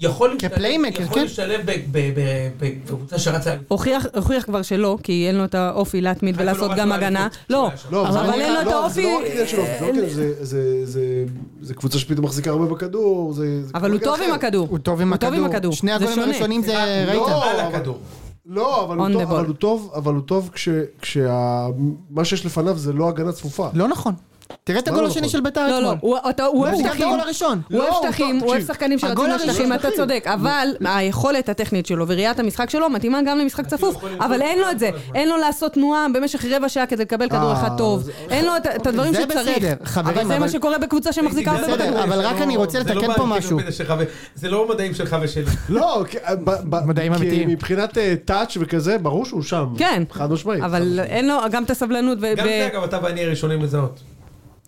[SPEAKER 2] יכול להשתלב-
[SPEAKER 1] כפליימקר,
[SPEAKER 2] יכול
[SPEAKER 1] כן.
[SPEAKER 2] להשתלב ב- ב- ב- ב- בקבוצה
[SPEAKER 1] לא,
[SPEAKER 2] שרצה...
[SPEAKER 3] הוכיח, הוכיח כבר שלא, כי אין לו את האופי להתמיד
[SPEAKER 2] חיפה לא
[SPEAKER 3] ולעשות
[SPEAKER 2] רצה
[SPEAKER 3] גם הגנה.
[SPEAKER 2] אליפות.
[SPEAKER 3] לא,
[SPEAKER 4] לא,
[SPEAKER 1] אבל
[SPEAKER 4] זה לא
[SPEAKER 1] אין
[SPEAKER 4] רק-
[SPEAKER 1] לו
[SPEAKER 3] את
[SPEAKER 4] לא,
[SPEAKER 3] האופי-
[SPEAKER 4] זה לא רק עניין של אופי, זה לא רק- זה- זה- זה- זה קבוצה שפתאום מחזיקה הרבה בכדור, זה... זה
[SPEAKER 3] אבל הוא
[SPEAKER 4] כדורגל
[SPEAKER 3] טוב
[SPEAKER 4] אחר.
[SPEAKER 3] עם הכדור.
[SPEAKER 1] הוא טוב עם הכדור. שני
[SPEAKER 3] זה
[SPEAKER 1] הגולים
[SPEAKER 3] שונה.
[SPEAKER 1] הראשונים זה,
[SPEAKER 2] סליחה,
[SPEAKER 1] ראית?
[SPEAKER 4] לא.
[SPEAKER 2] על
[SPEAKER 4] אבל-
[SPEAKER 2] הכדור.
[SPEAKER 4] לא, אבל הוא
[SPEAKER 3] On the
[SPEAKER 4] טוב,
[SPEAKER 3] ball.
[SPEAKER 4] אבל הוא טוב, אבל הוא טוב כש... כשה- מה שיש לפניו זה לא הגנה צפופה.
[SPEAKER 1] לא נכון. תראה את
[SPEAKER 4] מה
[SPEAKER 1] הגול
[SPEAKER 4] לא
[SPEAKER 1] השני
[SPEAKER 4] נכון?
[SPEAKER 1] של בית"ר
[SPEAKER 3] לא, לא,
[SPEAKER 1] אתמול.
[SPEAKER 3] הוא אתה- הוא אוהב
[SPEAKER 1] הוא גם את
[SPEAKER 3] שטחים.
[SPEAKER 1] הגול הראשון.
[SPEAKER 3] הוא אוהב
[SPEAKER 4] לא, הוא
[SPEAKER 3] שטחים,
[SPEAKER 4] טוב,
[SPEAKER 3] הוא אוהב
[SPEAKER 4] תקשיב.
[SPEAKER 3] שחקנים
[SPEAKER 1] הגול
[SPEAKER 3] שרצים
[SPEAKER 1] הראשון
[SPEAKER 3] לשטחים, אתה
[SPEAKER 4] שטחים.
[SPEAKER 3] צודק, אבל היכולת הטכנית שלו וראיית המשחק שלו מתאימה גם למשחק צפוף,
[SPEAKER 2] יכולים
[SPEAKER 3] אבל
[SPEAKER 2] לזרוק
[SPEAKER 3] אין לו את זה,
[SPEAKER 2] כל הזמן.
[SPEAKER 3] אין לו לעשות תנועה במשך רבע שעה כדי לקבל כדור
[SPEAKER 4] אה,
[SPEAKER 3] אחד טוב,
[SPEAKER 4] זה-
[SPEAKER 3] אין לו את- את הדברים
[SPEAKER 1] זה
[SPEAKER 3] שצריך,
[SPEAKER 1] בסדר, חברים,
[SPEAKER 3] אבל זה מה
[SPEAKER 1] אבל-
[SPEAKER 3] שקורה בקבוצה שמחזיקה הרבה
[SPEAKER 1] בסדר,
[SPEAKER 3] בכדור.
[SPEAKER 1] אבל רק
[SPEAKER 2] זה
[SPEAKER 1] אני
[SPEAKER 2] לא-
[SPEAKER 1] רוצה
[SPEAKER 2] זה לא
[SPEAKER 1] לתקן פה
[SPEAKER 2] באנציקלופדיה
[SPEAKER 1] משהו.
[SPEAKER 2] שלך ו- זה לא מדעים שלך ושלי.
[SPEAKER 4] לא, כי- ב- ב-
[SPEAKER 1] מדעים
[SPEAKER 4] כי
[SPEAKER 1] אמיתיים.
[SPEAKER 4] מבחינת אה, טאץ' וכזה, ברור שהוא שם.
[SPEAKER 3] כן,
[SPEAKER 4] חד משמעית.
[SPEAKER 3] אבל אין לו גם את הסבלנות, ו-
[SPEAKER 2] גם
[SPEAKER 3] ב-
[SPEAKER 2] זה, אגב, אתה ואני הראשונים לזהות.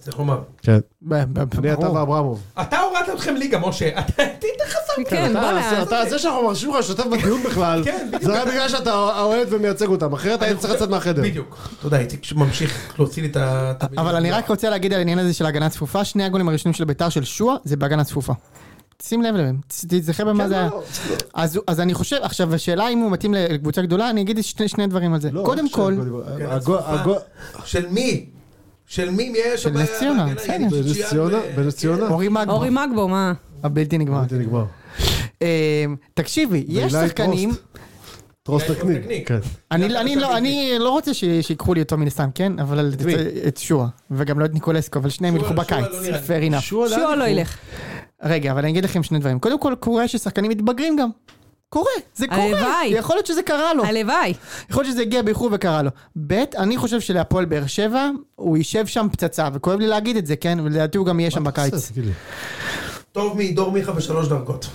[SPEAKER 2] צריך לומר.
[SPEAKER 4] כן.
[SPEAKER 1] ב- ב-
[SPEAKER 4] אני, אתה
[SPEAKER 1] ברור.
[SPEAKER 4] ואברמוב.
[SPEAKER 2] אתה הורדת אתכם ליגה, משה. אתה היית חסר.
[SPEAKER 3] כן,
[SPEAKER 4] אתה-
[SPEAKER 3] בוא'נה,
[SPEAKER 4] אתה זה שאנחנו מרשים לך להשתתף בדיון בכלל,
[SPEAKER 2] כן, בדיוק.
[SPEAKER 4] זה רק בגלל שאתה אוהד ומייצג אותם, אחרת היית צריך לצאת מהחדר.
[SPEAKER 2] בדיוק. תודה, איציק שממשיך להוציא לי את ה... את לא. המילים.
[SPEAKER 1] אבל אני רק רוצה להגיד על העניין הזה של הגנה צפופה, שני הגולים הראשונים של בית"ר של שועה זה בהגנה צפופה. שים לב אליהם, ת- תזכר במה זה היה. אז הוא- אז אני חושב, עכשיו השאלה אם הוא מתאים לקבוצה גדולה, אני אגיד שני שני דברים על זה.
[SPEAKER 4] לא,
[SPEAKER 1] קודם
[SPEAKER 4] של-
[SPEAKER 1] כל,
[SPEAKER 2] כן,
[SPEAKER 4] הגול-
[SPEAKER 2] הצפה.
[SPEAKER 4] הגול-
[SPEAKER 2] של מי? של מי? מי היה שם?
[SPEAKER 1] של נס ציונה,
[SPEAKER 2] בהגנה?
[SPEAKER 1] בסדר.
[SPEAKER 2] יניב
[SPEAKER 4] בנס
[SPEAKER 2] שישיאן
[SPEAKER 4] ציונה,
[SPEAKER 2] ו-
[SPEAKER 4] בנס ציונה.
[SPEAKER 1] אורי מגבו,
[SPEAKER 3] אורי מגבו, מה?
[SPEAKER 1] הבלתי נגמר.
[SPEAKER 4] זה לא, נגמר.
[SPEAKER 1] אמ, תקשיבי, יש
[SPEAKER 4] ואילי
[SPEAKER 1] שחקנים,
[SPEAKER 4] טרוסט. טרוסט
[SPEAKER 2] אולי טרוסט
[SPEAKER 4] תקניק.
[SPEAKER 2] תקניק.
[SPEAKER 4] כן.
[SPEAKER 1] אני,
[SPEAKER 2] זה
[SPEAKER 1] אני,
[SPEAKER 2] אתה
[SPEAKER 1] לא, אני לא רוצה ש- שיקחו לי אותו מן הסתם, כן? אבל את,
[SPEAKER 4] מי?
[SPEAKER 1] את שועה, וגם לא את ניקולסקו, אבל שניהם
[SPEAKER 2] שועה-
[SPEAKER 1] ילכו
[SPEAKER 2] שועה
[SPEAKER 1] בקיץ,
[SPEAKER 2] לא נראה לי.
[SPEAKER 1] fair enough.
[SPEAKER 3] שועה לא ילך.
[SPEAKER 1] רגע, אבל אני אגיד לכם שני דברים. קודם כל, קורה ששחקנים מתבגרים גם. קורה, זה קורה.
[SPEAKER 3] הלוואי.
[SPEAKER 1] יכול להיות שזה קרה
[SPEAKER 4] לא.
[SPEAKER 1] לו.
[SPEAKER 3] הלוואי.
[SPEAKER 1] יכול להיות שזה הגיע באיחור וקרה לו. ב', אני חושב שלהפועל באר שבע, הוא יישב שם פצצה, וכואב לי להגיד את זה, כן? ולדעתי הוא גם יהיה שם בקיץ.
[SPEAKER 4] תגיד לי.
[SPEAKER 2] טוב מדור מיכה בשלוש דרגות.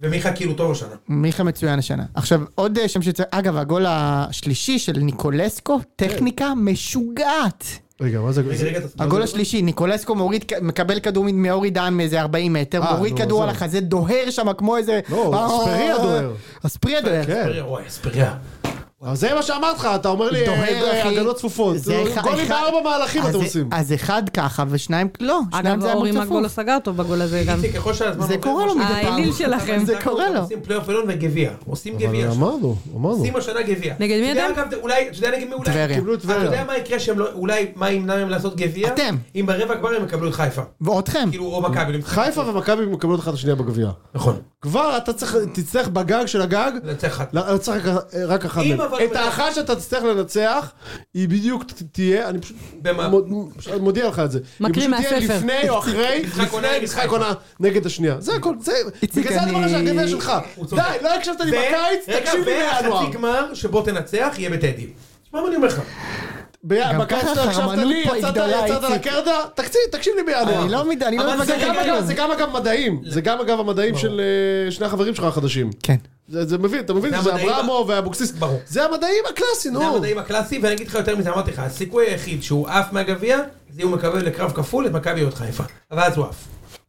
[SPEAKER 2] ומיכה כאילו טוב השנה.
[SPEAKER 1] מיכה מצוין השנה. עכשיו, עוד אה, שם שצריך... אגב, הגול השלישי של ניקולסקו, טכניקה משוגעת.
[SPEAKER 4] רגע, מה זה?
[SPEAKER 2] רגע, רגע, אתה-
[SPEAKER 1] הגול השלישי, ניקולסקו מוריד, כ- מקבל כדור מ- מאורי דן מאיזה 40 מטר,
[SPEAKER 4] אה,
[SPEAKER 1] מוריד
[SPEAKER 4] נו,
[SPEAKER 1] כדור
[SPEAKER 4] זהו.
[SPEAKER 1] על החזה, דוהר שם כמו איזה...
[SPEAKER 4] לא,
[SPEAKER 1] אה,
[SPEAKER 4] אספריה דוהר.
[SPEAKER 1] אספריה דוהר.
[SPEAKER 4] כן.
[SPEAKER 2] אספריה, אוי, אספריה.
[SPEAKER 4] אבל זה מה שאמרתי לך, אתה אומר לי,
[SPEAKER 1] דוהר,
[SPEAKER 4] אה,
[SPEAKER 1] אחי.
[SPEAKER 4] הגנות צפופות.
[SPEAKER 1] זה אחד-
[SPEAKER 4] גולים
[SPEAKER 1] אחד-
[SPEAKER 4] בארבע מהלכים
[SPEAKER 1] אז- אה,
[SPEAKER 4] אתם עושים.
[SPEAKER 1] אז אחד ככה ושניים... לא, שניים
[SPEAKER 3] אגב,
[SPEAKER 1] זה היה
[SPEAKER 3] אורי
[SPEAKER 1] מאוד
[SPEAKER 3] מגול לא
[SPEAKER 1] צפוף.
[SPEAKER 3] סגר טוב בגול הזה גם.
[SPEAKER 2] איציק, ככל שהזמן
[SPEAKER 1] זה
[SPEAKER 2] עובר,
[SPEAKER 1] קורה לו
[SPEAKER 2] כמו
[SPEAKER 1] מדי
[SPEAKER 2] שאתה-
[SPEAKER 1] פעם.
[SPEAKER 3] האליל שלכם.
[SPEAKER 1] זה קורה לו.
[SPEAKER 2] עושים פלייאוף עליון וגביע. עושים גביע.
[SPEAKER 4] אבל
[SPEAKER 2] השנה.
[SPEAKER 4] אמרנו, אמרנו.
[SPEAKER 2] עושים השנה גביע.
[SPEAKER 3] נגד מי
[SPEAKER 2] אתה יודע,
[SPEAKER 3] אתם?
[SPEAKER 2] אגב, אולי, אתה יודע נגד מי אולי?
[SPEAKER 1] טבריה.
[SPEAKER 4] קיבלו את
[SPEAKER 2] אתה יודע
[SPEAKER 4] טבריה.
[SPEAKER 2] מה יקרה שהם לא, אולי, מה ימנע מהם לעשות גביע?
[SPEAKER 1] אתם.
[SPEAKER 2] אם ברבע כבר הם יקבלו את חיפה.
[SPEAKER 1] ואותכם.
[SPEAKER 2] כאילו, או מכבי. אני-
[SPEAKER 4] חיפה ומכבי מקבלות אחת את השנייה בגביע.
[SPEAKER 2] נכון.
[SPEAKER 4] כבר אתה צריך, תצטרך בגג של הגג,
[SPEAKER 2] לנצח אחת.
[SPEAKER 4] לנצח לא, רק- רק אחת.
[SPEAKER 2] אם
[SPEAKER 4] מהם.
[SPEAKER 2] אבל-
[SPEAKER 4] את האחת שאתה תצטרך לנצח, היא בדיוק ת- תהיה, אני פשוט
[SPEAKER 2] במה?
[SPEAKER 4] מוד- פשוט מודיע לך את זה. היא
[SPEAKER 3] מקריא
[SPEAKER 4] פשוט תהיה
[SPEAKER 3] מהספר.
[SPEAKER 4] לפני או אחרי,
[SPEAKER 2] משחק עונה
[SPEAKER 4] לפני
[SPEAKER 2] נגד
[SPEAKER 4] משחק
[SPEAKER 2] חיפה.
[SPEAKER 4] עונה נגד השנייה. זה הכל, זה,
[SPEAKER 1] איציק,
[SPEAKER 4] בגלל זה
[SPEAKER 1] אני-
[SPEAKER 4] הדבר שהגביע שלך.
[SPEAKER 2] הוא צודק.
[SPEAKER 4] די, לא הקשבת לי
[SPEAKER 2] ו-
[SPEAKER 4] בקיץ,
[SPEAKER 2] רגע,
[SPEAKER 4] תקשיב לי בינואר.
[SPEAKER 2] והחצי גמר שבו תנצח יהיה בטדי. מה אני אומר לך?
[SPEAKER 4] ב-
[SPEAKER 1] גם
[SPEAKER 4] בקיץ
[SPEAKER 1] ככה
[SPEAKER 4] לא הקשבת
[SPEAKER 1] החרמנות
[SPEAKER 4] לי,
[SPEAKER 1] פה היא
[SPEAKER 4] יצאת
[SPEAKER 1] גדולה,
[SPEAKER 4] יצאת
[SPEAKER 1] איציק.
[SPEAKER 4] לקרדה, תקשיב, תקשיב לי בינואר.
[SPEAKER 1] אני לא מת- אני לא
[SPEAKER 2] אבל
[SPEAKER 1] מתווכח
[SPEAKER 4] זה גם,
[SPEAKER 1] איתך
[SPEAKER 4] אגב,
[SPEAKER 1] כלום.
[SPEAKER 4] זה גם אגב מדעים, זה גם אגב המדעים של אה, שני החברים שלך החדשים.
[SPEAKER 1] כן.
[SPEAKER 4] זה, זה מבין, אתה מבין,
[SPEAKER 2] זה
[SPEAKER 4] זה
[SPEAKER 2] המדעים
[SPEAKER 4] אברהמו ואבוקסיס,
[SPEAKER 2] ברור.
[SPEAKER 4] זה המדעים הקלאסי, נו.
[SPEAKER 2] זה המדעים הקלאסי, ואני אגיד לך יותר מזה, אמרתי לך, הסיכוי היחיד שהוא עף מהגביע, זה אם הוא מקבל לקרב כפול את מכבי עוד חיפה. אבל אז הוא עף.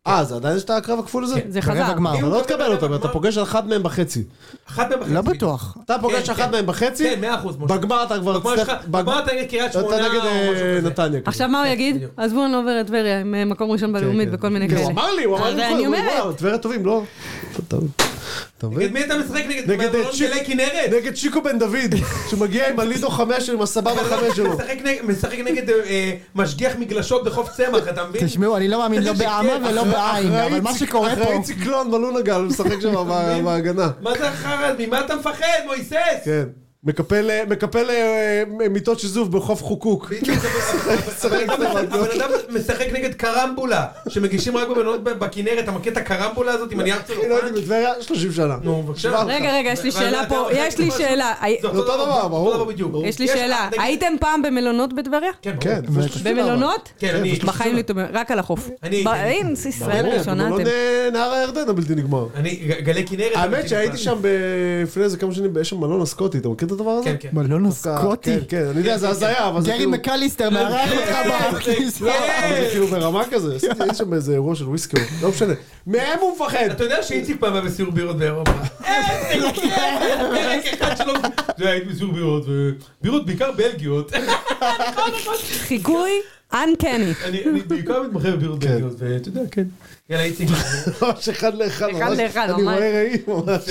[SPEAKER 4] אה, זה עדיין יש את הקרב הכפול הזה?
[SPEAKER 3] כן, זה
[SPEAKER 1] ברבע
[SPEAKER 3] חזר.
[SPEAKER 1] גמר.
[SPEAKER 4] אבל לא תקבל אותו, אבל אתה פוגש אחת מהם בחצי.
[SPEAKER 2] אחת מהם בחצי.
[SPEAKER 1] לא בטוח.
[SPEAKER 4] אתה פוגש
[SPEAKER 2] כן.
[SPEAKER 4] אחת מהם בחצי,
[SPEAKER 2] כן, מאה אחוז, משה.
[SPEAKER 4] בגמר אתה כבר...
[SPEAKER 2] בגמר
[SPEAKER 4] תצטרך-
[SPEAKER 2] שלך- בגמר אתה נגד קריית שמונה
[SPEAKER 4] אתה נגד
[SPEAKER 2] או
[SPEAKER 4] אה,
[SPEAKER 2] משהו כזה.
[SPEAKER 4] נתניה. כזה.
[SPEAKER 3] עכשיו מה הוא יגיד?
[SPEAKER 2] בדיוק.
[SPEAKER 3] עזבו, אני לא עובר את טבריה עם אה, מקום ראשון בלאומית
[SPEAKER 4] כן.
[SPEAKER 3] וכל מיני
[SPEAKER 4] הוא
[SPEAKER 3] כאלה.
[SPEAKER 4] אמר לי, הוא אמר
[SPEAKER 3] אבל
[SPEAKER 4] לי,
[SPEAKER 3] אני
[SPEAKER 4] הוא
[SPEAKER 3] אומרת.
[SPEAKER 4] אמר, טבריה טובים, לא? אתה- אתה
[SPEAKER 2] נגד
[SPEAKER 4] מבין?
[SPEAKER 2] מי אתה משחק? נגד
[SPEAKER 4] נגד,
[SPEAKER 2] מלון
[SPEAKER 4] אה, צ'יק.
[SPEAKER 2] של כנרת?
[SPEAKER 4] נגד שיקו בן דוד, שמגיע עם הלידו חמש שלו, עם הסבבה
[SPEAKER 2] לא,
[SPEAKER 4] חמש שלו.
[SPEAKER 2] משחק נגד- משחק נגד אה, אה, משגיח מגלשות בחוף צמח, אתה מבין?
[SPEAKER 1] תשמעו, אני לא מאמין לא
[SPEAKER 2] זה
[SPEAKER 1] בעמה
[SPEAKER 2] שכן,
[SPEAKER 1] ולא
[SPEAKER 2] אחרי-
[SPEAKER 1] בעין,
[SPEAKER 4] אחראי
[SPEAKER 1] אבל מה
[SPEAKER 4] ציק-
[SPEAKER 1] שקורה
[SPEAKER 4] אחראי
[SPEAKER 1] פה...
[SPEAKER 4] ציקלון בלונגל, משחק שם ב- בהגנה.
[SPEAKER 2] מה זה החרא? ממה אתה מפחד, מויסס?
[SPEAKER 4] כן. מקפל, אה, מקפל אה, אה, מיטות שיזוף בחוף חוקוק.
[SPEAKER 2] בדיוק, אבל- אבל- אבל- אבל הבן אדם משחק נגד קרמבולה, שמגישים רק בבנות ב- בכנרת, אתה מכיר את הקרמבולה הזאת עם הנייר
[SPEAKER 4] אני לא
[SPEAKER 2] צלופן?
[SPEAKER 4] הייתי בטבריה 30 שנה.
[SPEAKER 2] נו, בבקשה.
[SPEAKER 4] שמע,
[SPEAKER 3] רגע, רגע, יש לי
[SPEAKER 2] אבל-
[SPEAKER 3] שאלה
[SPEAKER 2] אבל-
[SPEAKER 3] פה,
[SPEAKER 2] אבל-
[SPEAKER 3] יש לי
[SPEAKER 2] אבל-
[SPEAKER 3] שאלה. הי-
[SPEAKER 2] זה
[SPEAKER 4] אותו דבר, ברור.
[SPEAKER 2] אותו דבר בדיוק.
[SPEAKER 3] יש לי
[SPEAKER 2] יש-
[SPEAKER 3] שאלה.
[SPEAKER 2] נגד-
[SPEAKER 3] הייתם פעם במלונות בטבריה?
[SPEAKER 2] כן, ברור.
[SPEAKER 4] כן, לפני 30 שנה, אבל.
[SPEAKER 3] במלונות?
[SPEAKER 2] כן, אני...
[SPEAKER 3] בחיים לא הייתם, רק על החוף.
[SPEAKER 2] אני-
[SPEAKER 3] ב- אין, זה ישראל
[SPEAKER 4] ברור,
[SPEAKER 3] הראשונה
[SPEAKER 4] במלון,
[SPEAKER 3] אתם.
[SPEAKER 4] אה, נהר הירדן הבלתי נגמר.
[SPEAKER 2] אני... ג- גלי כנרת...
[SPEAKER 4] האמת שהייתי שם לפני איזה כמה שנים, יש שם מלון הסקוטי, אתה מכיר את הדבר הזה?
[SPEAKER 2] כן, כן.
[SPEAKER 1] בלון
[SPEAKER 4] דווקא-
[SPEAKER 1] הסקוטי.
[SPEAKER 4] כן, כן, אני יודע, זה הזיה, אבל זה
[SPEAKER 1] גרי
[SPEAKER 4] כאילו... לא,
[SPEAKER 1] מקליסטר מארח
[SPEAKER 2] כן,
[SPEAKER 1] אותך
[SPEAKER 2] כן,
[SPEAKER 1] בכניסה.
[SPEAKER 2] כן.
[SPEAKER 4] אבל זה כאילו ברמה כזה, עשיתי- יש שם איזה אירוע של וויסקי, לא משנה. מהם הוא מפחד?
[SPEAKER 2] אתה יודע שאיציק פעם היה בסיור בירות באירופה. כן, איזה כיף! פרק כן, אחד שלו. זה היה הייתי בסיור בירות, ובירות בעיקר בלגיות.
[SPEAKER 3] חיקוי אנקני.
[SPEAKER 2] אני אני בעיקר מתמחה בבירות
[SPEAKER 4] כן.
[SPEAKER 2] בלגיות, ואתה יודע, כן. יאללה, איציק.
[SPEAKER 4] ממש אחד לאחד,
[SPEAKER 3] אחד
[SPEAKER 4] ממש-
[SPEAKER 3] לאחד,
[SPEAKER 4] אני
[SPEAKER 3] ממש.
[SPEAKER 4] רואה ראי ממש.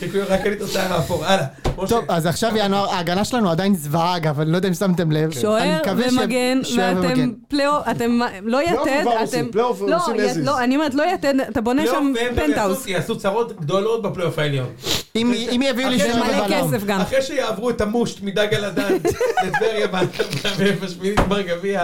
[SPEAKER 2] חיכו, רק אני את השיער האפור. הלאה. משה.
[SPEAKER 1] טוב, אז עכשיו ינואר, ההגנה שלנו עדיין זוועה אגב, אני לא יודע אם שמתם לב.
[SPEAKER 4] כן.
[SPEAKER 1] אני
[SPEAKER 3] שוער
[SPEAKER 1] מקווה ש-
[SPEAKER 3] ומגן,
[SPEAKER 1] שוער
[SPEAKER 3] ואתם
[SPEAKER 1] ומגן.
[SPEAKER 3] פלייאוף, אתם לא
[SPEAKER 4] פלייאוף
[SPEAKER 3] יתד,
[SPEAKER 4] כבר
[SPEAKER 3] אתם...
[SPEAKER 4] עושים, פלייאוף
[SPEAKER 3] לא,
[SPEAKER 4] עושים
[SPEAKER 3] י-
[SPEAKER 4] לזיז.
[SPEAKER 3] לא, אני אומרת, לא יתד, אתה בונה
[SPEAKER 2] פלייאוף
[SPEAKER 3] שם
[SPEAKER 2] לא, והם גם
[SPEAKER 3] פנטהאוס.
[SPEAKER 2] יעשו- יעשו צרות גדולות בפלייאוף העליון.
[SPEAKER 1] אם אם יביאו לי
[SPEAKER 2] אחרי
[SPEAKER 1] שוער
[SPEAKER 3] מלא
[SPEAKER 1] ובלם.
[SPEAKER 3] כסף גם.
[SPEAKER 2] אחרי שיעברו את המושט מדג על הדן לטבריה בשמינית בר גביע,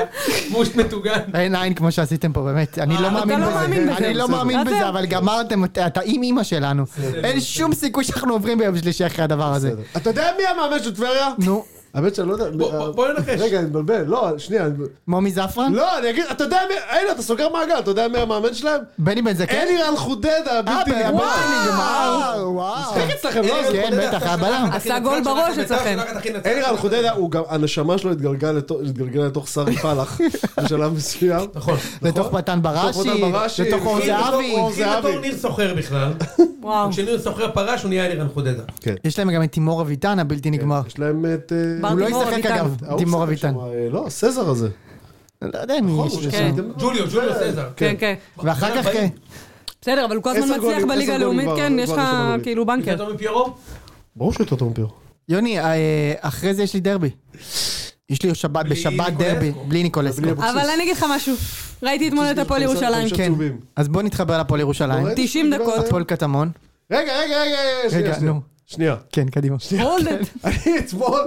[SPEAKER 2] מושט מטוגן.
[SPEAKER 1] אין עין כמו שעשיתם פה, באמת. אני
[SPEAKER 2] אתה
[SPEAKER 1] לא מאמין
[SPEAKER 3] לא
[SPEAKER 1] בזה.
[SPEAKER 3] מאמין בזה.
[SPEAKER 1] אני לא
[SPEAKER 4] בסדר.
[SPEAKER 1] מאמין
[SPEAKER 3] בסדר.
[SPEAKER 1] בזה, אבל גמרתם, אתה אתה עם אימא שלנו. אין שום סיכוי שאנחנו עוברים ביום שלישי אחרי הדבר הזה.
[SPEAKER 4] אתה יודע מי המאמן של טבריה?
[SPEAKER 1] נו,
[SPEAKER 4] האמת שאני לא יודע.
[SPEAKER 2] בוא- בוא- בוא ננחש.
[SPEAKER 4] רגע, אני מבלבל, לא, שנייה. אני-
[SPEAKER 1] מומי זפרן?
[SPEAKER 4] לא, אני אגיד, אתה יודע מי, הנה, אתה סוגר מעגל, אתה יודע מי המאמן שלהם?
[SPEAKER 1] בני בן זקן?
[SPEAKER 4] אלירן חודדה, הבלתי
[SPEAKER 1] כן. אה,
[SPEAKER 4] נגמר.
[SPEAKER 1] בני, נגמר. וואו.
[SPEAKER 4] משחק אצלכם, לא?
[SPEAKER 1] כן,
[SPEAKER 4] אלירן חודדה.
[SPEAKER 1] בטח, היה בלם.
[SPEAKER 3] עשה גול בראש אצלכם.
[SPEAKER 4] אלירן חודדה, הוא גם, הנשמה שלו התגלגלה לתוך- התגלגלה לתוך שרי פלח בשלב מסוים.
[SPEAKER 2] נכון.
[SPEAKER 1] לתוך מתן
[SPEAKER 4] לתוך
[SPEAKER 1] בראשי,
[SPEAKER 4] מתן בראשי,
[SPEAKER 1] לתוך
[SPEAKER 2] כן,
[SPEAKER 1] אור
[SPEAKER 4] התחיל בתור
[SPEAKER 1] נכון, זהבי.
[SPEAKER 4] אור
[SPEAKER 2] התחיל בתור
[SPEAKER 4] זהבי.
[SPEAKER 2] ניר סוחר בכלל,
[SPEAKER 3] וואו.
[SPEAKER 4] כן,
[SPEAKER 2] וכשניר סוחר פרש הוא נהיה אלירן חודדה.
[SPEAKER 1] יש להם גם את תימור אביטן הבלתי נגמר.
[SPEAKER 4] יש להם את... אה,
[SPEAKER 3] בר-
[SPEAKER 1] הוא לא
[SPEAKER 3] תימור
[SPEAKER 1] ישחק
[SPEAKER 3] אביטן.
[SPEAKER 1] אגב,
[SPEAKER 4] ההוא
[SPEAKER 1] תימור
[SPEAKER 4] משחק
[SPEAKER 1] אביטן.
[SPEAKER 4] שם, אה, לא, הסזר הזה.
[SPEAKER 1] לא יודע אם יש
[SPEAKER 4] הוא
[SPEAKER 1] לו
[SPEAKER 4] שם.
[SPEAKER 1] שם.
[SPEAKER 2] ג'וליו, ג'וליו סזר.
[SPEAKER 3] כן, כן.
[SPEAKER 1] ואחר כך כן.
[SPEAKER 3] בסדר, אבל הוא כל
[SPEAKER 4] עשר
[SPEAKER 3] הזמן מצליח
[SPEAKER 4] גולים, עשר
[SPEAKER 3] בליגה הלאומית,
[SPEAKER 4] גולים
[SPEAKER 3] כן,
[SPEAKER 4] כבר,
[SPEAKER 3] יש לך
[SPEAKER 4] כבר עשר גולים.
[SPEAKER 3] כאילו
[SPEAKER 2] כן.
[SPEAKER 3] בנקר.
[SPEAKER 2] יותר מפיירו?
[SPEAKER 4] ברור שהוא יותר טוב מפיור.
[SPEAKER 1] יוני, אה, אחרי זה יש לי דרבי. יש לי שבת,
[SPEAKER 2] בלי
[SPEAKER 1] בשבת
[SPEAKER 2] ניקולסקו.
[SPEAKER 1] דרבי, בלי ניקולסקו.
[SPEAKER 4] בלי אבוקסיס.
[SPEAKER 3] אבל אני אגיד לך משהו, ראיתי אתמול את הפועל ירושלים.
[SPEAKER 4] חמישה
[SPEAKER 1] כן.
[SPEAKER 4] צהובים.
[SPEAKER 1] אז בוא נתחבר להפועל ירושלים.
[SPEAKER 4] לא ראיתי
[SPEAKER 3] 90
[SPEAKER 4] שום דבר.
[SPEAKER 3] דקות.
[SPEAKER 1] הפועל קטמון.
[SPEAKER 4] רגע, רגע, רגע, רגע, שנייה, שנייה.
[SPEAKER 1] נו.
[SPEAKER 4] שנייה.
[SPEAKER 1] כן, קדימה.
[SPEAKER 3] הולדת.
[SPEAKER 4] אני אתמול,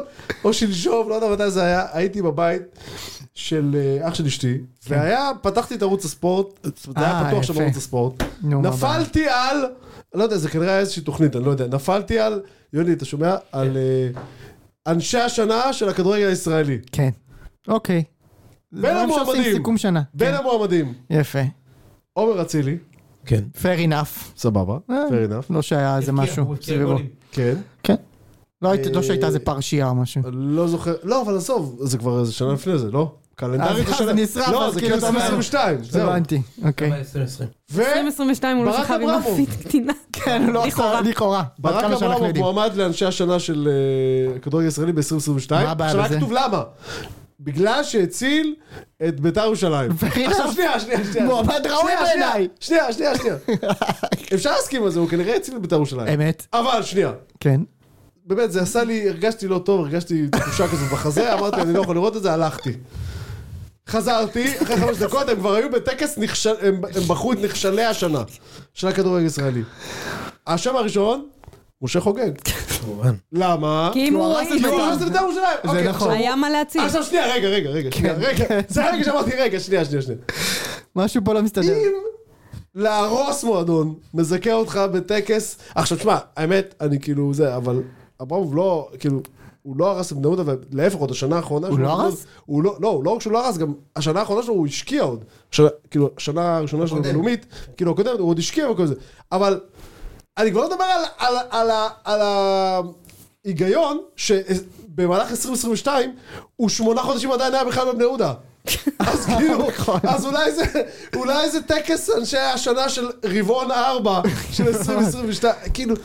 [SPEAKER 4] או שלשום, לא יודע מתי זה היה, הייתי בבית של אה, אח של אשתי, והיה, פתחתי את ערוץ הספורט, זה היה
[SPEAKER 1] כן. אה,
[SPEAKER 4] פתוח שם
[SPEAKER 1] יפה.
[SPEAKER 4] ערוץ הספורט,
[SPEAKER 1] נו, מה
[SPEAKER 4] נפלתי על, לא יודע, זה כנראה היה איזושהי תוכנית, אני לא יודע, נפלתי על, יוני, אתה שומע?
[SPEAKER 1] כן.
[SPEAKER 4] על אה, אנשי השנה של הכדורגל הישראלי,
[SPEAKER 1] כן. אוקיי.
[SPEAKER 4] בין
[SPEAKER 1] דברים שעושים
[SPEAKER 4] המועמדים.
[SPEAKER 1] סיכום שנה.
[SPEAKER 4] בין
[SPEAKER 1] כן.
[SPEAKER 4] המועמדים,
[SPEAKER 1] יפה.
[SPEAKER 4] עומר אצילי,
[SPEAKER 2] כן.
[SPEAKER 1] fair enough.
[SPEAKER 4] סבבה,
[SPEAKER 1] אה,
[SPEAKER 4] fair enough.
[SPEAKER 1] לא שהיה איזה
[SPEAKER 2] הבקיע,
[SPEAKER 1] משהו
[SPEAKER 2] הוא הבקיע
[SPEAKER 1] סביבו.
[SPEAKER 2] גולים.
[SPEAKER 4] כן.
[SPEAKER 1] כן. לא היית- לא
[SPEAKER 4] אה,
[SPEAKER 1] שהייתה איזה פרשייה או משהו.
[SPEAKER 4] לא זוכר, לא, אבל עזוב, זה כבר איזה שנה לפני זה, לא? קלנדרית
[SPEAKER 1] אז-
[SPEAKER 4] זה
[SPEAKER 1] אז
[SPEAKER 4] שנה.
[SPEAKER 1] נשרף,
[SPEAKER 4] לא,
[SPEAKER 1] אז
[SPEAKER 4] זה
[SPEAKER 1] כאילו
[SPEAKER 4] כאילו
[SPEAKER 1] אתה אומר-
[SPEAKER 4] 2022, זהו.
[SPEAKER 1] הבנתי, אוקיי.
[SPEAKER 2] אבל 2020.
[SPEAKER 4] ו...
[SPEAKER 3] 2022 הוא לא
[SPEAKER 4] ברק
[SPEAKER 3] שכב עם
[SPEAKER 4] אברמוב.
[SPEAKER 3] אף קטינה.
[SPEAKER 1] כן, לא,
[SPEAKER 3] לכאורה.
[SPEAKER 1] לכאורה. עד
[SPEAKER 4] ברק
[SPEAKER 1] כמה שאנחנו
[SPEAKER 4] אברמוב
[SPEAKER 1] יודעים.
[SPEAKER 4] מועמד לאנשי השנה של אה, הכדורגל הישראלי ב-2022.
[SPEAKER 1] מה הבעיה
[SPEAKER 4] עכשיו היה
[SPEAKER 1] בזה?
[SPEAKER 4] כתוב למה. בגלל שהציל את ביתר ירושלים.
[SPEAKER 1] Fair
[SPEAKER 4] עכשיו
[SPEAKER 1] enough.
[SPEAKER 4] שנייה, שנייה, שנייה.
[SPEAKER 1] מועמד ראוי
[SPEAKER 4] שנייה, שנייה,
[SPEAKER 1] בעיניי.
[SPEAKER 4] שנייה, שנייה, שנייה. אפשר להסכים על זה, הוא כנראה הציל את ביתר ירושלים.
[SPEAKER 1] אמת,
[SPEAKER 4] אבל שנייה.
[SPEAKER 1] כן.
[SPEAKER 4] באמת, זה עשה לי, הרגשתי לא טוב, הרגשתי תחושה כזאת בחזה, אמרתי, אני לא יכול לראות את זה, הלכתי. חזרתי, אחרי חמש דקות הם כבר היו בטקס, נכשל, הם, הם בחרו את נכשלי השנה של הכדורגל הישראלי. השם הראשון, משה חוגג.
[SPEAKER 2] כמובן.
[SPEAKER 4] למה?
[SPEAKER 3] כי אם
[SPEAKER 1] הוא
[SPEAKER 3] הוא...
[SPEAKER 1] הרס
[SPEAKER 3] אם
[SPEAKER 1] את
[SPEAKER 4] כי הוא
[SPEAKER 3] הוא-
[SPEAKER 4] הרס את בית"ר ירושלים.
[SPEAKER 1] זה נכון.
[SPEAKER 4] אוקיי,
[SPEAKER 1] כן.
[SPEAKER 4] עכשיו-
[SPEAKER 3] היה מה להציל.
[SPEAKER 4] עכשיו שנייה, רגע, רגע, רגע, שנייה, רגע. זה הרגע שאמרתי, רגע, שנייה, שנייה, שנייה.
[SPEAKER 1] משהו פה לא מסתדר.
[SPEAKER 4] אם להרוס מועדון מזכה אותך בטקס... עכשיו, תשמע, האמת, אני כאילו זה, אבל אברמוב לא, כאילו, הוא לא הרס את בני יהודה, ולהפך, עוד השנה האחרונה...
[SPEAKER 1] הוא
[SPEAKER 4] שלו-
[SPEAKER 1] לא הרס?
[SPEAKER 4] הוא לא, לא, לא רק שהוא לא הרס, גם השנה האחרונה שלו הוא השקיע עוד. שנה- כאילו, השנה הראשונה שלו
[SPEAKER 2] הקודמת.
[SPEAKER 4] בלאומית, כאילו, הקודמת, הוא עוד השקיע וכל זה. אבל אני כבר לא מדבר על, על, על, ה- על ההיגיון שבמהלך 2022 הוא שמונה חודשים עדיין היה בכלל בבני יהודה. אז כאילו, אז אולי זה, אולי זה טקס אנשי השנה של רבעון ארבע של 2022, כאילו,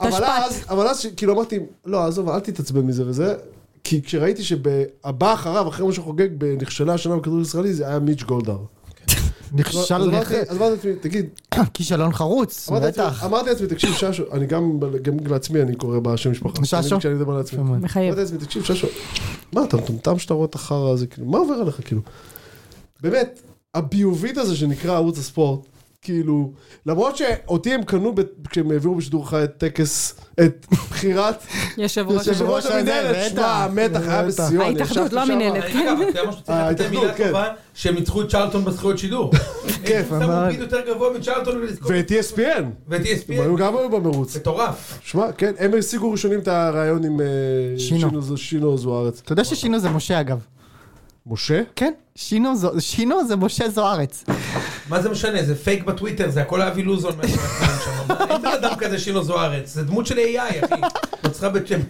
[SPEAKER 4] אבל
[SPEAKER 3] תשפ"ת.
[SPEAKER 4] אז, אבל אז, ש- כאילו אמרתי, לא, עזוב, אל תתעצבן מזה וזה, כי כשראיתי שהבא אחריו, אחרי מה שחוגג בנכשלה השנה בכדור ישראלי, זה היה מיץ' גולדהר.
[SPEAKER 1] נכשל
[SPEAKER 4] אז אמרתי-
[SPEAKER 1] לך-
[SPEAKER 4] אז אמרתי לעצמי, תגיד,
[SPEAKER 1] כישלון חרוץ,
[SPEAKER 4] אמרתי לעצמי-
[SPEAKER 1] בטח.
[SPEAKER 4] אמרתי לעצמי, תקשיב, ששו, אני גם, גם לעצמי אני קורא בשם משפחה.
[SPEAKER 1] ששו?
[SPEAKER 4] אני- כשאני מדבר לעצמי.
[SPEAKER 1] כמובן.
[SPEAKER 3] מחייב.
[SPEAKER 4] אמרתי לעצמי, תקשיב, ששו, מה, אתה מטומטם שאתה רואה את החרא הזה, כאילו, מה עובר עליך, כאילו? באמת, הביובית הזה שנקרא ערוץ הספורט, כאילו, למרות שאותי הם קנו ב- כשהם העבירו בשידור חי את טקס, את בחירת
[SPEAKER 3] יושב ראש.
[SPEAKER 1] יושב ראש
[SPEAKER 4] יושב-ראש
[SPEAKER 1] הזה,
[SPEAKER 4] המנהלת,
[SPEAKER 1] בטח.
[SPEAKER 4] שמע, המתח היה
[SPEAKER 1] בטח.
[SPEAKER 4] בסיוע. אני
[SPEAKER 3] ההתאחדות,
[SPEAKER 4] ישבתי
[SPEAKER 3] לא
[SPEAKER 4] שם.
[SPEAKER 3] המנהלת.
[SPEAKER 2] אני אגיד לך, אתה יודע משהו שצריך
[SPEAKER 4] אה,
[SPEAKER 2] לתת מילה
[SPEAKER 4] ההתאחדות,
[SPEAKER 2] טובה, שהם ניצחו את צ'רלטון בזכויות שידור.
[SPEAKER 4] כיף,
[SPEAKER 2] הם שמו
[SPEAKER 1] אבל-
[SPEAKER 2] ביד יותר גבוה מצ'רלטון ולזכות.
[SPEAKER 4] ואת E ESPN,
[SPEAKER 2] ואת
[SPEAKER 4] הם
[SPEAKER 2] ESPN.
[SPEAKER 4] היו גם היו במרוץ.
[SPEAKER 2] מטורף.
[SPEAKER 4] שמע, כן, הם השיגו ראשונים את הרעיון עם אה,
[SPEAKER 1] שינו.
[SPEAKER 4] שינו- שינו זוארץ.
[SPEAKER 1] אתה יודע ששינו זה משה אגב.
[SPEAKER 4] משה?
[SPEAKER 1] כן, שינו זו- שינו זה משה זוארץ.
[SPEAKER 2] מה זה משנה? זה פייק בטוויטר, זה הכל אבי לוזון. מאחורי הקלעים שם. אין בן אדם כזה שינו זוארץ, זה דמות של AI, אחי. מצחה בצ'אט,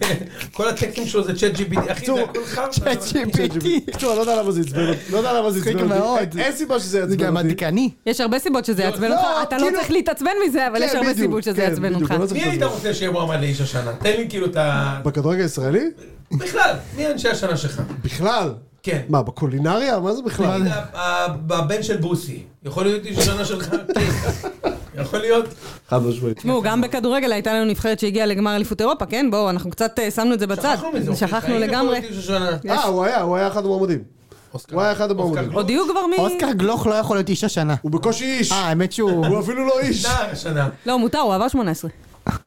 [SPEAKER 2] כל הטקסטים שלו זה צ'אט GPT, אחי, זה הכל חרא.
[SPEAKER 1] צ'אט GPT.
[SPEAKER 4] בקיצור, אני לא יודע למה זה עצבן אותי. לא יודע למה זה
[SPEAKER 1] מצחיק
[SPEAKER 4] עצבן אותי.
[SPEAKER 1] מאוד.
[SPEAKER 4] אין- אין סיבה שזה
[SPEAKER 1] זה
[SPEAKER 4] יעצבן
[SPEAKER 1] גם
[SPEAKER 4] אותי.
[SPEAKER 1] הדיקני.
[SPEAKER 3] יש הרבה סיבות שזה יעצבן
[SPEAKER 4] לא,
[SPEAKER 3] אותך, אתה לא
[SPEAKER 4] כאילו-
[SPEAKER 3] צריך להתעצבן מזה, אבל
[SPEAKER 4] כן,
[SPEAKER 3] יש הרבה
[SPEAKER 4] בדיוק,
[SPEAKER 3] סיבות שזה
[SPEAKER 4] כן,
[SPEAKER 3] יעצבן
[SPEAKER 4] בדיוק,
[SPEAKER 3] אותך.
[SPEAKER 4] אני לא צריך
[SPEAKER 2] מי היית
[SPEAKER 4] לדבר.
[SPEAKER 2] רוצה שיהיה מועמד לאיש השנה? תן לי כאילו את ה...
[SPEAKER 4] בכדורגל הישראלי?
[SPEAKER 2] בכלל, מי אנשי השנה שלך?
[SPEAKER 4] בכלל.
[SPEAKER 2] כן.
[SPEAKER 4] מה, בקולינריה? מה זה בכלל?
[SPEAKER 2] תגיד, ה- ה- הבן של בוסי, יכול להיות איש השנה שלך? כן. יכול להיות.
[SPEAKER 4] חד משמעית.
[SPEAKER 3] תשמעו, גם בכדורגל הייתה לנו נבחרת שהגיעה לגמר אליפות אירופה, כן? בואו, אנחנו קצת אה, שמנו את זה בצד.
[SPEAKER 2] שכחנו מזה.
[SPEAKER 1] אוקיי.
[SPEAKER 2] אופיר
[SPEAKER 3] שכחנו
[SPEAKER 2] חיים יכול
[SPEAKER 3] לגמרי.
[SPEAKER 2] להיות איש השנה.
[SPEAKER 4] אה, הוא היה, הוא היה אחד המועמדים. הוא היה אחד המועמדים.
[SPEAKER 2] אוסקר.
[SPEAKER 3] עוד יהיו כבר מ...
[SPEAKER 1] אוסקר גלוך לא יכול להיות איש השנה.
[SPEAKER 4] הוא בקושי איש.
[SPEAKER 1] אה, האמת שהוא...
[SPEAKER 4] הוא אפילו לא איש.
[SPEAKER 2] נער אה, השנה.
[SPEAKER 3] לא, מותר, הוא עבר 18.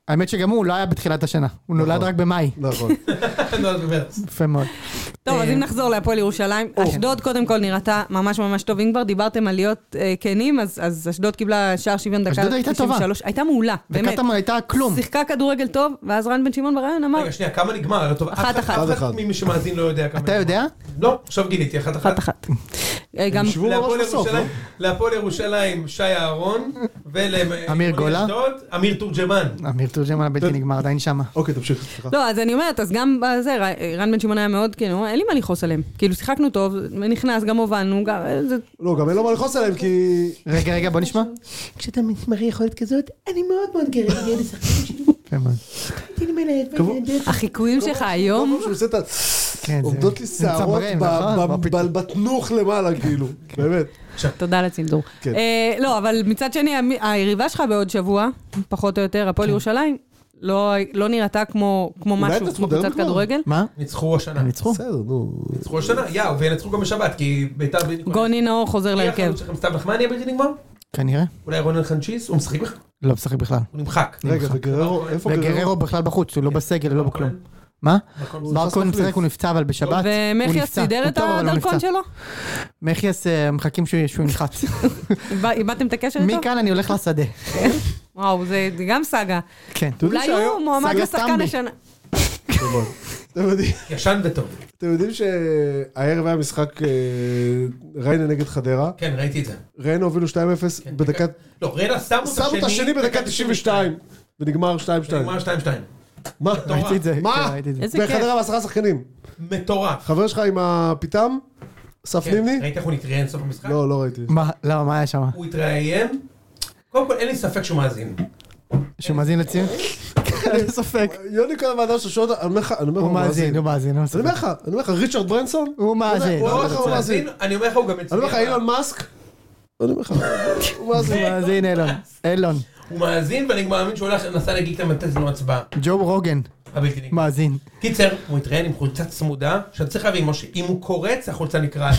[SPEAKER 1] האמת שגם הוא לא היה בתחילת השנה. הוא נולד רק במאי.
[SPEAKER 4] נכון.
[SPEAKER 2] נועד במרץ.
[SPEAKER 1] יפה מאוד.
[SPEAKER 3] טוב, אז
[SPEAKER 1] אה,
[SPEAKER 3] אם נחזור להפועל ירושלים, אשדוד קודם כל נראתה ממש ממש טוב. אם כבר דיברתם על להיות אה, כנים, אז- אז אשדוד קיבלה שער שוויון דקה
[SPEAKER 1] אשדוד הייתה טובה.
[SPEAKER 3] 93. הייתה מעולה, באמת.
[SPEAKER 1] וקטמון לא הייתה כלום.
[SPEAKER 3] שיחקה כדורגל טוב, ואז רן בן שמעון בריאיון אמר,
[SPEAKER 2] רגע, שנייה, כמה נגמר? טוב,
[SPEAKER 3] אחת, אחת.
[SPEAKER 2] אף אחד
[SPEAKER 4] אחת.
[SPEAKER 2] ממי שמאזין לא יודע כמה
[SPEAKER 1] אתה יודע?
[SPEAKER 2] לא, עכשיו גיליתי, אחת אחת.
[SPEAKER 3] אחת אחת. אה, גם
[SPEAKER 4] ישבו
[SPEAKER 2] להפועל
[SPEAKER 4] ממש בסוף, לא?
[SPEAKER 2] ירושלים- להפועל ירושלים, שי אהרון, ול...
[SPEAKER 1] אמיר גולה?
[SPEAKER 2] לאשדוד, אמיר תורג'מן.
[SPEAKER 1] אמיר תורג'מן הבלתי נגמר עדיין שמה.
[SPEAKER 4] אוקיי, תמשיך, סליחה.
[SPEAKER 3] לא, אז אני אומרת, אז גם בזה, ר- רן בן שמעון היה מאוד, כאילו, אין לי מה לכעוס עליהם. כאילו, שיחקנו טוב, נכנס, גם הובלנו, גם... אה, זה-
[SPEAKER 4] לא, גם אין לו מה לכעוס עליהם, כי...
[SPEAKER 1] רגע, רגע, בוא נשמע.
[SPEAKER 5] כשאתה מראה יכולת כזאת, אני מאוד מאוד גאה, אני אהיה לשחקנים שלי,
[SPEAKER 1] יפה מאוד.
[SPEAKER 5] הייתי נמלט, והייתי נהדרת.
[SPEAKER 3] החיקויים שלך
[SPEAKER 4] כל
[SPEAKER 3] היום,
[SPEAKER 4] פעם שהוא עושה את ה...
[SPEAKER 1] כן, זה-
[SPEAKER 4] עומדות לי
[SPEAKER 1] זה
[SPEAKER 4] שערות
[SPEAKER 1] מצמרר,
[SPEAKER 4] ב-
[SPEAKER 1] נכון?
[SPEAKER 4] ב-
[SPEAKER 1] מה פתאום.
[SPEAKER 4] ב- בתנוך למעלה, כאילו. באמת.
[SPEAKER 3] תודה לצנזור.
[SPEAKER 4] כן.
[SPEAKER 3] אה, לא, אבל מצד שני, המ- היריבה שלך בעוד שבוע, פחות או יותר,
[SPEAKER 1] כן.
[SPEAKER 3] הפועל ירושלים, לא לא נראתה כמו כמו
[SPEAKER 4] אולי
[SPEAKER 3] משהו,
[SPEAKER 4] אתה
[SPEAKER 3] כמו
[SPEAKER 4] סודר
[SPEAKER 3] קבוצת
[SPEAKER 1] לא.
[SPEAKER 4] כבר?
[SPEAKER 3] כדורגל.
[SPEAKER 1] מה?
[SPEAKER 2] ניצחו השנה.
[SPEAKER 1] הם ניצחו?
[SPEAKER 4] בסדר, נו.
[SPEAKER 2] ניצחו השנה, יאו, וינצחו גם בשבת, כי ביתר בלי נגמר.
[SPEAKER 3] גוני נאור חוזר
[SPEAKER 2] מי
[SPEAKER 3] להרכב.
[SPEAKER 2] החלוץ שלכם? סתיו נחמני הבלתי נגמר?
[SPEAKER 1] כנראה.
[SPEAKER 2] אולי רונן חנצ'יס? הוא משחק בכלל?
[SPEAKER 1] לא משחק בכלל.
[SPEAKER 2] הוא נמחק.
[SPEAKER 4] רגע, וגררו, איפה גררו?
[SPEAKER 1] וגררו בכלל בחוץ, הוא לא בסגל, לא בכלום.
[SPEAKER 2] כן.
[SPEAKER 1] מה? בר כהן משחק, הוא נפצע אבל בשבת. הוא
[SPEAKER 3] ומחיאס
[SPEAKER 1] נפצע.
[SPEAKER 3] סידר
[SPEAKER 1] הוא
[SPEAKER 3] את
[SPEAKER 1] טוב, אבל הוא
[SPEAKER 3] הדרכון
[SPEAKER 1] נפצע.
[SPEAKER 3] שלו?
[SPEAKER 1] מחיאס אה, מחכים שהוא שהוא ינחת.
[SPEAKER 3] איבד- איבדתם את הקשר איתו?
[SPEAKER 1] מכאן אני הולך לשדה.
[SPEAKER 3] וואו, זה זה גם סאגה.
[SPEAKER 1] כן.
[SPEAKER 4] אתם יודעים
[SPEAKER 3] אולי
[SPEAKER 4] שהיום-
[SPEAKER 3] הוא מועמד
[SPEAKER 1] סאגה
[SPEAKER 3] לשחקן
[SPEAKER 1] סטמבי.
[SPEAKER 3] השנה.
[SPEAKER 4] אתם יודעים-
[SPEAKER 2] ישן וטוב.
[SPEAKER 4] אתם יודעים שהערב היה משחק אה, ריינה נגד חדרה,
[SPEAKER 2] כן, ראיתי את זה.
[SPEAKER 4] ריינה הובילו 2-0
[SPEAKER 2] כן,
[SPEAKER 4] בדקה...
[SPEAKER 2] לא, ריינה שמו את השני.
[SPEAKER 4] שמו את השני בדקה 92, ונגמר 2-2.
[SPEAKER 2] נגמר 2-2.
[SPEAKER 4] מה?
[SPEAKER 2] מטורף.
[SPEAKER 1] ראיתי את זה.
[SPEAKER 4] מה?
[SPEAKER 1] כן, ראיתי את זה.
[SPEAKER 3] איזה כיף.
[SPEAKER 4] בחדרה ועשרה שחקנים.
[SPEAKER 2] מטורף.
[SPEAKER 4] חבר שלך עם הפיתם? אסף
[SPEAKER 2] כן,
[SPEAKER 4] נימני?
[SPEAKER 2] ראית איך הוא נתראיין סוף המשחק?
[SPEAKER 4] לא, לא ראיתי.
[SPEAKER 1] מה? למה? מה היה שם?
[SPEAKER 2] הוא התראיין. קודם כל, אין לי ספק שהוא מאזין.
[SPEAKER 1] שמאזין לציון? אין ספק.
[SPEAKER 4] יוני כל הוועדה שלו שעות, אני אומר לך, אני אומר לך,
[SPEAKER 1] הוא מאזין, הוא מאזין. אין
[SPEAKER 4] אני
[SPEAKER 1] ספק.
[SPEAKER 4] אומר לך, אני אומר לך, ריצ'רד ברנסון?
[SPEAKER 1] הוא מאזין.
[SPEAKER 4] הוא
[SPEAKER 2] לא
[SPEAKER 4] אומר
[SPEAKER 2] רק
[SPEAKER 4] לך, הוא מאזין.
[SPEAKER 2] מאזין, אני אומר לך, הוא גם
[SPEAKER 4] אני
[SPEAKER 2] הצליח.
[SPEAKER 4] אומר לך, אילון מאסק? אני אומר לך, הוא מאזין.
[SPEAKER 1] הוא מאזין אילון. אילון.
[SPEAKER 2] הוא מאזין, ואני גם מאמין שהוא הולך, נסע להגיד את המטס לנו הצבעה.
[SPEAKER 1] ג'ו רוגן.
[SPEAKER 2] הבלתי נגמר.
[SPEAKER 1] מאזין.
[SPEAKER 3] אה,
[SPEAKER 2] קיצר, הוא התראיין עם חולצה צמודה, שאתה צריך להבין, משה, אם הוא קורץ, החולצה נקרעת.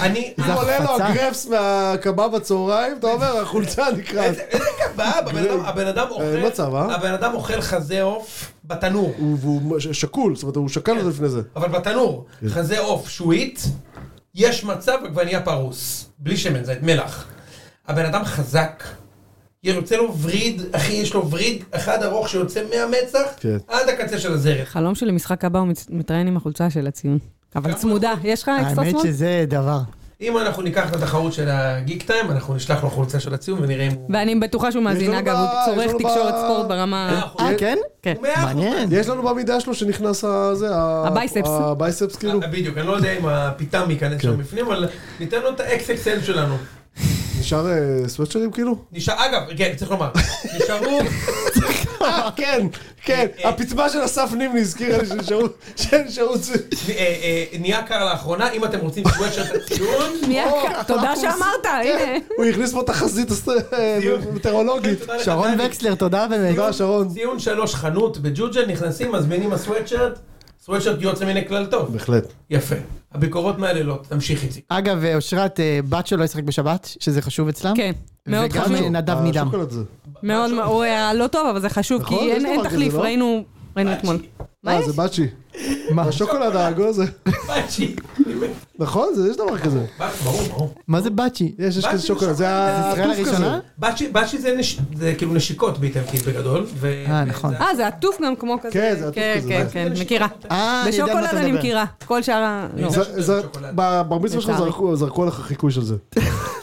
[SPEAKER 2] אני...
[SPEAKER 1] זה
[SPEAKER 4] עולה לו
[SPEAKER 1] החפצה.
[SPEAKER 4] הגרפס מהקבב בצהריים, אתה אומר, החולצה נקרעת.
[SPEAKER 2] איזה איזה קבב, הבן אדם- הבן אדם
[SPEAKER 4] אה, מצב,
[SPEAKER 2] אוכל,
[SPEAKER 4] אה?
[SPEAKER 2] הבן אדם אוכל חזה עוף בתנור,
[SPEAKER 4] הוא- והוא ש- שקול, זאת אומרת, הוא שקל אותו לפני זה.
[SPEAKER 2] אבל בתנור,
[SPEAKER 4] כן.
[SPEAKER 2] חזה עוף שועית, יש מצב עגבנייה פרוס, בלי שמן זית, מלח. הבן אדם חזק, יוצא לו וריד, אחי, יש לו וריד אחד ארוך שיוצא מהמצח
[SPEAKER 4] כן.
[SPEAKER 2] עד הקצה של הזרח.
[SPEAKER 3] חלום שלי משחק הבא, הוא מת- מתראיין עם החולצה של הציון. אבל
[SPEAKER 2] כמה
[SPEAKER 3] צמודה, יש לך אקסטרה
[SPEAKER 1] נכון. האמת
[SPEAKER 3] שמאל?
[SPEAKER 1] שזה דבר.
[SPEAKER 2] אם אנחנו ניקח את התחרות של הגיק טיים, אנחנו נשלח לו חולצה של הציון ונראה אם הוא...
[SPEAKER 3] ואני בטוחה שהוא מאזין,
[SPEAKER 4] לנו
[SPEAKER 3] אגב,
[SPEAKER 4] ב-
[SPEAKER 3] הוא
[SPEAKER 4] יש
[SPEAKER 3] צורך
[SPEAKER 4] לנו ב-
[SPEAKER 3] תקשורת ספורט
[SPEAKER 2] מאה
[SPEAKER 3] ברמה...
[SPEAKER 2] אחוז.
[SPEAKER 1] אה, כן?
[SPEAKER 3] כן.
[SPEAKER 2] הוא מאה אחוז.
[SPEAKER 1] מעניין.
[SPEAKER 4] יש לנו במידה שלו שנכנס הזה, ה-
[SPEAKER 3] הבייספס.
[SPEAKER 4] הבייספס כאילו. כן.
[SPEAKER 2] אה, בדיוק, אני לא יודע אם הפיתם ייכנס שם בפנים, אבל ניתן לו את ה-XXL שלנו.
[SPEAKER 4] נשאר אה, סוואצ'רים כאילו?
[SPEAKER 2] נשאר, אגב, כן, צריך לומר, נשארו,
[SPEAKER 4] אה, כן, כן, הפצמה של אסף נימני הזכירה לי שנשארו, שנשארו, צ-
[SPEAKER 2] אה, אה, נהיה קר לאחרונה, אם אתם רוצים סוואצ'ר את הציון,
[SPEAKER 3] מי
[SPEAKER 4] או, כן.
[SPEAKER 3] הק- תודה
[SPEAKER 4] אנחנו
[SPEAKER 3] שאמרת, הנה.
[SPEAKER 4] הוא הכניס פה תחזית אסט- אה, מטאורולוגית.
[SPEAKER 2] תודה לך,
[SPEAKER 1] שרון
[SPEAKER 2] דני.
[SPEAKER 1] וקסלר, תודה באמת.
[SPEAKER 4] כן. תודה שרון.
[SPEAKER 2] ציון שלוש חנות בג'וג'ה, נכנסים, מזמינים הסוואצ'רט, סוואצ'רט יוצא מן הכלל טוב.
[SPEAKER 4] בהחלט.
[SPEAKER 2] יפה. הביקורות מהלילות, תמשיך איציק.
[SPEAKER 1] אגב, אושרת, אה, בת שלו ישחק בשבת, שזה חשוב אצלם.
[SPEAKER 3] כן, מאוד
[SPEAKER 1] וגם
[SPEAKER 3] חשוב.
[SPEAKER 1] אה, נדב נידם.
[SPEAKER 4] השוקולד זה.
[SPEAKER 3] מאוד, הוא היה לא טוב, אבל זה חשוב,
[SPEAKER 4] נכון,
[SPEAKER 3] כי
[SPEAKER 4] יש
[SPEAKER 3] אין
[SPEAKER 4] דבר
[SPEAKER 3] אין
[SPEAKER 4] כזה,
[SPEAKER 3] תחליף,
[SPEAKER 4] לא?
[SPEAKER 3] ראינו ראינו אתמול. מה
[SPEAKER 4] אה,
[SPEAKER 3] יש?
[SPEAKER 4] זה בצ'י. אה.
[SPEAKER 1] מה?
[SPEAKER 4] השוקולד העגול הזה.
[SPEAKER 2] בצ'י.
[SPEAKER 4] נכון, זה- יש דבר כזה.
[SPEAKER 2] בת- ברור, ברור.
[SPEAKER 1] מה זה בצ'י?
[SPEAKER 4] יש, יש
[SPEAKER 2] בצ'י
[SPEAKER 4] כזה
[SPEAKER 2] זה
[SPEAKER 4] שוקולד, זה
[SPEAKER 1] זה ישראל
[SPEAKER 4] הטוף כזה.
[SPEAKER 1] הראשונה?
[SPEAKER 2] בצ'י- בצ'י זה נש- זה כאילו נשיקות באיטלקית בגדול. ו-
[SPEAKER 1] אה,
[SPEAKER 2] ו-
[SPEAKER 1] נכון.
[SPEAKER 2] זה-
[SPEAKER 3] אה, זה עטוף גם כמו כזה.
[SPEAKER 4] כן, זה עטוף
[SPEAKER 3] כן,
[SPEAKER 4] כזה,
[SPEAKER 3] כן,
[SPEAKER 4] זה-
[SPEAKER 3] כן, מכירה.
[SPEAKER 1] אה, אני יודע על מה
[SPEAKER 3] בשוקולד
[SPEAKER 1] אתה
[SPEAKER 3] אני
[SPEAKER 1] מדבר.
[SPEAKER 3] מכירה, כל שאר ה... לא.
[SPEAKER 2] זה-
[SPEAKER 4] זה- זה- בבר מצווה שלך
[SPEAKER 3] לצערי.
[SPEAKER 4] זרקו- זרקו עליך חיקוי של זה.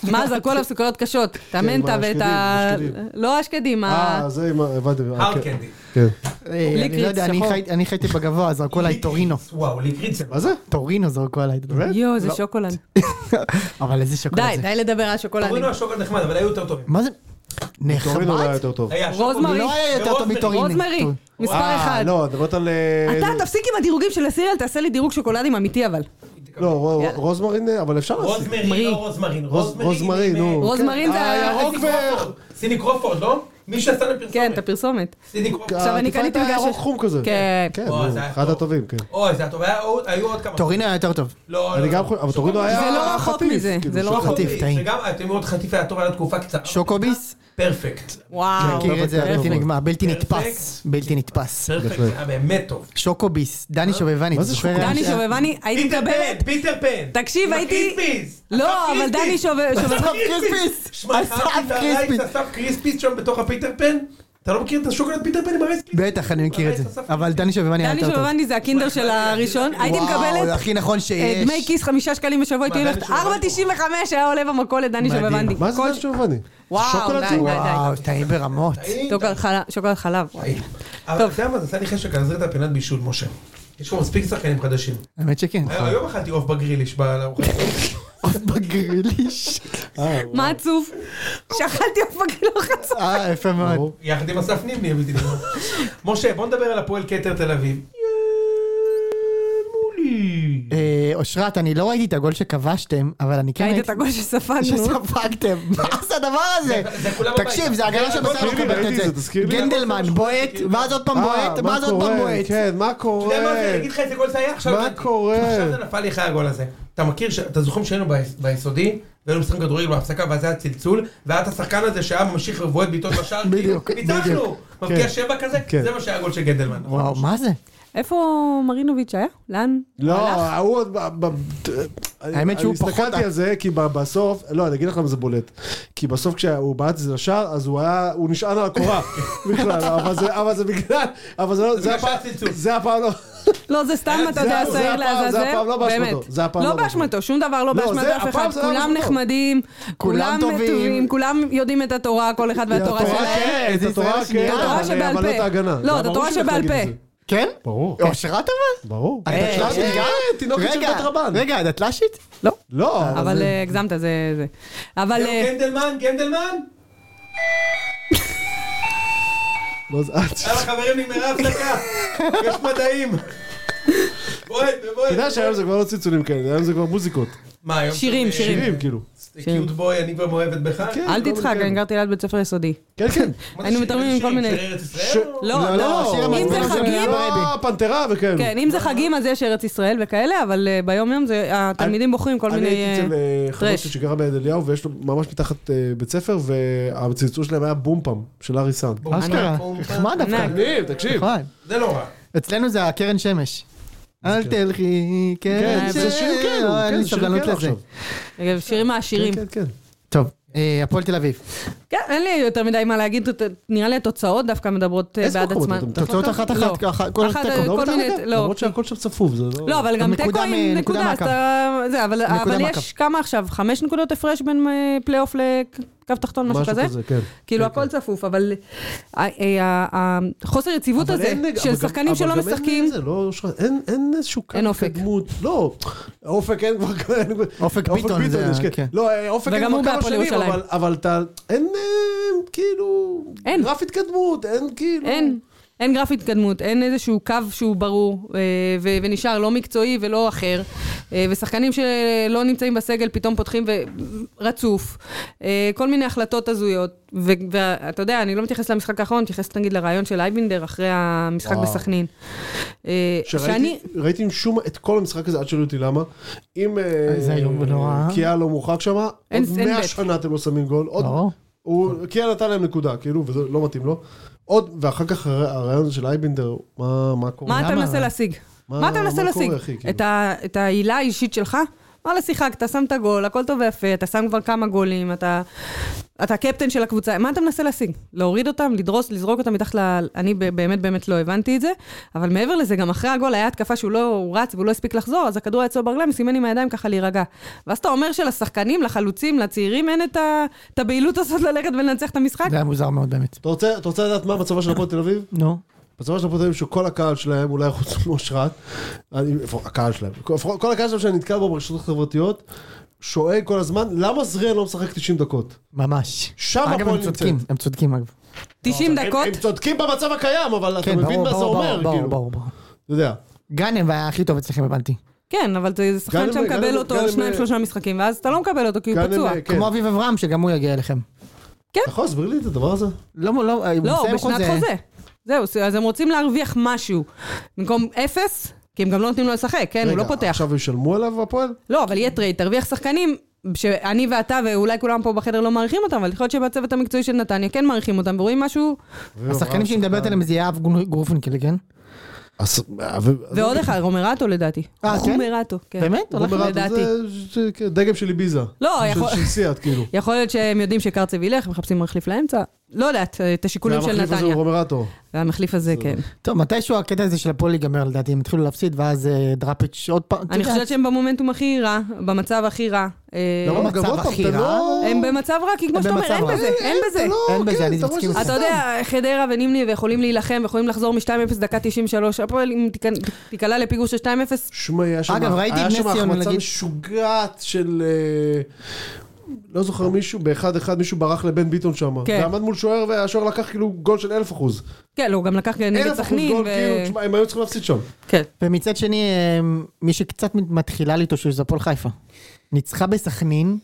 [SPEAKER 3] מה, זרקו עליו סוכריות קשות. את המנטה
[SPEAKER 4] עם
[SPEAKER 3] ואת ה...
[SPEAKER 4] השקדים, השקדים.
[SPEAKER 3] לא השקדים, ה-
[SPEAKER 4] אה, זה עם ה... הבנתי. אה,
[SPEAKER 2] הארד
[SPEAKER 4] כן.
[SPEAKER 2] קנדי.
[SPEAKER 4] כן.
[SPEAKER 1] אה, אני לא יודע, אני
[SPEAKER 3] שחור.
[SPEAKER 1] חי- אני חייתי בגבוה, זרקו עליי טורינו.
[SPEAKER 2] וואו, ליקריץ זה
[SPEAKER 4] מה זה?
[SPEAKER 1] טורינו זרקו עליי.
[SPEAKER 4] באמת?
[SPEAKER 3] יואו, זה שוקולד.
[SPEAKER 1] אבל איזה שוקולד
[SPEAKER 3] די,
[SPEAKER 1] זה.
[SPEAKER 3] די לדבר על שוקולדים.
[SPEAKER 2] טורינו השוקולד נחמד, אבל היו יותר טובים.
[SPEAKER 1] מה זה?
[SPEAKER 4] טורינו לא היה
[SPEAKER 1] נחמד?
[SPEAKER 4] יותר טוב.
[SPEAKER 2] היה שוקולד-
[SPEAKER 3] רוזמרי.
[SPEAKER 1] לא היה יותר טוב
[SPEAKER 2] ורוזמרי.
[SPEAKER 1] מטורינו.
[SPEAKER 3] רוזמרי,
[SPEAKER 1] טוב.
[SPEAKER 3] מספר
[SPEAKER 4] אה,
[SPEAKER 3] אחד.
[SPEAKER 4] לא, דברת על... אה,
[SPEAKER 3] אתה,
[SPEAKER 4] זה-
[SPEAKER 3] תפסיק עם הדירוגים של הסיריאל, תעשה לי דירוג שוקולדים אמיתי אבל.
[SPEAKER 4] לא, רו-
[SPEAKER 3] יאללה.
[SPEAKER 4] רוזמרין, אה, אבל אפשר להשיג.
[SPEAKER 2] רוזמרי, לא רוזמרין. רוזמרין,
[SPEAKER 4] רוזמרין,
[SPEAKER 2] עם,
[SPEAKER 4] נו.
[SPEAKER 2] אה,
[SPEAKER 3] רוזמרין זה... ה-
[SPEAKER 4] הירוק
[SPEAKER 3] איזה-
[SPEAKER 4] ו-
[SPEAKER 2] סיני קרופורד, לא? מי שעשה להם פרסומת.
[SPEAKER 3] אוקיי. כן, את הפרסומת.
[SPEAKER 2] סיני קרופורד.
[SPEAKER 3] עכשיו אני
[SPEAKER 4] העטיפה
[SPEAKER 3] קניתי
[SPEAKER 4] הייתה
[SPEAKER 3] בגלל
[SPEAKER 4] ירוק
[SPEAKER 3] ש-
[SPEAKER 4] חום כזה.
[SPEAKER 3] כן.
[SPEAKER 4] כן,
[SPEAKER 2] וואו,
[SPEAKER 4] נו,
[SPEAKER 2] זה היה
[SPEAKER 4] כן, אחד
[SPEAKER 2] טוב.
[SPEAKER 4] הטובים, כן.
[SPEAKER 2] אוי, זה היה טוב, היה עוד- היו עוד כמה.
[SPEAKER 1] טורינו היה יותר טוב.
[SPEAKER 2] לא,
[SPEAKER 4] אני
[SPEAKER 2] לא,
[SPEAKER 4] גם
[SPEAKER 2] לא.
[SPEAKER 4] חושב, אבל טורינו היה...
[SPEAKER 3] זה לא רחוק
[SPEAKER 4] חטיף,
[SPEAKER 3] מזה,
[SPEAKER 4] כאילו,
[SPEAKER 3] זה לא
[SPEAKER 4] שוקולד.
[SPEAKER 1] רחוק. חטיף,
[SPEAKER 2] שוקוביס,
[SPEAKER 1] טעים.
[SPEAKER 2] וגם, אתם מאוד חטיף היה טוב, היה תקופה קצרה.
[SPEAKER 3] אה,
[SPEAKER 1] שוקוביס?
[SPEAKER 2] פרפקט.
[SPEAKER 3] וואו.
[SPEAKER 1] מכיר את זה,
[SPEAKER 4] טוב,
[SPEAKER 1] בלתי
[SPEAKER 4] טוב.
[SPEAKER 1] נגמר, בלתי
[SPEAKER 2] פרפקט.
[SPEAKER 1] נתפס. בלתי
[SPEAKER 3] אה,
[SPEAKER 1] נתפס.
[SPEAKER 2] פרפקט
[SPEAKER 4] בהחלט.
[SPEAKER 2] זה היה באמת טוב.
[SPEAKER 1] שוקוביס, דני שובבני,
[SPEAKER 4] מה
[SPEAKER 1] אתה
[SPEAKER 4] זה
[SPEAKER 1] זוכר?
[SPEAKER 4] שוקוביס?
[SPEAKER 3] דני שובבני, הייתי
[SPEAKER 2] פיטר
[SPEAKER 3] מקבלת...
[SPEAKER 2] פן, פיטר פן.
[SPEAKER 3] תקשיב,
[SPEAKER 2] עם
[SPEAKER 3] הייתי-
[SPEAKER 2] הקריספיס.
[SPEAKER 3] לא,
[SPEAKER 2] אסף
[SPEAKER 3] אבל דני
[SPEAKER 2] קריספיס.
[SPEAKER 3] שובב-
[SPEAKER 1] אסף
[SPEAKER 3] שובבני...
[SPEAKER 1] קריספיס!
[SPEAKER 2] שמע,
[SPEAKER 1] אסף
[SPEAKER 2] אהבתי את הרייס,
[SPEAKER 1] קריספיס.
[SPEAKER 2] אסף קריספיס שם בתוך הפיטר פן? אתה לא מכיר את השוקולד פיטר פן עם הרייס קריספיס?
[SPEAKER 1] בטח, אני מכיר את
[SPEAKER 2] הרייס אסף
[SPEAKER 1] זה. אבל דני שובבני היה
[SPEAKER 3] דני
[SPEAKER 1] יותר טוב.
[SPEAKER 3] שובבני זה הקינדר של הראשון, הייתי
[SPEAKER 1] וואו, זה
[SPEAKER 3] מקבלת...
[SPEAKER 1] הכי נכון
[SPEAKER 3] אה,
[SPEAKER 1] שיש.
[SPEAKER 3] דמי כיס חמישה שקלים בשבוע, הייתי
[SPEAKER 2] מה, דני
[SPEAKER 3] הולכת
[SPEAKER 2] שובבני?
[SPEAKER 3] 4.95 היה עולה במכולת דני
[SPEAKER 1] מדהים.
[SPEAKER 3] שובבני.
[SPEAKER 4] מה זה
[SPEAKER 3] כל-
[SPEAKER 4] דני שובבני?
[SPEAKER 3] וואו,
[SPEAKER 4] שוקולד
[SPEAKER 3] די,
[SPEAKER 4] זה?
[SPEAKER 3] די, די.
[SPEAKER 1] וואו, טעים ברמות.
[SPEAKER 2] קריספיס.
[SPEAKER 3] שוקולד חלב- שוקולד חלב.
[SPEAKER 2] אבל אתה יודע מה, זה עשה לי חשק להחזיר את הפינת בישול, משה. יש פה מספיק שחקנים חדשים. אה,
[SPEAKER 1] האמת שכן.
[SPEAKER 4] אה,
[SPEAKER 2] היום אכלתי עוף בגריליש בארוחה.
[SPEAKER 1] בגריליש.
[SPEAKER 4] אה,
[SPEAKER 3] מה עצוב? שאכלתי עוף בגריל לא חצי.
[SPEAKER 1] אה, יפה מאוד.
[SPEAKER 2] יחד עם אסף נימני, אמיתי. משה, בוא נדבר על הפועל כתר תל אביב. מולי.
[SPEAKER 1] אה, אושרת, אני לא ראיתי את הגול שכבשתם, אבל אני כן
[SPEAKER 3] ראית
[SPEAKER 1] ראיתי
[SPEAKER 3] את הגול שספגנו?
[SPEAKER 1] שספגתם. מה זה הדבר הזה?
[SPEAKER 2] זה כולם הביתה.
[SPEAKER 1] תקשיב, זה הגנה
[SPEAKER 2] זה
[SPEAKER 1] שבסך
[SPEAKER 2] הגול
[SPEAKER 1] לא
[SPEAKER 4] שלי,
[SPEAKER 1] מקבלת
[SPEAKER 4] ראיתי
[SPEAKER 1] את
[SPEAKER 4] זה,
[SPEAKER 1] זה.
[SPEAKER 4] תזכיר לי.
[SPEAKER 1] גנדלמן
[SPEAKER 2] הגול
[SPEAKER 1] בועט,
[SPEAKER 2] שלי.
[SPEAKER 1] ואז עוד פעם
[SPEAKER 4] אה,
[SPEAKER 1] בועט,
[SPEAKER 4] מה
[SPEAKER 1] ואז עוד פעם
[SPEAKER 4] קורה?
[SPEAKER 1] בועט.
[SPEAKER 4] כן, מה
[SPEAKER 2] אתה
[SPEAKER 4] קורה?
[SPEAKER 2] יודע מה זה, אני אגיד לך איזה גול זה היה? עכשיו
[SPEAKER 4] מה
[SPEAKER 2] הבנתי.
[SPEAKER 4] קורה?
[SPEAKER 2] עכשיו זה נפל לי אחרי הגול הזה. אתה מכיר, ש- אתה זוכר שהיינו ביס- ביסודי, והיינו משחקים כדורגל בהפסקה, ואז היה צלצול, והיה את השחקן הזה שהיה ממשיך ובועט בעיטות בשער,
[SPEAKER 1] בדיוק,
[SPEAKER 2] כאילו, ניצחנו!
[SPEAKER 1] בדיוק.
[SPEAKER 2] מבקיע
[SPEAKER 4] כן.
[SPEAKER 2] שבע כזה,
[SPEAKER 4] כן.
[SPEAKER 2] זה מה שהיה הגול של גנדלמן.
[SPEAKER 1] וואו, מה זה?
[SPEAKER 3] איפה מרינוביץ' היה? לאן? הוא
[SPEAKER 4] לא,
[SPEAKER 3] הלך?
[SPEAKER 4] ההוא עוד... ב- ב- אני-
[SPEAKER 1] האמת שהוא
[SPEAKER 4] אני
[SPEAKER 1] פחות-
[SPEAKER 4] הסתכלתי על זה, כי ב- בסוף, לא, אני אגיד לך למה זה בולט. כי בסוף כשהוא בעט את זה לשער, אז הוא היה, הוא נשען על הקורה בכלל, אבל זה- אבל זה בגלל, אבל זה לא, זה
[SPEAKER 2] בגלל
[SPEAKER 4] הפעם-
[SPEAKER 2] שהציצו.
[SPEAKER 4] זה הפעם לא,
[SPEAKER 3] לא, זה סתם,
[SPEAKER 2] היה-
[SPEAKER 3] אתה
[SPEAKER 4] אה, זה-
[SPEAKER 3] יודע,
[SPEAKER 4] זה
[SPEAKER 3] שעיר
[SPEAKER 4] הפעם- זה
[SPEAKER 3] לעזאזל.
[SPEAKER 4] הפעם לא באשמתו.
[SPEAKER 3] באמת.
[SPEAKER 4] זה הפעם לא
[SPEAKER 3] לא
[SPEAKER 4] באשמתו.
[SPEAKER 3] באשמתו, שום דבר לא
[SPEAKER 4] לא,
[SPEAKER 3] באשמת
[SPEAKER 4] זה-
[SPEAKER 3] אף אחד.
[SPEAKER 4] הפעם זה לא
[SPEAKER 3] כולם
[SPEAKER 4] באשמתו.
[SPEAKER 3] נחמדים,
[SPEAKER 1] כולם
[SPEAKER 3] כולם
[SPEAKER 1] טובים.
[SPEAKER 3] טובים, כולם יודעים את התורה, כל אחד והתורה
[SPEAKER 4] התורה
[SPEAKER 3] שלהם.
[SPEAKER 4] כן,
[SPEAKER 1] איזה
[SPEAKER 4] את התורה
[SPEAKER 1] ישראל שנייה.
[SPEAKER 4] כן,
[SPEAKER 1] את התורה
[SPEAKER 4] אבל-
[SPEAKER 3] שבעל
[SPEAKER 4] אבל לא
[SPEAKER 3] פה.
[SPEAKER 4] את ההגנה.
[SPEAKER 3] לא,
[SPEAKER 4] זה
[SPEAKER 3] את
[SPEAKER 4] היה ברור
[SPEAKER 3] התורה
[SPEAKER 4] שהוא הולך
[SPEAKER 3] שבעל
[SPEAKER 4] להגיד
[SPEAKER 3] פה.
[SPEAKER 4] את זה.
[SPEAKER 1] כן?
[SPEAKER 4] ברור.
[SPEAKER 1] אושרת אבל?
[SPEAKER 4] ברור.
[SPEAKER 1] אה,
[SPEAKER 4] הדתל"שית
[SPEAKER 1] אה,
[SPEAKER 4] גם?
[SPEAKER 1] אה,
[SPEAKER 4] תינוקת של
[SPEAKER 1] רגע,
[SPEAKER 4] בית רבן.
[SPEAKER 1] רגע, הדתל"שית?
[SPEAKER 3] לא,
[SPEAKER 4] לא,
[SPEAKER 3] אבל
[SPEAKER 4] זה-
[SPEAKER 3] אה, הגזמת, זה... זה. אבל... אה,
[SPEAKER 2] גנדלמן, גנדלמן?
[SPEAKER 4] לא, זה-
[SPEAKER 2] יאללה חברים, נגמרה הפסקה. יש מדעים. בואי, בואי.
[SPEAKER 4] אתה יודע שהיום זה כבר לא צלצולים כאלה, היום זה כבר מוזיקות.
[SPEAKER 2] מה, היום?
[SPEAKER 3] שירים,
[SPEAKER 2] אה,
[SPEAKER 3] שירים.
[SPEAKER 4] שירים, כאילו.
[SPEAKER 2] קיוט בוי, אני כבר מאוהבת בך?
[SPEAKER 4] כן,
[SPEAKER 3] אל
[SPEAKER 4] כל
[SPEAKER 3] תצחק,
[SPEAKER 4] מיני
[SPEAKER 3] אני גרתי ליד בית ספר יסודי.
[SPEAKER 4] כן, כן.
[SPEAKER 2] מה זה
[SPEAKER 3] היינו
[SPEAKER 2] שירים?
[SPEAKER 3] מתרמים עם כל
[SPEAKER 2] שירים
[SPEAKER 3] מיני-
[SPEAKER 2] של ארץ
[SPEAKER 4] ש-
[SPEAKER 2] ישראל? או-
[SPEAKER 3] לא, לא,
[SPEAKER 1] השיר
[SPEAKER 3] אם זה
[SPEAKER 1] המעצבן של
[SPEAKER 3] חגים...
[SPEAKER 1] הבייבי.
[SPEAKER 4] לא, פנתרה וכאלו.
[SPEAKER 3] כן, אם זה חגים אז יש ארץ ישראל וכאלה, אבל אה, ביום-יום זה- התלמידים בוחרים כל
[SPEAKER 4] אני
[SPEAKER 3] מיני...
[SPEAKER 4] הייתי אצל
[SPEAKER 3] אה,
[SPEAKER 4] אה, חבר
[SPEAKER 3] טרש.
[SPEAKER 4] שלי שגרה ביד אליהו, ויש לו ממש מתחת אה, בית ספר, והצלצול שלהם היה בומפם, של ארי סאן.
[SPEAKER 2] בום,
[SPEAKER 1] אשכרה,
[SPEAKER 2] בום, בום.
[SPEAKER 1] נחמד דווקא.
[SPEAKER 3] ענק.
[SPEAKER 4] תקשיב, תקשיב.
[SPEAKER 1] נכון.
[SPEAKER 2] זה לא רע.
[SPEAKER 1] אצלנו זה הקרן שמש. אל תלכי,
[SPEAKER 4] כן,
[SPEAKER 3] אה,
[SPEAKER 1] קרן שמש.
[SPEAKER 4] זה שיר כן,
[SPEAKER 1] לא, אין
[SPEAKER 4] כן,
[SPEAKER 1] לי
[SPEAKER 4] זה שיר
[SPEAKER 1] סבלנות
[SPEAKER 4] כן
[SPEAKER 1] לזה.
[SPEAKER 4] עכשיו.
[SPEAKER 3] רגע, אה, שירים
[SPEAKER 4] כן,
[SPEAKER 3] העשירים.
[SPEAKER 4] כן, כן.
[SPEAKER 1] טוב, אה, הפועל תל אביב.
[SPEAKER 3] כן, אין לי יותר מדי מה להגיד, ת- נראה לי התוצאות דווקא מדברות אה,
[SPEAKER 4] איזה
[SPEAKER 3] בעד
[SPEAKER 4] מקומות
[SPEAKER 3] עצמן.
[SPEAKER 4] אתם?
[SPEAKER 1] תוצאות אחת אחת,
[SPEAKER 3] לא.
[SPEAKER 1] ככה, כל
[SPEAKER 3] אחת,
[SPEAKER 1] תיקו,
[SPEAKER 3] אה,
[SPEAKER 1] לא
[SPEAKER 3] כל
[SPEAKER 1] בתחת?
[SPEAKER 3] מיני, לא.
[SPEAKER 4] למרות שהכל שם צפוף, זה
[SPEAKER 3] לא,
[SPEAKER 4] לא...
[SPEAKER 3] אבל גם
[SPEAKER 1] נקודה
[SPEAKER 3] תיקו עם
[SPEAKER 1] מ- נקודה מהקו.
[SPEAKER 3] נקודה, אז אתה- זה, אבל-
[SPEAKER 1] נקודה
[SPEAKER 3] אבל
[SPEAKER 1] מהקו.
[SPEAKER 3] יש כמה עכשיו, חמש נקודות הפרש בין אה, פלייאוף לקו תחתון, משהו כזה?
[SPEAKER 4] כן.
[SPEAKER 3] כאילו הכל צפוף, אבל אה, אה, אה, החוסר יציבות
[SPEAKER 4] אבל
[SPEAKER 3] הזה
[SPEAKER 4] אין- אבל
[SPEAKER 3] של
[SPEAKER 4] גם-
[SPEAKER 3] שחקנים שלא
[SPEAKER 4] אבל גם אין
[SPEAKER 3] משחקים,
[SPEAKER 4] זה, לא, יש לך- אין- אין איזשהו קו
[SPEAKER 3] אין אופק.
[SPEAKER 4] התקדמות. לא, אופק אין כבר כמה... אין-
[SPEAKER 1] אופק ביטון זה
[SPEAKER 4] יש,
[SPEAKER 1] ה-
[SPEAKER 4] כן.
[SPEAKER 1] כן.
[SPEAKER 4] לא, אה, אופק אין
[SPEAKER 3] וגם
[SPEAKER 4] כבר
[SPEAKER 3] הוא
[SPEAKER 4] כמה
[SPEAKER 3] בהפועל
[SPEAKER 4] שנים,
[SPEAKER 3] ירושלים.
[SPEAKER 4] אבל- אבל אתה... אין אה, כאילו...
[SPEAKER 3] אין.
[SPEAKER 4] גרף התקדמות, אין כאילו...
[SPEAKER 3] אין. אין גרף התקדמות, אין איזשהו קו שהוא ברור אה, ו- ונשאר לא מקצועי ולא אחר. אה, ושחקנים שלא נמצאים בסגל פתאום פותחים ורצוף. אה, כל מיני החלטות הזויות. ואתה יודע, אני לא מתייחסת למשחק האחרון, מתייחסת נגיד לרעיון של אייבינדר אחרי המשחק
[SPEAKER 4] וואו.
[SPEAKER 3] בסכנין. אה, שאני...
[SPEAKER 4] שראיתי ראיתי עם שום את כל המשחק הזה עד שאלו אותי למה. אם אה,
[SPEAKER 1] זה היום נורא.
[SPEAKER 4] קיאה לא מורחק שם,
[SPEAKER 3] אין-
[SPEAKER 4] עוד
[SPEAKER 3] אין
[SPEAKER 4] 100
[SPEAKER 3] בית.
[SPEAKER 4] שנה אתם לא שמים גול. עוד-
[SPEAKER 1] ברור.
[SPEAKER 4] הוא- קיאה נתן להם נקודה, כאילו, וזה לא מתאים לו. עוד, ואחר כך הר- הרעיון הזה של אייבינדר, מה מה קורה?
[SPEAKER 3] מה אתה
[SPEAKER 1] למה?
[SPEAKER 3] מנסה להשיג?
[SPEAKER 4] מה-
[SPEAKER 3] מה אתה
[SPEAKER 4] מה
[SPEAKER 3] מנסה
[SPEAKER 4] קורה,
[SPEAKER 3] להשיג?
[SPEAKER 4] אחי, כאילו?
[SPEAKER 3] את ה- את העילה האישית שלך? וואלה, שיחקת, שמת גול, הכל טוב ויפה, אתה שם כבר כמה גולים, אתה... אתה קפטן של הקבוצה, מה אתה מנסה להשיג? להוריד אותם, לדרוס, לזרוק אותם מתחת ל... אני ב- באמת באמת לא הבנתי את זה, אבל מעבר לזה, גם אחרי הגול היה התקפה שהוא לא הוא רץ והוא לא הספיק לחזור, אז הכדור היה אצלו ברגליים, סימן עם הידיים ככה להירגע. ואז אתה אומר שלשחקנים, לחלוצים, לצעירים, אין את, ה... את הבהילות הזאת ללכת ולנצח את המשחק?
[SPEAKER 1] זה היה מוזר מאוד באמת.
[SPEAKER 4] אתה רוצה- אתה רוצה לדעת מה מצבה של הפועל תל אביב?
[SPEAKER 1] נו.
[SPEAKER 4] בצבא של הפועל תל אביב שכל הקהל שלהם, אולי חוץ מאושרת, אני- איפה- הקהל שלהם, כל לפחות כל הקהל שלהם שאני נתקל בו ברשתות החברתיות, שואל כל הזמן, למה זריאן לא משחק 90 דקות?
[SPEAKER 1] ממש.
[SPEAKER 4] שם
[SPEAKER 1] אגב,
[SPEAKER 4] הפועל
[SPEAKER 1] הם
[SPEAKER 4] נמצאת.
[SPEAKER 1] צודקים, הם צודקים אגב.
[SPEAKER 3] 90
[SPEAKER 4] הם-
[SPEAKER 3] דקות?
[SPEAKER 4] הם צודקים במצב הקיים, אבל אתה
[SPEAKER 1] כן,
[SPEAKER 4] מבין
[SPEAKER 1] ברור,
[SPEAKER 4] מה זה
[SPEAKER 1] ברור,
[SPEAKER 4] אומר,
[SPEAKER 1] ברור, ברור,
[SPEAKER 4] כאילו.
[SPEAKER 1] ברור, ברור.
[SPEAKER 4] אתה יודע.
[SPEAKER 1] גאנם היה הכי טוב אצלכם, הבנתי.
[SPEAKER 3] כן, אבל זה זה
[SPEAKER 4] גם
[SPEAKER 3] שחקן
[SPEAKER 4] אם-
[SPEAKER 3] שאתה
[SPEAKER 4] גם אם-
[SPEAKER 3] מקבל
[SPEAKER 4] גם אם-
[SPEAKER 3] אותו שניים, שלושה משחקים, ואז אתה לא מקבל אותו כי הוא
[SPEAKER 4] גם אם-
[SPEAKER 3] פצוע.
[SPEAKER 4] כן.
[SPEAKER 1] כמו אביב אברהם, שגם הוא יגיע אליכם.
[SPEAKER 4] אתה יכול להסביר לי את הדבר הזה?
[SPEAKER 1] לא, לא, הוא
[SPEAKER 3] לא, הוא
[SPEAKER 1] מסיים
[SPEAKER 3] בשנת חוזה. זהו, אז הם רוצים להרוויח משהו. במקום אפס, כי הם גם לא נותנים לו לשחק, כן? הוא לא
[SPEAKER 4] רגע,
[SPEAKER 3] פותח.
[SPEAKER 4] עכשיו ישלמו עליו הפועל?
[SPEAKER 3] לא, אבל יהיה טרייד, תרוויח שחקנים. שאני ואתה ואולי כולם פה בחדר לא מעריכים אותם, אבל יכול להיות שבצוות המקצועי של נתניה כן מעריכים אותם ורואים משהו,
[SPEAKER 1] השחקנים שהיא מדברת עליהם זה יהב גרופנקל, כן?
[SPEAKER 4] אז- אבל-
[SPEAKER 3] ועוד אחד, רומרטו לדעתי.
[SPEAKER 1] אה, כן?
[SPEAKER 3] רומרטו, כן.
[SPEAKER 1] באמת?
[SPEAKER 4] הוא
[SPEAKER 1] הולך
[SPEAKER 4] אומר,
[SPEAKER 3] לדעתי.
[SPEAKER 4] זה- זה- כן, דגם של ביזה.
[SPEAKER 3] לא, יכול-
[SPEAKER 4] של סיאט, כאילו.
[SPEAKER 3] יכול להיות שהם יודעים שקרצב ילך, מחפשים מחליף לאמצע. לא יודעת, את השיקולים של
[SPEAKER 4] והמחליף הזה הוא
[SPEAKER 3] נתניה. אה,
[SPEAKER 4] רומרטו.
[SPEAKER 3] והמחליף הזה, כן.
[SPEAKER 1] טוב, מתישהו הקטע הזה של הפועל ייגמר לדעתי, הם התחילו להפסיד, ואז אה, דראפיץ' עוד פעם. אתה
[SPEAKER 3] אני
[SPEAKER 1] יודע,
[SPEAKER 3] חושבת שהם במומנטום הכי רע, במצב הכי רע. אה,
[SPEAKER 4] למה
[SPEAKER 1] במצב
[SPEAKER 4] גם עוד פעם,
[SPEAKER 1] הכי
[SPEAKER 4] אתה
[SPEAKER 1] רע,
[SPEAKER 4] לא...
[SPEAKER 3] הם במצב רע, כי כמו
[SPEAKER 1] לא. הם
[SPEAKER 3] שאתה
[SPEAKER 1] במצב
[SPEAKER 3] אומר, אין
[SPEAKER 1] רע. אה,
[SPEAKER 3] בזה, אין בזה.
[SPEAKER 4] אתה לא-
[SPEAKER 1] אין בזה,
[SPEAKER 4] כן,
[SPEAKER 1] אני
[SPEAKER 4] אתה רואה
[SPEAKER 1] מסכים
[SPEAKER 4] שזה
[SPEAKER 1] איתך.
[SPEAKER 3] אתה יודע, חדרה ונמני ויכולים להילחם ויכולים לחזור מ-2-0 דקה 93, הפועל אם תיכנ- תיקלע לפיגור של 2-0,
[SPEAKER 4] שמע, היה שם...
[SPEAKER 1] אגב, ראיתי את
[SPEAKER 4] היה
[SPEAKER 1] נס
[SPEAKER 4] שם
[SPEAKER 1] ציונה,
[SPEAKER 4] החמצה
[SPEAKER 1] נגיד.
[SPEAKER 4] משוגעת של... אה, לא זוכר מישהו, באחד אחד מישהו ברח לבן ביטון שם.
[SPEAKER 3] כן.
[SPEAKER 4] ועמד מול שוער, והשוער לקח כאילו גול של אלף אחוז.
[SPEAKER 3] כן, לא, הוא גם לקח נגד
[SPEAKER 4] אלף אחוז
[SPEAKER 3] סכנין,
[SPEAKER 4] גול,
[SPEAKER 3] ו-
[SPEAKER 4] כאילו, תשמע, הם היו צריכים להפסיד שם.
[SPEAKER 3] כן.
[SPEAKER 1] ומצד שני, אה, מי שקצת מתחילה להתאושש זה הפועל חיפה. ניצחה בסכנין,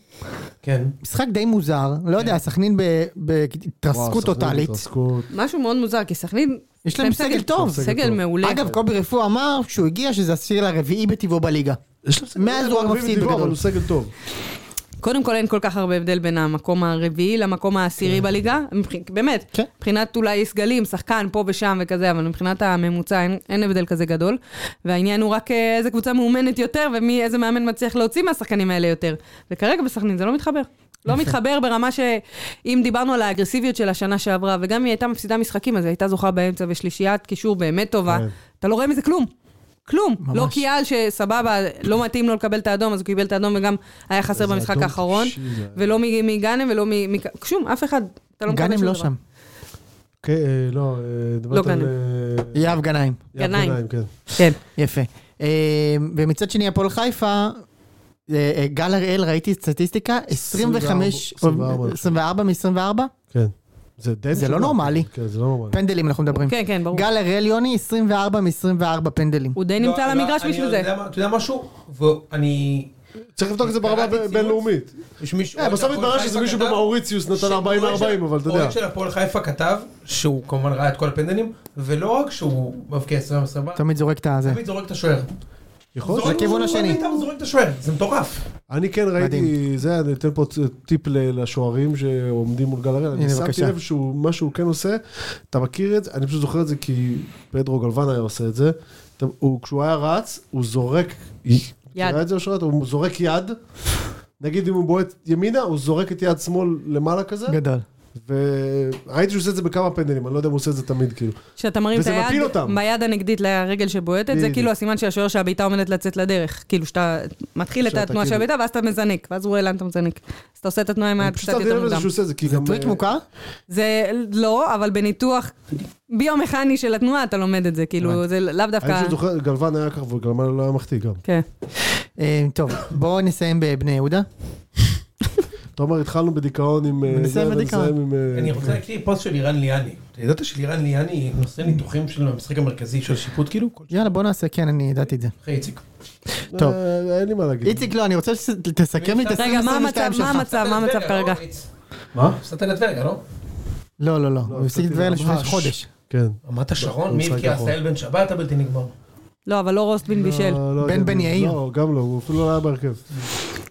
[SPEAKER 2] כן.
[SPEAKER 1] משחק די מוזר, לא יודע, סכנין ב-
[SPEAKER 4] כן. וואו,
[SPEAKER 1] בהתרסקות
[SPEAKER 4] סכנין,
[SPEAKER 1] טוטאלית.
[SPEAKER 4] התרסקות.
[SPEAKER 3] משהו מאוד מוזר, כי סכנין...
[SPEAKER 1] יש להם סגל טוב.
[SPEAKER 3] סגל מעולה.
[SPEAKER 1] אגב, קובי רפואה אמר שהוא הגיע שזה הסיר הרביעי בטבעו בליגה.
[SPEAKER 4] יש להם סגל
[SPEAKER 1] מאז הוא רק
[SPEAKER 4] טוב,
[SPEAKER 1] מפסיד
[SPEAKER 4] בדיוק,
[SPEAKER 1] בגדול.
[SPEAKER 4] אבל הוא סגל טוב.
[SPEAKER 3] קודם כל אין כל כך הרבה הבדל בין המקום הרביעי למקום העשירי בליגה, מבח- באמת,
[SPEAKER 1] כן.
[SPEAKER 3] מבחינת אולי סגלים, שחקן פה ושם וכזה, אבל מבחינת הממוצע אין, אין הבדל כזה גדול. והעניין הוא רק אה, איזה קבוצה מאומנת יותר ומי, איזה מאמן מצליח להוציא מהשחקנים האלה יותר. וכרגע בסכנין זה לא מתחבר. לא מתחבר ברמה שאם דיברנו על האגרסיביות של השנה שעברה, וגם אם היא הייתה מפסידה משחקים, אז היא הייתה זוכה באמצע ושלישיית קישור באמת טובה.
[SPEAKER 4] כן.
[SPEAKER 3] אתה לא רואה מזה כלום. כלום.
[SPEAKER 1] ממש.
[SPEAKER 3] לא קיאל שסבבה, לא מתאים לו לקבל את האדום, אז הוא קיבל את האדום וגם היה חסר
[SPEAKER 4] איזה
[SPEAKER 3] במשחק
[SPEAKER 4] אדום
[SPEAKER 3] האחרון.
[SPEAKER 4] טיפשי זה היה.
[SPEAKER 3] ולא מ- מגאנם ולא מ... מק- שום, אף אחד. אתה לא מקבל
[SPEAKER 1] גם אם
[SPEAKER 3] שום
[SPEAKER 1] לא
[SPEAKER 3] דבר.
[SPEAKER 1] שם.
[SPEAKER 4] כן, אה, לא, אה, דיברת
[SPEAKER 3] לא
[SPEAKER 4] על...
[SPEAKER 3] גנאים.
[SPEAKER 4] אה,
[SPEAKER 1] יהב גנאים.
[SPEAKER 4] יעקב
[SPEAKER 3] גנאים.
[SPEAKER 4] כן.
[SPEAKER 3] כן.
[SPEAKER 2] לא,
[SPEAKER 1] יפה. אה, ומצד שני, הפועל חיפה, אה, אה, גל הראל, ראיתי סטטיסטיקה, 25,
[SPEAKER 4] 24.
[SPEAKER 1] 24 מ-24,
[SPEAKER 4] כן. זה די...
[SPEAKER 1] זה לא
[SPEAKER 4] מסובך.
[SPEAKER 1] נורמלי.
[SPEAKER 4] כן, זה לא נורמלי.
[SPEAKER 1] פנדלים אנחנו מדברים.
[SPEAKER 3] כן, כן, ברור.
[SPEAKER 1] גל הראל, יוני, 24 מ-24 פנדלים.
[SPEAKER 3] הוא די נמצא
[SPEAKER 2] לא,
[SPEAKER 3] על המגרש
[SPEAKER 2] אני
[SPEAKER 3] בשביל
[SPEAKER 2] יודע
[SPEAKER 3] זה.
[SPEAKER 2] מה- אתה יודע משהו? ואני...
[SPEAKER 4] צריך לבדוק את זה ברמה
[SPEAKER 2] קראתי ציוץ.
[SPEAKER 4] בינלאומית.
[SPEAKER 2] יש מישהו...
[SPEAKER 4] אה, בסוף התברר שזה מישהו במאוריציוס נתן 40-40, אבל אתה יודע.
[SPEAKER 2] אוהד של הפועל חיפה כתב, שהוא כמובן ראה את כל הפנדלים, ולא רק שהוא מבקיע 20 וסבבה,
[SPEAKER 1] תמיד זורק את הזה.
[SPEAKER 2] תמיד זורק את השוער.
[SPEAKER 4] יכול
[SPEAKER 2] זורק-
[SPEAKER 4] להיות.
[SPEAKER 1] לכיוון
[SPEAKER 2] הוא
[SPEAKER 1] השני.
[SPEAKER 2] תמיד הוא לא, זורק את השוער, זה מטורף.
[SPEAKER 4] אני כן ראיתי,
[SPEAKER 1] מדהים.
[SPEAKER 4] זה, אני אתן פה טיפ ל- לשוערים שעומדים מול גלריה, אני
[SPEAKER 1] הנה,
[SPEAKER 4] שמתי
[SPEAKER 1] בבקשה.
[SPEAKER 4] לב שהוא, מה שהוא כן עושה, אתה מכיר את זה, אני פשוט זוכר את זה כי פדרו גלוון היה עושה את זה, אתה- הוא, כשהוא היה רץ, הוא זורק, אתה יודע את זה אושרת? הוא זורק יד, נגיד אם הוא בועט ימינה, הוא זורק את יד שמאל למעלה כזה,
[SPEAKER 1] גדול.
[SPEAKER 4] וראיתי שהוא עושה את זה בכמה פנדלים, אני לא יודע אם הוא עושה את זה תמיד כאילו.
[SPEAKER 3] כשאתה מרים את
[SPEAKER 4] וזה מפיל
[SPEAKER 3] היד,
[SPEAKER 4] אותם.
[SPEAKER 3] ביד הנגדית לרגל שבועטת, זה
[SPEAKER 4] בדיוק.
[SPEAKER 3] כאילו הסימן של השוער שהבעיטה עומדת לצאת לדרך. כאילו שאתה מתחיל את
[SPEAKER 4] שאתה
[SPEAKER 3] התנועה של
[SPEAKER 4] כאילו-
[SPEAKER 3] הבעיטה ואז אתה מזנק, ואז הוא רואה לאן אתה מזנק. אז אתה עושה את התנועה עם היד
[SPEAKER 4] פשוט
[SPEAKER 3] קצת
[SPEAKER 4] שמתי לב
[SPEAKER 3] יותר
[SPEAKER 4] לזה
[SPEAKER 3] מוקדם.
[SPEAKER 4] שהוא עושה את זה, כי
[SPEAKER 1] זה
[SPEAKER 4] גם...
[SPEAKER 1] טריק
[SPEAKER 4] אה,
[SPEAKER 1] מוכר?
[SPEAKER 3] זה לא, אבל בניתוח ביומכני של התנועה אתה לומד את זה, כאילו זה לאו
[SPEAKER 4] אני
[SPEAKER 3] דווקא...
[SPEAKER 4] פשוט זוכר, גלוון היה ככה, וגלוון לא היה מחטיא גם.
[SPEAKER 3] כן.
[SPEAKER 1] אה, טוב, בואו נסיים בבני יהודה.
[SPEAKER 4] תומר, התחלנו בדיכאון עם... אה,
[SPEAKER 1] ונסיים
[SPEAKER 4] זה,
[SPEAKER 1] בדיכאון.
[SPEAKER 4] ונסיים עם, אה,
[SPEAKER 2] אני רוצה להקריא פוסט של אירן ליאני. אתה ידעת שלירן ליאני נושא ניתוחים של המשחק המרכזי של שיפוט כאילו? כל
[SPEAKER 1] יאללה, בואו נעשה, כן, אני ידעתי את זה.
[SPEAKER 2] אחרי איציק.
[SPEAKER 1] טוב.
[SPEAKER 4] אה, אין לי מה להגיד.
[SPEAKER 1] איציק, לא, אני רוצה שתסכם לי את
[SPEAKER 3] רגע, מה
[SPEAKER 1] 2022
[SPEAKER 3] המצב, מה
[SPEAKER 1] שלך.
[SPEAKER 3] המצב, מה המצב כרגע?
[SPEAKER 2] לא, מה? הפסדת לטבריה, לא?
[SPEAKER 1] לא, לא, לא, הוא הפסיק את זה לפני חודש.
[SPEAKER 4] כן.
[SPEAKER 2] רמת השרון,
[SPEAKER 4] הוא
[SPEAKER 2] מי
[SPEAKER 4] משחק
[SPEAKER 2] הבקיע?
[SPEAKER 4] נכון.
[SPEAKER 2] עשהאל בן שבת הבלתי נגמר.
[SPEAKER 3] לא, אבל לא רוסטבין בישל.
[SPEAKER 4] לא, לא
[SPEAKER 1] בן
[SPEAKER 4] יודע.
[SPEAKER 1] בן יאיר.
[SPEAKER 4] לא, גם לא, הוא אפילו לא היה בהרכב.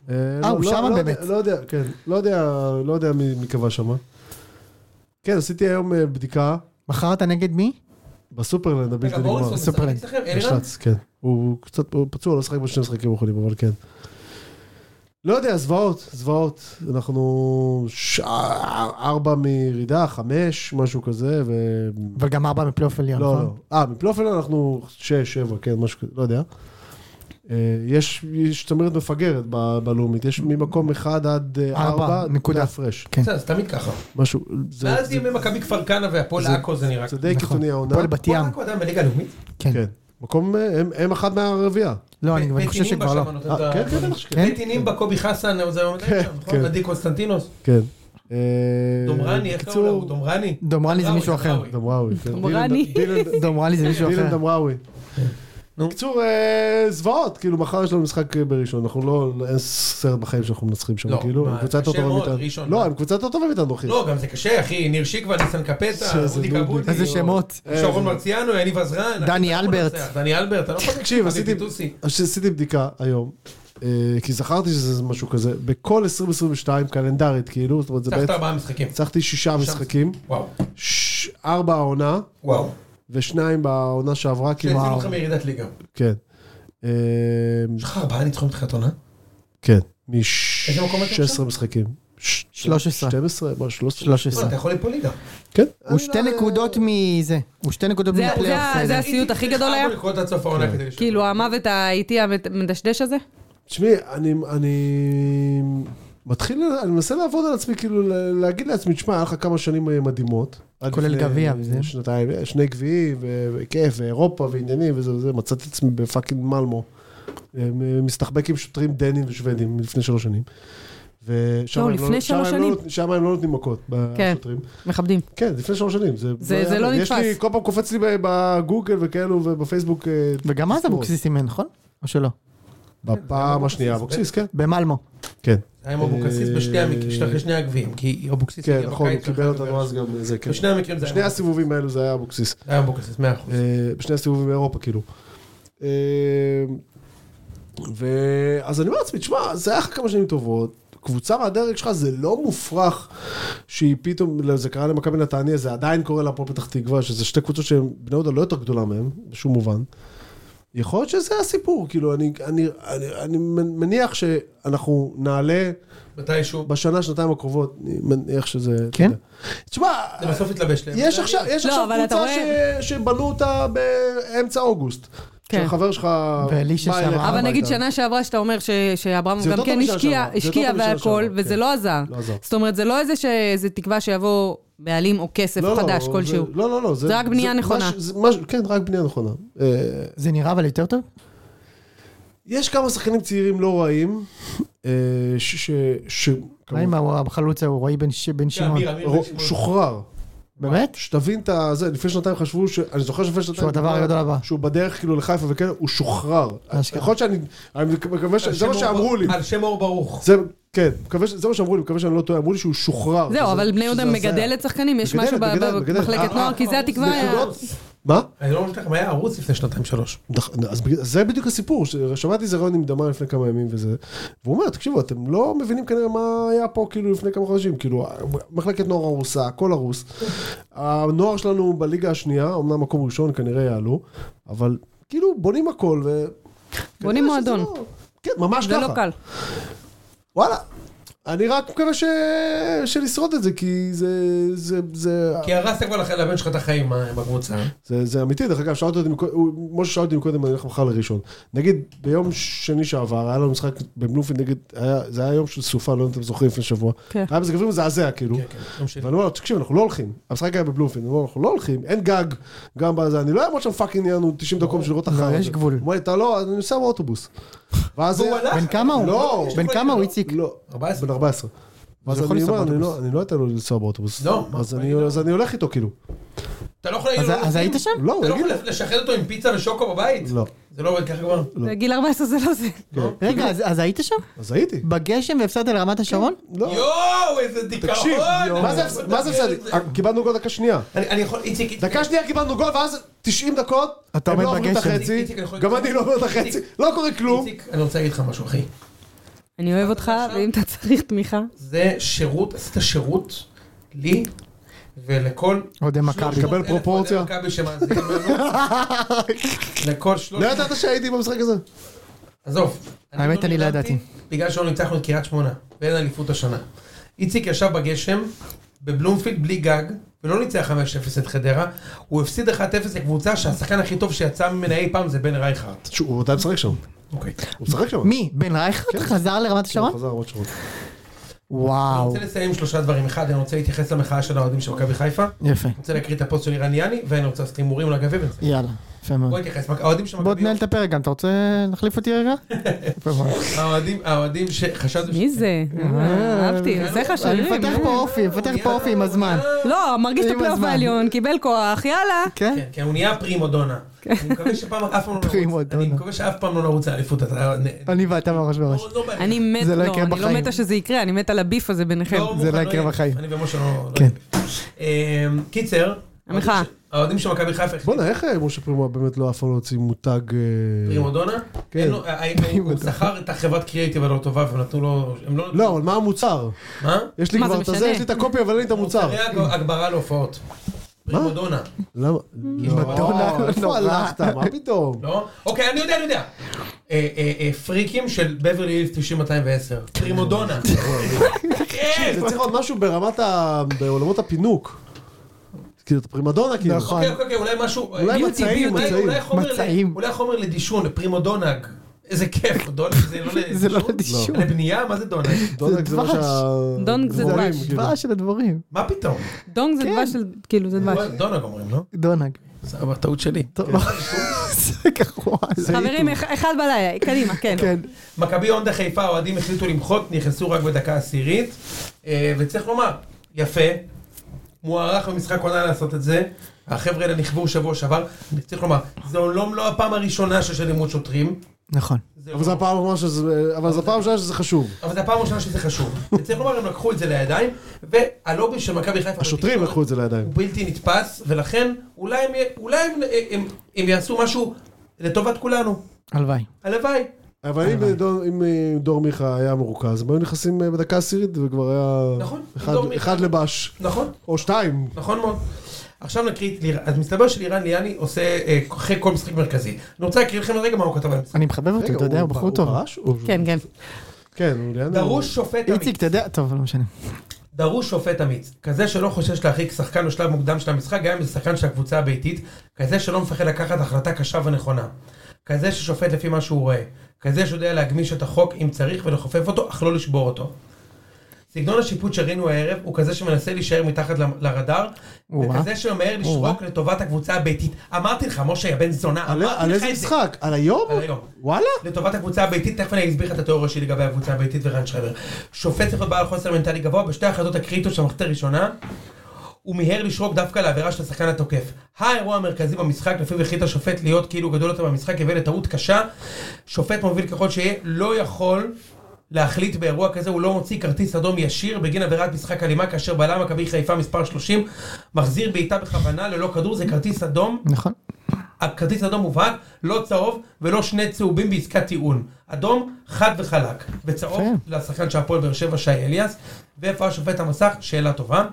[SPEAKER 4] אה, לא-
[SPEAKER 1] הוא
[SPEAKER 4] לא-
[SPEAKER 1] שמה
[SPEAKER 4] לא
[SPEAKER 1] באמת.
[SPEAKER 4] יודע- לא יודע, כן. לא יודע, לא יודע מי מי קבע שמה. כן, עשיתי היום אה, בדיקה
[SPEAKER 1] מכרת נגד מי?
[SPEAKER 4] בסופרלנד הבלתי
[SPEAKER 2] רגע,
[SPEAKER 4] נגמר.
[SPEAKER 2] בוריס, הוא
[SPEAKER 1] סופרלנד.
[SPEAKER 2] משחק אצלכם? אלירן?
[SPEAKER 4] בשלץ, כן. הוא קצת הוא פצוע, לא שחק בשני משחקים האחרונים, אבל כן. לא יודע, זוועות, זוועות. אנחנו ש- ארבע מירידה, חמש, משהו כזה, ו...
[SPEAKER 1] אבל גם ארבע מפלייאוף עליון,
[SPEAKER 4] לא,
[SPEAKER 1] נכון?
[SPEAKER 4] לא. אה, מפלייאוף אנחנו 6-7, כן, משהו כזה, לא יודע. אה, יש יש צמרת מפגרת ב- בלאומית, יש ממקום 1 עד
[SPEAKER 1] ארבע,
[SPEAKER 4] 4,
[SPEAKER 1] נקודה.
[SPEAKER 4] הפרש.
[SPEAKER 1] כן.
[SPEAKER 2] בסדר, זה תמיד ככה.
[SPEAKER 4] משהו, זה
[SPEAKER 2] ואז
[SPEAKER 4] זה-
[SPEAKER 2] ימי מכבי כפר כנא והפועל
[SPEAKER 4] זה-
[SPEAKER 2] עכו זה נראה
[SPEAKER 4] זה
[SPEAKER 2] ככה.
[SPEAKER 4] די
[SPEAKER 1] נכון.
[SPEAKER 4] קיצוני העונה.
[SPEAKER 1] הפועל בת ים.
[SPEAKER 2] הפועל עכו עדיין בליגה הלאומית.
[SPEAKER 1] כן.
[SPEAKER 4] כן. מקום, אה, הם- הם אחת מהרביעייה.
[SPEAKER 1] לא, אני אני חושב
[SPEAKER 2] בית נימבה
[SPEAKER 1] שכבר לא.
[SPEAKER 2] שם נותן
[SPEAKER 4] אה,
[SPEAKER 2] את ה-
[SPEAKER 4] כן, כן, בטח שכן.
[SPEAKER 1] כן?
[SPEAKER 2] בית נימבה, קובי חסן, הוא זה היה עומד
[SPEAKER 4] כן,
[SPEAKER 2] שם, נכון?
[SPEAKER 4] כן.
[SPEAKER 2] עדי קונסטנטינוס.
[SPEAKER 4] כן. אה,
[SPEAKER 2] דומרני, איך קראו לו?
[SPEAKER 4] בקיצור,
[SPEAKER 2] דומרני?
[SPEAKER 1] דומרני זה מישהו אחר.
[SPEAKER 2] דומרני.
[SPEAKER 4] דמראווי. כן.
[SPEAKER 3] דומרני.
[SPEAKER 4] דילן- דילן-
[SPEAKER 1] דומרני זה מישהו
[SPEAKER 4] דילן
[SPEAKER 1] אחר.
[SPEAKER 4] דמראווי.
[SPEAKER 2] נו.
[SPEAKER 4] בקיצור, אה, זוועות, כאילו מחר יש לנו משחק בראשון, אנחנו לא, אין סרט בחיים שאנחנו מנצחים שם,
[SPEAKER 2] לא,
[SPEAKER 4] כאילו,
[SPEAKER 2] מה,
[SPEAKER 4] הם קבוצת
[SPEAKER 2] קשה
[SPEAKER 4] יותר טובה
[SPEAKER 2] מאוד,
[SPEAKER 4] מאיתנו.
[SPEAKER 2] ראשון,
[SPEAKER 4] לא,
[SPEAKER 2] מה?
[SPEAKER 4] הם קבוצה יותר טובה מאיתנו, אחי.
[SPEAKER 2] לא, גם זה קשה, אחי. ניר שיקווה, ניסן קפטה,
[SPEAKER 4] שזה
[SPEAKER 2] אודי
[SPEAKER 4] נודניק.
[SPEAKER 2] קבודי.
[SPEAKER 1] איזה שמות.
[SPEAKER 2] שרון מרציאנו, יניב עזרן.
[SPEAKER 1] דני
[SPEAKER 2] אתה לא יכול
[SPEAKER 1] אלברט.
[SPEAKER 2] לנצח, דני אלברט, אתה לא יכול...
[SPEAKER 4] תקשיב,
[SPEAKER 2] חביב
[SPEAKER 4] עשיתי-
[SPEAKER 2] טיטוסי.
[SPEAKER 4] אז עשיתי בדיקה היום, אה, כי זכרתי שזה משהו כזה, בכל 2022 קלנדרית, כאילו, זאת אומרת, זה
[SPEAKER 2] ניצחת
[SPEAKER 4] בעצם,
[SPEAKER 2] ארבעה משחקים.
[SPEAKER 4] ניצחתי שישה משחקים,
[SPEAKER 2] וואו,
[SPEAKER 4] ש- ארבע העונה,
[SPEAKER 2] וואו.
[SPEAKER 4] ושניים בעונה שעברה, כאילו,
[SPEAKER 2] שהצילו אותך מירידת ליגה.
[SPEAKER 4] כן. אה,
[SPEAKER 2] יש לך ארבעה ניצחונות מתחילת עונה?
[SPEAKER 4] כן,
[SPEAKER 2] איזה מקום אתה
[SPEAKER 4] מ-16
[SPEAKER 2] עכשיו?
[SPEAKER 4] משחקים. ש-
[SPEAKER 1] 13.
[SPEAKER 4] 12, מה, 13?
[SPEAKER 1] 13.
[SPEAKER 2] וואלה, לא, אתה יכול ליפול ליגה.
[SPEAKER 4] כן.
[SPEAKER 1] הוא שתי נקודות מזה. הוא שתי נקודות
[SPEAKER 3] זה-
[SPEAKER 1] מפלייאוף.
[SPEAKER 3] זה-
[SPEAKER 1] בסדר.
[SPEAKER 3] זה- הסיוט הכי גדול היה?
[SPEAKER 2] איציק צריך ארבע נקודות עד סוף
[SPEAKER 4] כן.
[SPEAKER 2] העונה כדי לשבת.
[SPEAKER 3] כאילו, המוות האיטי המדשדש הזה?
[SPEAKER 4] תשמעי, אני, אני מתחיל, אני מנסה לעבוד על עצמי, כאילו ל- להגיד לעצמי, תשמע, היה לך כמה שנים אה, מדהימות. עד
[SPEAKER 1] כולל
[SPEAKER 4] לפני,
[SPEAKER 1] גביע
[SPEAKER 4] אה,
[SPEAKER 1] וזה.
[SPEAKER 4] שנתיים, אה, שני גביעים, ו- וכיף, ואירופה, ועניינים, וזה וזה, מצאתי את עצמי בפאקינג מלמו. אה, מ- מסתחבק עם שוטרים דנים ושוודים מלפני שלוש שנים. ושם
[SPEAKER 3] לא,
[SPEAKER 4] הם
[SPEAKER 3] לפני
[SPEAKER 4] שם
[SPEAKER 3] שלוש
[SPEAKER 4] הם לא
[SPEAKER 3] שנים.
[SPEAKER 4] נות- שם הם לא נותנים מכות,
[SPEAKER 3] כן.
[SPEAKER 4] בשוטרים.
[SPEAKER 3] מכבדים.
[SPEAKER 4] כן, לפני שלוש שנים. זה,
[SPEAKER 3] זה- זה לא
[SPEAKER 4] יש
[SPEAKER 3] נתפס.
[SPEAKER 4] לי, כל פעם קופץ לי בגוגל וכאלו, ובפייסבוק. אה,
[SPEAKER 1] וגם אז
[SPEAKER 4] תזכורות.
[SPEAKER 1] אבוקסיס אימן, נכון? או שלא?
[SPEAKER 4] בפעם השנייה, אבוקסיס, כן.
[SPEAKER 1] במלמו.
[SPEAKER 4] כן.
[SPEAKER 2] היה עם אבוקסיס בשתי המקרים, אחרי שני הגביעים, כי אבוקסיס
[SPEAKER 4] כן,
[SPEAKER 2] הגיע
[SPEAKER 4] נכון, הוא
[SPEAKER 2] בקיץ
[SPEAKER 4] קיבל
[SPEAKER 2] שלך
[SPEAKER 4] אותנו אז גם זה, כן.
[SPEAKER 2] בשני המקרים זה
[SPEAKER 4] בשני
[SPEAKER 2] היה
[SPEAKER 4] הסיבובים האלו זה היה אבוקסיס.
[SPEAKER 2] היה אבוקסיס, מאה אחוז.
[SPEAKER 4] אה, בשני הסיבובים באירופה, כאילו. אה, ו- אז אני אומר לעצמי, תשמע, זה היה לך כמה שנים טובות. הקבוצה מהדרג שלך זה לא מופרך שהיא פתאום, לא, זה קרה למכבי נתניה, זה עדיין קורה להפועל פתח תקווה, שזה שתי קבוצות שהן, בני יהודה לא יותר גדולה מהם, בשום מובן. יכול להיות שזה הסיפור, כאילו, אני, אני, אני, אני מניח שאנחנו נעלה
[SPEAKER 2] מתישהו.
[SPEAKER 4] בשנה, שנתיים הקרובות, אני מניח שזה...
[SPEAKER 1] כן?
[SPEAKER 4] תשמע,
[SPEAKER 2] זה בסוף יתלבש להם.
[SPEAKER 4] יש עכשיו, יש
[SPEAKER 3] לא,
[SPEAKER 4] עכשיו
[SPEAKER 3] אבל אתה
[SPEAKER 4] קבוצה ש... שבנו אותה באמצע אוגוסט.
[SPEAKER 3] כן.
[SPEAKER 4] כן. שחבר שלך...
[SPEAKER 1] ואלישע
[SPEAKER 4] בא
[SPEAKER 1] שם.
[SPEAKER 4] אליך
[SPEAKER 1] אבל
[SPEAKER 3] אבל
[SPEAKER 4] הביתה.
[SPEAKER 3] נגיד שנה שעברה שאתה אומר ש- שאברמוב
[SPEAKER 4] זה
[SPEAKER 3] גם
[SPEAKER 4] יותר
[SPEAKER 3] כן
[SPEAKER 4] טוב משנה
[SPEAKER 3] השקיע,
[SPEAKER 4] שעברה. זה יותר
[SPEAKER 3] השקיע
[SPEAKER 4] טוב משנה
[SPEAKER 3] והכל,
[SPEAKER 4] שעברה,
[SPEAKER 3] וזה
[SPEAKER 4] כן.
[SPEAKER 3] לא עזר.
[SPEAKER 4] לא עזר.
[SPEAKER 3] זאת אומרת, זה לא איזה ש- זה תקווה שיבוא בעלים או כסף
[SPEAKER 4] לא, לא,
[SPEAKER 3] חדש
[SPEAKER 4] זה-
[SPEAKER 3] כלשהו.
[SPEAKER 4] לא, לא, לא.
[SPEAKER 3] זה רק בנייה נכונה.
[SPEAKER 4] מש, זה, מש, כן, רק בנייה נכונה. אה,
[SPEAKER 1] זה נראה אבל יותר טוב?
[SPEAKER 4] יש כמה שחקנים צעירים לא רעים, אה, ש... ש, ש
[SPEAKER 1] מה עם החלוץ ההוא, רועי בן ש- בן שמעון?
[SPEAKER 2] כן, אמיר, אמיר,
[SPEAKER 4] רו-
[SPEAKER 2] שמעון.
[SPEAKER 4] שוחרר.
[SPEAKER 1] באמת?
[SPEAKER 4] שתבין את הזה, לפני שנתיים חשבו, ש... אני זוכר שלפני שנתיים...
[SPEAKER 1] שהוא הדבר הגדול הבא.
[SPEAKER 4] שהוא בדרך כאילו לחיפה וכן, הוא שוחרר.
[SPEAKER 1] אשכרה.
[SPEAKER 4] יכול להיות שאני... אני מקווה ש...
[SPEAKER 2] על
[SPEAKER 4] זה מה
[SPEAKER 2] שם
[SPEAKER 4] שאמרו
[SPEAKER 2] אור-
[SPEAKER 4] לי.
[SPEAKER 2] על שם אור ברוך.
[SPEAKER 4] זה, כן, מקווה ש... זה מה שאמרו לי, מקווה שאני לא טועה, אמרו לי שהוא שוחרר.
[SPEAKER 3] זהו,
[SPEAKER 4] שזה-
[SPEAKER 3] אבל בני יהודה
[SPEAKER 4] שזה הזיה.
[SPEAKER 3] מגדלת שחקנים, יש
[SPEAKER 4] מגדלת,
[SPEAKER 3] משהו ב-
[SPEAKER 4] מגדלת,
[SPEAKER 3] ב-
[SPEAKER 4] מגדלת.
[SPEAKER 3] במחלקת
[SPEAKER 4] אה,
[SPEAKER 3] נוער,
[SPEAKER 4] אה,
[SPEAKER 3] כי זה התקווה... היה-
[SPEAKER 4] נקודות. מה?
[SPEAKER 2] אני לא אומר לכם, היה ערוץ לפני שנתיים שלוש.
[SPEAKER 4] נכ- אז בגלל- זה בדיוק הסיפור, ש- שמעתי איזה רעיון עם דמאר לפני כמה ימים וזה, והוא אומר, תקשיבו, אתם לא מבינים כנראה מה היה פה כאילו לפני כמה חודשים, כאילו, מחלקת נוער הרוסה, הכל הרוס. הנוער שלנו בליגה השנייה, אמנם מקום ראשון כנראה יעלו, אבל כאילו בונים הכל ו...
[SPEAKER 3] בונים
[SPEAKER 4] כנראה שזה
[SPEAKER 3] מועדון.
[SPEAKER 4] לא- כן, ממש
[SPEAKER 3] זה
[SPEAKER 4] ככה.
[SPEAKER 3] לא קל.
[SPEAKER 4] וואלה. אני רק מקווה ש... שלשרוד את זה, כי זה... זה... זה...
[SPEAKER 2] כי הרסת כבר לכ- לבן שלך את החיים אה, עם הקבוצה.
[SPEAKER 4] זה, זה אמיתי, דרך אגב, שאלת אותי, מקו- הוא- משה שאל אותי מקודם, אני הולך מחר לראשון. נגיד, ביום שני שעבר, היה לנו משחק בבלומפילד נגד, היה, זה היה יום של סופה, לא יודע אם אתם זוכרים לפני שבוע.
[SPEAKER 3] כן.
[SPEAKER 4] היה מזג אוויר מזעזע, כאילו.
[SPEAKER 2] כן, כן, לא משנה.
[SPEAKER 4] ואני אומר לו, תקשיב, אנחנו לא הולכים. המשחק היה בבלומפילד, אני אומר, לו, אנחנו לא הולכים, אין גג, גם בזה, אני לא אעמוד שם פאקינג יענו 90 דקות בשביל לראות
[SPEAKER 1] לא,
[SPEAKER 4] אחר.
[SPEAKER 1] יש גבול.
[SPEAKER 4] הוא אומר לי, אתה לא, אז אני נוסע באוטובוס. ואז...
[SPEAKER 2] והוא הלך.
[SPEAKER 1] בן כמה הוא?
[SPEAKER 4] לא.
[SPEAKER 1] בן כמה הוא, איציק?
[SPEAKER 4] לא,
[SPEAKER 2] 14.
[SPEAKER 4] בן 14.
[SPEAKER 1] אז
[SPEAKER 4] ואז
[SPEAKER 1] הוא יכול
[SPEAKER 4] אני
[SPEAKER 1] לנסוע
[SPEAKER 4] אומר, אני
[SPEAKER 1] באוטובוס.
[SPEAKER 4] לא- אני לא אתן לו לנסוע באוטובוס.
[SPEAKER 2] לא, מה,
[SPEAKER 4] אז
[SPEAKER 2] מה,
[SPEAKER 4] אני-
[SPEAKER 2] לא.
[SPEAKER 4] אז אני הולך איתו, כאילו.
[SPEAKER 2] אתה לא יכול להגיד
[SPEAKER 1] אז-
[SPEAKER 2] לו,
[SPEAKER 1] אז היית שם?
[SPEAKER 4] לא, הוא
[SPEAKER 2] אתה לא
[SPEAKER 4] יגיד
[SPEAKER 2] יכול
[SPEAKER 4] לי.
[SPEAKER 2] לשחד אותו עם פיצה ושוקו בבית?
[SPEAKER 4] לא.
[SPEAKER 2] זה לא עובד ככה כבר.
[SPEAKER 4] לא.
[SPEAKER 3] גיל 14 זה לא זה.
[SPEAKER 1] רגע, אז- אז היית שם?
[SPEAKER 4] כן. אז הייתי.
[SPEAKER 1] בגשם והפסדת לרמת השרון?
[SPEAKER 4] לא.
[SPEAKER 2] יואו, איזה דיכאון!
[SPEAKER 4] תקשיב,
[SPEAKER 2] אני לא
[SPEAKER 4] מה זה
[SPEAKER 2] יכול
[SPEAKER 4] הפס- מה זה
[SPEAKER 2] לדמיין את
[SPEAKER 4] הפסד? אה, קיבלנו גול דקה שנייה.
[SPEAKER 2] אני אני יכול, איציק, איציק,
[SPEAKER 4] דקה שנייה קיבלנו גול, ואז 90 דקות,
[SPEAKER 1] אתה
[SPEAKER 4] הם
[SPEAKER 1] עומד
[SPEAKER 4] לא עוברים את
[SPEAKER 1] בגשם.
[SPEAKER 4] החצי,
[SPEAKER 2] איציק, אני יכול-
[SPEAKER 4] גם אני לא עובר את
[SPEAKER 2] איציק.
[SPEAKER 4] החצי, לא קורה כלום.
[SPEAKER 2] איציק, אני רוצה להגיד לך משהו, אחי.
[SPEAKER 3] אני אוהב אותך, ואם אתה צריך תמיכה...
[SPEAKER 2] זה שירות, עשית שירות לי ולכל...
[SPEAKER 1] אוהדי מכבי.
[SPEAKER 2] 300,000
[SPEAKER 4] קבל פרופורציה.
[SPEAKER 2] אוהדי מכבי שמאזינים לנו. לכל
[SPEAKER 4] לא
[SPEAKER 2] שלוש...
[SPEAKER 4] ידעת שהייתי במשחק הזה?
[SPEAKER 2] עזוב.
[SPEAKER 1] האמת, אני לא ידעתי.
[SPEAKER 2] בגלל שלא ניצחנו את קריית שמונה, ואין אליפות השנה. איציק ישב בגשם, בבלומפילד בלי גג, ולא ניצח 5-0 את חדרה, הוא הפסיד 1-0 לקבוצה שהשחקן הכי טוב שיצא ממנה אי פעם זה בן רייכרט.
[SPEAKER 4] שהוא הוא עדיין משחק שם,
[SPEAKER 2] אוקיי.
[SPEAKER 4] הוא משחק שם.
[SPEAKER 1] מי? בן רייכרד חזר לרמת
[SPEAKER 4] הוא
[SPEAKER 1] השרון?
[SPEAKER 4] חזר עוד שעות.
[SPEAKER 2] אני
[SPEAKER 1] וואו.
[SPEAKER 2] רוצה לסיים עם שלושה דברים. אחד, אני רוצה להתייחס למחאה של האוהדים של מכבי חיפה. אני
[SPEAKER 1] יפה.
[SPEAKER 2] רוצה להקריא את הפוסט של אירן יאני, ואני רוצה לעשות הימורים לגבי וזה.
[SPEAKER 1] יאללה. יפה מאוד.
[SPEAKER 2] בוא נתייחס, האוהדים של
[SPEAKER 1] בוא
[SPEAKER 2] מכבי...
[SPEAKER 1] תנהל את הפרק גם, אתה רוצה להחליף אותי רגע? יפה מאוד.
[SPEAKER 2] האוהדים, האוהדים שחשבנו... ש-
[SPEAKER 3] מי זה? אה, אהבתי, עושה לך
[SPEAKER 1] כן. אני
[SPEAKER 3] שרירים.
[SPEAKER 1] מפתח פה אופי, מפתח פה אופי עם הזמן.
[SPEAKER 3] לא, מרגיש את
[SPEAKER 1] עם
[SPEAKER 3] הפלייאוף
[SPEAKER 1] הזמן.
[SPEAKER 3] העליון, קיבל כוח, יאללה.
[SPEAKER 1] כן?
[SPEAKER 2] כן, כן, הוא נהיה פרימודונה. אני מקווה שפעם אף פעם לא נרוץ.
[SPEAKER 1] פרימודונה.
[SPEAKER 2] אני מקווה שאף פעם לא נרוץ לאליפות. אתה-
[SPEAKER 1] אני ואתה בראש בראש.
[SPEAKER 2] לא- לא-
[SPEAKER 3] אני מת,
[SPEAKER 1] זה לא
[SPEAKER 3] לא,
[SPEAKER 1] יקרה
[SPEAKER 3] אני לא
[SPEAKER 1] בחיים.
[SPEAKER 3] מתה שזה יקרה, אני מת על הביף הזה ביניכם.
[SPEAKER 2] לא,
[SPEAKER 1] זה
[SPEAKER 2] מוכן,
[SPEAKER 1] לא יקרה
[SPEAKER 2] יהיה.
[SPEAKER 1] בחיים.
[SPEAKER 2] אני ומשה לא...
[SPEAKER 1] כן.
[SPEAKER 2] לא יהיה. אמ, קיצר.
[SPEAKER 3] המחאה.
[SPEAKER 2] האוהדים של- האוהדים של מכבי חיפה החליטו
[SPEAKER 4] בואנה, איך אה, משה פרימו באמת לא אף פעם לא הוציא מותג... אה,
[SPEAKER 2] פרימודונה.
[SPEAKER 4] כן.
[SPEAKER 2] אין לו- אה, אה, הוא שכר את החברת קריאיטיב הלא טובה והם נתנו לו... הם לא...
[SPEAKER 4] לא, אבל מה המוצר?
[SPEAKER 2] מה?
[SPEAKER 4] יש לי
[SPEAKER 3] מה,
[SPEAKER 4] כבר
[SPEAKER 3] זה
[SPEAKER 4] את הזה,
[SPEAKER 3] משנה?
[SPEAKER 4] יש לי את הקופי, אבל אין לי את המוצר.
[SPEAKER 2] מוצרי הג- הגברה להופעות. פרימודונה.
[SPEAKER 4] למה? לא,
[SPEAKER 1] מדונה,
[SPEAKER 4] איפה
[SPEAKER 1] נורא.
[SPEAKER 4] הלכת? מה פתאום?
[SPEAKER 2] לא? אוקיי, אני יודע, אני יודע. אה, אה, אה, פריקים של בברלי הילס 9210. פרימודונה. כן!
[SPEAKER 4] זה צריך להיות משהו ברמת ה... בעולמות הפינוק. כאילו, את הפרימדונה, כאילו.
[SPEAKER 1] נכון.
[SPEAKER 2] אוקיי, אוקיי, אוקיי, אולי משהו...
[SPEAKER 4] אולי
[SPEAKER 2] ביוטי,
[SPEAKER 4] מצעים,
[SPEAKER 2] ביוטי,
[SPEAKER 4] מצעים.
[SPEAKER 2] אולי חומר ל-
[SPEAKER 1] מצעים.
[SPEAKER 2] אולי חומר לדישון, פרימודונג. איזה כיף, דונג זה לא לדישון.
[SPEAKER 1] זה לא לדישון.
[SPEAKER 2] לבנייה? מה זה דונג?
[SPEAKER 4] דונג זה מה
[SPEAKER 1] דבש.
[SPEAKER 4] שה...
[SPEAKER 3] דונג זה
[SPEAKER 4] דבורים,
[SPEAKER 3] דבש.
[SPEAKER 4] כאילו.
[SPEAKER 1] דבש של הדבורים.
[SPEAKER 2] מה פתאום?
[SPEAKER 3] דונג זה
[SPEAKER 1] כן.
[SPEAKER 3] דבש של, כאילו, זה דבש.
[SPEAKER 2] דונג אומרים, לא?
[SPEAKER 1] דונג.
[SPEAKER 2] סבבה, טעות שלי.
[SPEAKER 1] טוב. זה כחוע.
[SPEAKER 3] חברים, אח- אחד בלילה, קדימה, כן.
[SPEAKER 1] כן.
[SPEAKER 2] מכבי הונדה חיפה, האוהדים החליטו למחות, נכנסו רק בדקה עשירית, אה, וצריך לומר, יפה, מוערך במשחק עונה לעשות את זה, החבר'ה האלה נכוו שבוע שעבר, צריך לומר, זו לא, לא הפעם הראשונה שיש אלימות שוטרים,
[SPEAKER 1] נכון.
[SPEAKER 2] זה
[SPEAKER 4] אבל זו
[SPEAKER 2] לא,
[SPEAKER 4] הפעם הראשונה שזה, אבל זו הפעם הראשונה שזה חשוב.
[SPEAKER 2] אבל זו הפעם הראשונה שזה חשוב, וצריך לומר, הם לקחו את זה לידיים, והלובי של מכבי חיפה,
[SPEAKER 4] השוטרים
[SPEAKER 2] בתקשורת
[SPEAKER 4] לקחו את זה לידיים.
[SPEAKER 2] הוא בלתי נתפס, ולכן אולי הם, אולי הם, הם, הם, הם יעשו משהו לטובת כולנו,
[SPEAKER 1] הלוואי.
[SPEAKER 2] הלוואי.
[SPEAKER 4] אבל אם דור- אם אה, דור מיכה היה מרוכז, הם היו נכנסים אה, בדקה עשירית וכבר היה...
[SPEAKER 2] נכון,
[SPEAKER 4] אחד-
[SPEAKER 2] דור מיכה.
[SPEAKER 4] אחד לבש,
[SPEAKER 2] נכון,
[SPEAKER 4] או שתיים.
[SPEAKER 2] נכון מאוד. עכשיו נקריא את לירן, אז מסתבר שלירן ליאני עושה אה, אחרי כל משחק מרכזי. אני רוצה להקריא לכם רגע מה הוא כתב על המשחק.
[SPEAKER 1] אני מחבב אותו,
[SPEAKER 4] רגע,
[SPEAKER 1] אתה יודע, הוא בחור טוב.
[SPEAKER 4] ברש? הוא-
[SPEAKER 3] כן, כן.
[SPEAKER 4] כן, הוא ליאנו.
[SPEAKER 2] דרוש שופט אמיץ.
[SPEAKER 1] איציק, אתה יודע, טוב, לא משנה.
[SPEAKER 2] דרוש שופט אמיץ, כזה שלא חושש להרחיק שחקן בשלב מוקדם של המשחק, גם אם זה שחקן של הקבוצה הביתית, כזה שלא מפחד לקחת החלטה קשה ונכונה, כזה ששופט לפי מה שהוא רואה, כזה שיודע להגמיש את החוק אם צריך ולחופף אותו, אך לא לשבור אותו. סגנון השיפוט שראינו הערב הוא כזה שמנסה להישאר מתחת ל- לרדאר,
[SPEAKER 1] או-אה.
[SPEAKER 2] וכזה שממהר לשרוק לטובת הקבוצה הביתית. אמרתי לך, משה, יא בן זונה,
[SPEAKER 4] על על
[SPEAKER 2] אמרתי לך
[SPEAKER 4] איזה
[SPEAKER 2] את זה.
[SPEAKER 4] משחק? על היום?
[SPEAKER 2] על היום.
[SPEAKER 4] וואלה?
[SPEAKER 2] לטובת הקבוצה הביתית, תכף אני אסביר לך את התיאוריה שלי לגבי הקבוצה הביתית ורן שרייבר. שופט צריך להיות בעל חוסר מנטלי גבוה בשתי ההחלטות הקריטיות של המחצית הראשונה. הוא מיהר לשרוק דווקא לעבירה של השחקן התוקף. האירוע המרכזי במשחק, לפיו החליט השופט להיות כאילו גדול יותר במשחק, הביא לטעות קשה. שופט מוביל ככל שיהיה, לא יכול להחליט באירוע כזה, הוא לא מוציא כרטיס אדום ישיר בגין עבירת משחק אלימה, כאשר בלם מכבי חיפה מספר 30 מחזיר בעיטה בכוונה ללא כדור, זה כרטיס אדום
[SPEAKER 1] נכון.
[SPEAKER 2] הכרטיס אדום מובהק, לא צהוב ולא שני צהובים בעסקת טיעון. אדום, חד וחלק. וצהוב
[SPEAKER 1] יפה.
[SPEAKER 2] לשחקן של הפועל באר שבע, שי אליאס. ואיפה השופט המסך? שאלה טובה.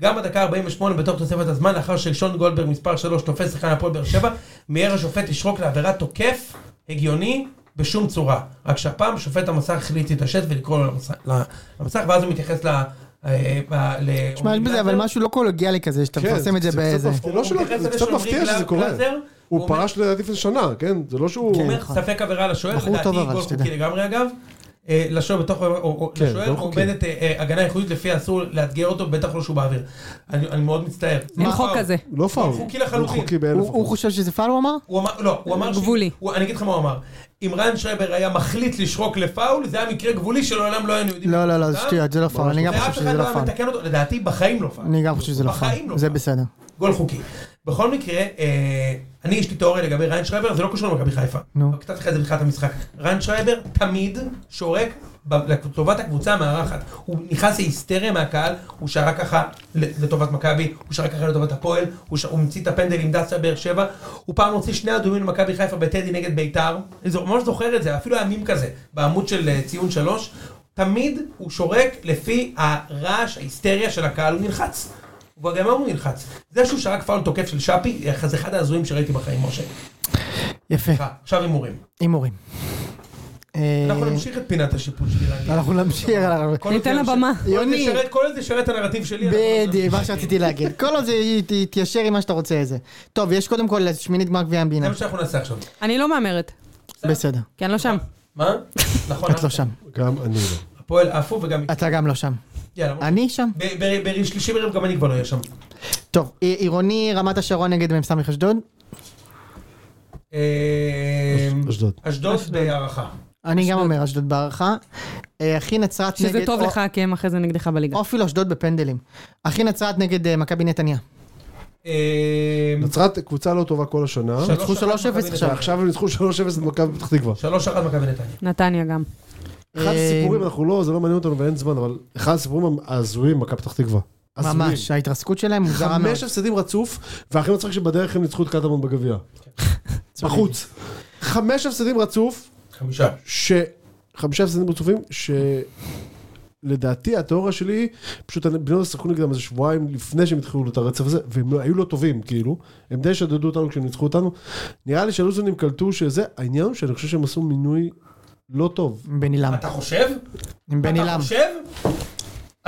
[SPEAKER 2] גם בדקה 48 בתוך תוספת הזמן, לאחר ששון גולדברג מספר 3 תופס שחקן הפועל באר שבע, מיהר השופט לשרוק לעבירת תוקף הגיוני בשום צורה. רק שהפעם שופט המסך החליט להתעשת ולקרוא לו למסך, למסך ואז הוא מתייחס ל... אה, ב- ל-
[SPEAKER 1] תשמע, יש בזה, אבל משהו לא קולוגיאלי כזה, שאתה
[SPEAKER 4] כן,
[SPEAKER 1] מפרסם את זה
[SPEAKER 4] קצת
[SPEAKER 1] באיזה...
[SPEAKER 4] מפתיע- לא
[SPEAKER 2] הוא
[SPEAKER 4] שלא-
[SPEAKER 2] מתייחס
[SPEAKER 4] זה
[SPEAKER 2] לזה
[SPEAKER 4] קצת
[SPEAKER 2] שהוא
[SPEAKER 4] מפתיע
[SPEAKER 2] אומרים
[SPEAKER 4] שזה קורה.
[SPEAKER 2] גלאזר, הוא
[SPEAKER 4] הוא
[SPEAKER 2] אומר-
[SPEAKER 4] פרש לדעתי לפני שנה, כן? זה לא שהוא...
[SPEAKER 2] הוא אומר ספק עבירה לשוער,
[SPEAKER 1] נכון. בחור
[SPEAKER 2] לדעתי
[SPEAKER 1] טוב אבל,
[SPEAKER 2] גול
[SPEAKER 1] שתדע.
[SPEAKER 2] חוקי לגמרי אגב. אה, לשוער בתוך, או- או-
[SPEAKER 4] כן,
[SPEAKER 2] לשוער
[SPEAKER 4] גול חוקי.
[SPEAKER 2] עומדת אה, אה, הגנה איכותית לפי אסור לאתגר אותו, בטח לא שהוא באוויר. אני אני מאוד מצטער.
[SPEAKER 3] אין
[SPEAKER 2] מה-
[SPEAKER 3] חוק כזה.
[SPEAKER 4] לא פאול.
[SPEAKER 2] חוקי לחלוטין.
[SPEAKER 4] חוקי באלף
[SPEAKER 1] הוא הוא
[SPEAKER 4] אחוז.
[SPEAKER 1] חושב שזה פאול, הוא אמר?
[SPEAKER 2] הוא אמר, לא, הוא אמר, ש-
[SPEAKER 3] גבולי.
[SPEAKER 2] הוא- אני אגיד לך מה הוא אמר. אם רן שרייבר היה מחליט לשרוק לפאול, זה היה מקרה גבולי שלעולם לא היינו יודעים.
[SPEAKER 1] לא, לא, לא, זה
[SPEAKER 2] אה?
[SPEAKER 1] שטויות, זה לא פאול, אני גם
[SPEAKER 2] ואף
[SPEAKER 1] חושב
[SPEAKER 2] אחד
[SPEAKER 1] שזה לא
[SPEAKER 2] היה
[SPEAKER 1] פאול.
[SPEAKER 2] מתקן אותו, לדעתי בחיים לא פאול.
[SPEAKER 1] אני גם חושב שזה לא
[SPEAKER 2] בחיים
[SPEAKER 1] פאול. זה
[SPEAKER 2] פאול.
[SPEAKER 1] בסדר.
[SPEAKER 2] גול חוקי. בכל מקרה, אה, אני יש לי תיאוריה לגבי ריין שרייבר, זה לא קשור למכבי חיפה.
[SPEAKER 1] נו.
[SPEAKER 2] נו. כתבתי לך את זה בתחילת המשחק. ריין שרייבר תמיד שורק ב- לטובת הקבוצה המארחת. הוא נכנס להיסטריה מהקהל, הוא שרק ככה ל- לטובת מכבי, הוא שרק ככה לטובת הפועל, הוא ש- הוא המציא את הפנדל עם דסה באר שבע, הוא פעם הוציא שני אדומים למכבי חיפה בטדי נגד ביתר. אני זו- ממש זוכר את זה, אפילו היה מים כזה, בעמוד של אה, ציון שלוש. תמיד הוא שורק לפי הרעש, ההיסטריה של הקהל, הוא נלחץ. וגם היום הוא נלחץ. זה שהוא שרק פאול תוקף של שפי, אה, זה אחד ההזויים שראיתי בחיים, משה.
[SPEAKER 1] יפה,
[SPEAKER 2] סליחה, עכשיו הימורים.
[SPEAKER 1] הימורים. אה,
[SPEAKER 2] אנחנו נמשיך את פינת השיפוט שלי.
[SPEAKER 1] אנחנו נמשיך. אנחנו-
[SPEAKER 2] כל עוד
[SPEAKER 3] ניתן
[SPEAKER 2] זה-
[SPEAKER 3] לה במה.
[SPEAKER 2] כל עוד זה
[SPEAKER 1] יוני.
[SPEAKER 2] ישרת- כל עוד זה שרת הנרטיב שלי. אנחנו נמשיך.
[SPEAKER 1] בדיוק, מה שרציתי להגיד. כל עוד זה ת- תתיישר עם מה שאתה רוצה איזה. טוב, יש קודם כל שמינית גמר גביע המדינה.
[SPEAKER 2] זה מה שאנחנו נעשה עכשיו.
[SPEAKER 3] אני לא מהמרת,
[SPEAKER 1] בסדר,
[SPEAKER 3] כי אני לא שם.
[SPEAKER 2] מה? נכון,
[SPEAKER 1] את לא שם.
[SPEAKER 4] גם אני לא.
[SPEAKER 2] הפועל עפו וגם...
[SPEAKER 1] אתה גם לא שם.
[SPEAKER 2] יאללה, משה.
[SPEAKER 1] אני שם.
[SPEAKER 2] ב- ב- בשלישי בערב גם אני כבר לא אהיה שם.
[SPEAKER 1] טוב, עיר- עירוני רמת השרון נגד מ"ס אשדוד.
[SPEAKER 2] אה,
[SPEAKER 4] אשדוד.
[SPEAKER 2] אשדוד בהערכה.
[SPEAKER 1] אני גם אומר אשדוד בהערכה. אה, אחי נצרת נגד...
[SPEAKER 3] שזה טוב
[SPEAKER 1] או-
[SPEAKER 3] לך, כי הם אחרי זה נגדך בליגה.
[SPEAKER 1] או אפילו אשדוד בפנדלים. אחי נצרת נגד אה, מכבי נתניה.
[SPEAKER 2] אה,
[SPEAKER 4] נצרת קבוצה לא טובה כל השנה,
[SPEAKER 2] שלוש
[SPEAKER 1] ניצחו
[SPEAKER 2] אחת
[SPEAKER 1] 3-0
[SPEAKER 2] מכבי
[SPEAKER 1] עכשיו.
[SPEAKER 4] ועכשיו הם ניצחו 3-0 את מכבי פתח תקווה.
[SPEAKER 2] שלוש אחת מכבי נתניה.
[SPEAKER 3] נתניה גם.
[SPEAKER 4] כן, אחד
[SPEAKER 1] אה,
[SPEAKER 4] הסיפורים, אנחנו לא, זה לא מעניין אותנו ואין זמן, אבל אחד הסיפורים ההזויים במכבי פתח תקווה. הזויים.
[SPEAKER 1] ממש, ההתרסקות שלהם מוזרה מאוד.
[SPEAKER 4] חמש הפסדים רצוף, והכי מצחיק שבדרך הם ניצחו את קטמון בגביע. בחוץ. חמש הפסדים רצוף,
[SPEAKER 2] חמישה.
[SPEAKER 4] ש... חמישה הפסדים רצופים, שלדעתי התיאוריה שלי, היא, פשוט בני יהודה שיחקו נגדם איזה שבועיים לפני שהם התחילו את הרצף הזה, והם לא- היו לא טובים, כאילו. הם די שדדו אותנו כשהם ניצחו אותנו. נראה לי שלוזונים קלטו שזה, העניין הוא שאני חושב שהם עשו מינוי לא טוב.
[SPEAKER 1] עם בן עילם.
[SPEAKER 2] אתה חושב?
[SPEAKER 1] עם בן
[SPEAKER 2] אתה
[SPEAKER 1] עילם.
[SPEAKER 2] חושב?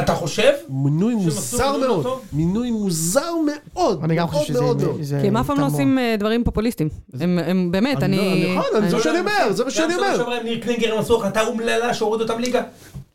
[SPEAKER 2] אתה חושב?
[SPEAKER 4] מינוי
[SPEAKER 2] עשו
[SPEAKER 4] מוזר
[SPEAKER 2] מינוי לא
[SPEAKER 4] מאוד.
[SPEAKER 2] טוב?
[SPEAKER 4] מינוי מוזר מאוד.
[SPEAKER 1] אני גם
[SPEAKER 4] מאוד
[SPEAKER 1] חושב שזה...
[SPEAKER 4] מאוד מאוד.
[SPEAKER 1] זה
[SPEAKER 3] כי הם אף פעם לא
[SPEAKER 1] תמוה.
[SPEAKER 3] עושים אה, דברים פופוליסטים. הם- הם באמת, אני...
[SPEAKER 4] לא- נכון, אני-
[SPEAKER 3] אני-
[SPEAKER 4] זה מה שאני אומר, זה מה שאני
[SPEAKER 2] גם
[SPEAKER 4] אומר.
[SPEAKER 2] שנה שעברה עם ניר קלינגר הם עשו החלטה אומללה שהורידו אותם ליגה.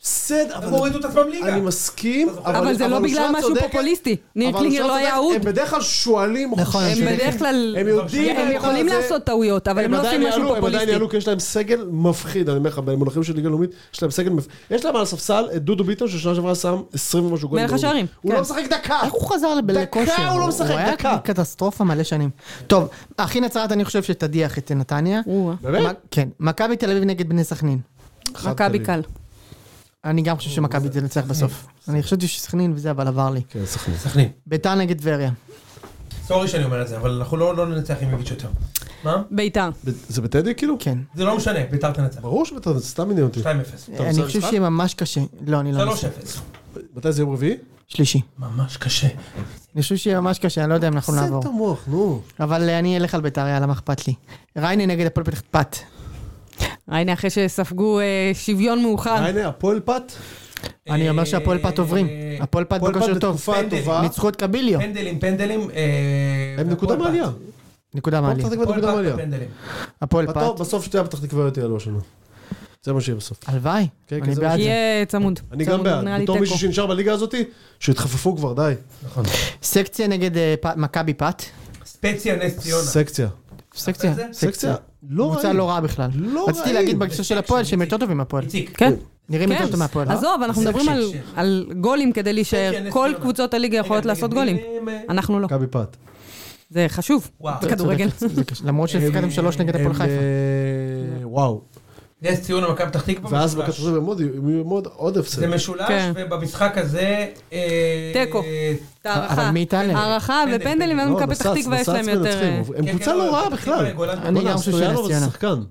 [SPEAKER 4] בסדר,
[SPEAKER 2] הם
[SPEAKER 4] אבל...
[SPEAKER 2] הורידו את עצמם ליגה.
[SPEAKER 4] אני מסכים,
[SPEAKER 2] אבל
[SPEAKER 3] אבל זה לא
[SPEAKER 4] אושרת
[SPEAKER 3] בגלל משהו
[SPEAKER 4] צודקת,
[SPEAKER 3] פופוליסטי. ניר
[SPEAKER 4] אבל
[SPEAKER 3] קלינגר
[SPEAKER 4] אושרת
[SPEAKER 3] לא היה
[SPEAKER 4] צודקת,
[SPEAKER 3] אהוד.
[SPEAKER 4] הם בדרך כלל שועלים, או
[SPEAKER 1] נכון,
[SPEAKER 3] הם
[SPEAKER 1] הם
[SPEAKER 3] בדרך כלל...
[SPEAKER 4] הם יודעים...
[SPEAKER 3] הם
[SPEAKER 4] את
[SPEAKER 3] יכולים
[SPEAKER 4] זה.
[SPEAKER 3] לעשות טעויות, אבל הם לא
[SPEAKER 4] עדיין
[SPEAKER 3] עושים משהו
[SPEAKER 4] יעלו, הם עדיין
[SPEAKER 3] פופוליסטי.
[SPEAKER 4] יעלו, כי יש להם סגל מפחיד, אני אומר לך, במונחים של ליגה לאומית, יש להם סגל מפחיד. יש להם על הספסל את דודו ביטון, ששנה שעברה שם 20 ומשהו גולים.
[SPEAKER 3] מלך
[SPEAKER 4] באירופה.
[SPEAKER 3] השערים,
[SPEAKER 4] הוא
[SPEAKER 3] כן.
[SPEAKER 4] לא משחק דקה.
[SPEAKER 1] איך הוא חזר לבלי
[SPEAKER 4] דקה
[SPEAKER 1] כושר?
[SPEAKER 4] הוא לא משחק,
[SPEAKER 1] הוא
[SPEAKER 4] דקה.
[SPEAKER 1] היה קטסטרופה מלא שנים. טוב, אחי נצרת אני חושב שתדיח את נתניה.
[SPEAKER 3] או-אה.
[SPEAKER 4] באמת?
[SPEAKER 1] מ- כן. מכבי תל אביב נגד בני סכנין.
[SPEAKER 4] חד
[SPEAKER 3] מכבי
[SPEAKER 4] תמיד.
[SPEAKER 3] קל.
[SPEAKER 1] אני גם חושב שמכבי תנצח בסוף. אני חשבתי שסכנין וזה, אבל עבר לי.
[SPEAKER 4] כן, סכנין.
[SPEAKER 2] סכנין.
[SPEAKER 1] ביתר נגד טבריה.
[SPEAKER 2] סורי שאני אומר את זה, אבל אנחנו לא לא ננצח עם איביץ' יותר. מה?
[SPEAKER 3] ביתר.
[SPEAKER 4] ב- זה בטדי כאילו?
[SPEAKER 1] כן.
[SPEAKER 2] זה לא משנה, ביתר תנצח.
[SPEAKER 4] ברור שבטדי, זה סתם עניין אותי.
[SPEAKER 2] 2-0.
[SPEAKER 4] אתה רוצה
[SPEAKER 1] אני חושב
[SPEAKER 4] משחק?
[SPEAKER 1] שיהיה ממש קשה. לא, אני לא... מסכים.
[SPEAKER 2] 3-0.
[SPEAKER 4] מתי זה יום רביעי?
[SPEAKER 1] שלישי.
[SPEAKER 2] ממש קשה.
[SPEAKER 1] אני חושב שיהיה ממש קשה, אני לא יודע אם אנחנו נעבור.
[SPEAKER 4] את המוח, נו.
[SPEAKER 1] אבל אה, אני אלך על ביתר, יאללה, מה אכפת לי? ריינה נגד הפועל פתח פת.
[SPEAKER 3] ריינה אחרי שספגו אה, שוויון מאוחר.
[SPEAKER 4] הנה, הפועל פת.
[SPEAKER 1] אני אומר שהפועל פת עוברים.
[SPEAKER 2] אה,
[SPEAKER 1] הפועל פת
[SPEAKER 4] הפועל פת
[SPEAKER 1] בכושר טוב.
[SPEAKER 4] בתקופה
[SPEAKER 2] פנדלים.
[SPEAKER 4] טובה.
[SPEAKER 1] ניצחו את קביליו.
[SPEAKER 2] פנדלים, פנדלים.
[SPEAKER 4] הם נקודה מעלייה.
[SPEAKER 1] נקודה
[SPEAKER 4] הפועל
[SPEAKER 1] מעליה.
[SPEAKER 4] פתח תקווה
[SPEAKER 2] הפועל
[SPEAKER 4] נקודה
[SPEAKER 2] פת
[SPEAKER 4] מעלייה.
[SPEAKER 2] בפנדלים.
[SPEAKER 1] הפועל פת.
[SPEAKER 4] בטוב, בסוף שתי הפתח תקוויות יעלו השנה. לא זה מה שיהיה בסוף.
[SPEAKER 1] הלוואי.
[SPEAKER 4] כן,
[SPEAKER 1] אני
[SPEAKER 4] כן, זה
[SPEAKER 1] בעד זה.
[SPEAKER 3] יהיה צמוד.
[SPEAKER 4] אני
[SPEAKER 3] צמוד,
[SPEAKER 4] גם בעד.
[SPEAKER 3] נראה לי
[SPEAKER 4] בתור מישהו
[SPEAKER 3] תיקו.
[SPEAKER 4] שנשאר בליגה הזאת, שיתחפפו כבר, די.
[SPEAKER 2] נכון.
[SPEAKER 1] סקציה נגד אה, פ- מכבי פת.
[SPEAKER 2] ספציה נס ציונה.
[SPEAKER 4] סקציה.
[SPEAKER 1] סקציה.
[SPEAKER 2] זה?
[SPEAKER 4] סקציה. לא
[SPEAKER 1] קבוצה
[SPEAKER 4] רעים.
[SPEAKER 1] לא רעה בכלל.
[SPEAKER 4] לא
[SPEAKER 1] רציתי
[SPEAKER 4] רעים.
[SPEAKER 1] להגיד בהקשר של הפועל שהם יותר טובים מהפועל.
[SPEAKER 2] איציק.
[SPEAKER 3] כן.
[SPEAKER 1] נראים יותר טוב מהפועל. לא?
[SPEAKER 3] עזוב, אנחנו
[SPEAKER 2] זה
[SPEAKER 3] מדברים על-
[SPEAKER 2] שקשיר.
[SPEAKER 3] על גולים כדי להישאר.
[SPEAKER 2] כן, נס
[SPEAKER 3] כל
[SPEAKER 2] ציונה.
[SPEAKER 3] קבוצות הליגה
[SPEAKER 2] רגע,
[SPEAKER 3] יכולות
[SPEAKER 2] נגד
[SPEAKER 3] לעשות
[SPEAKER 2] מי
[SPEAKER 3] גולים.
[SPEAKER 2] הם, אה,
[SPEAKER 3] אנחנו לא.
[SPEAKER 4] מכבי פת.
[SPEAKER 3] זה חשוב.
[SPEAKER 2] וואו.
[SPEAKER 3] זה כדורגל.
[SPEAKER 1] צודקת, אה? זה קשה. למרות שהפקדתם
[SPEAKER 2] אה,
[SPEAKER 1] שלוש נגד הפועל
[SPEAKER 4] הם,
[SPEAKER 1] חיפה.
[SPEAKER 4] אה, וואו.
[SPEAKER 2] נס ציונה, מכבי פתח תקווה.
[SPEAKER 4] ואז
[SPEAKER 2] משולש.
[SPEAKER 4] בקטרוזל מאוד, מאוד עוד הפסד.
[SPEAKER 2] לא זה משולש,
[SPEAKER 3] כן.
[SPEAKER 2] ובמשחק הזה... אה,
[SPEAKER 3] תיקו.
[SPEAKER 2] אה,
[SPEAKER 3] הערכה.
[SPEAKER 1] אבל מי ייתן להם?
[SPEAKER 3] הערכה
[SPEAKER 2] פנדלים,
[SPEAKER 3] ופנדלים,
[SPEAKER 4] לא,
[SPEAKER 3] ומכבי פתח
[SPEAKER 4] נסץ,
[SPEAKER 3] תקווה יש
[SPEAKER 4] נסץ
[SPEAKER 3] להם יותר...
[SPEAKER 4] מנצחים.
[SPEAKER 3] אה,
[SPEAKER 4] הם
[SPEAKER 2] כן,
[SPEAKER 4] קבוצה
[SPEAKER 2] כן,
[SPEAKER 4] לא
[SPEAKER 2] אבל
[SPEAKER 4] רעה
[SPEAKER 2] פתח
[SPEAKER 4] בכלל. לא,
[SPEAKER 2] תקווה, גולן.
[SPEAKER 1] אני גם חושב
[SPEAKER 4] סטויאנוב
[SPEAKER 1] שנס ציונה.
[SPEAKER 4] זה שחקן.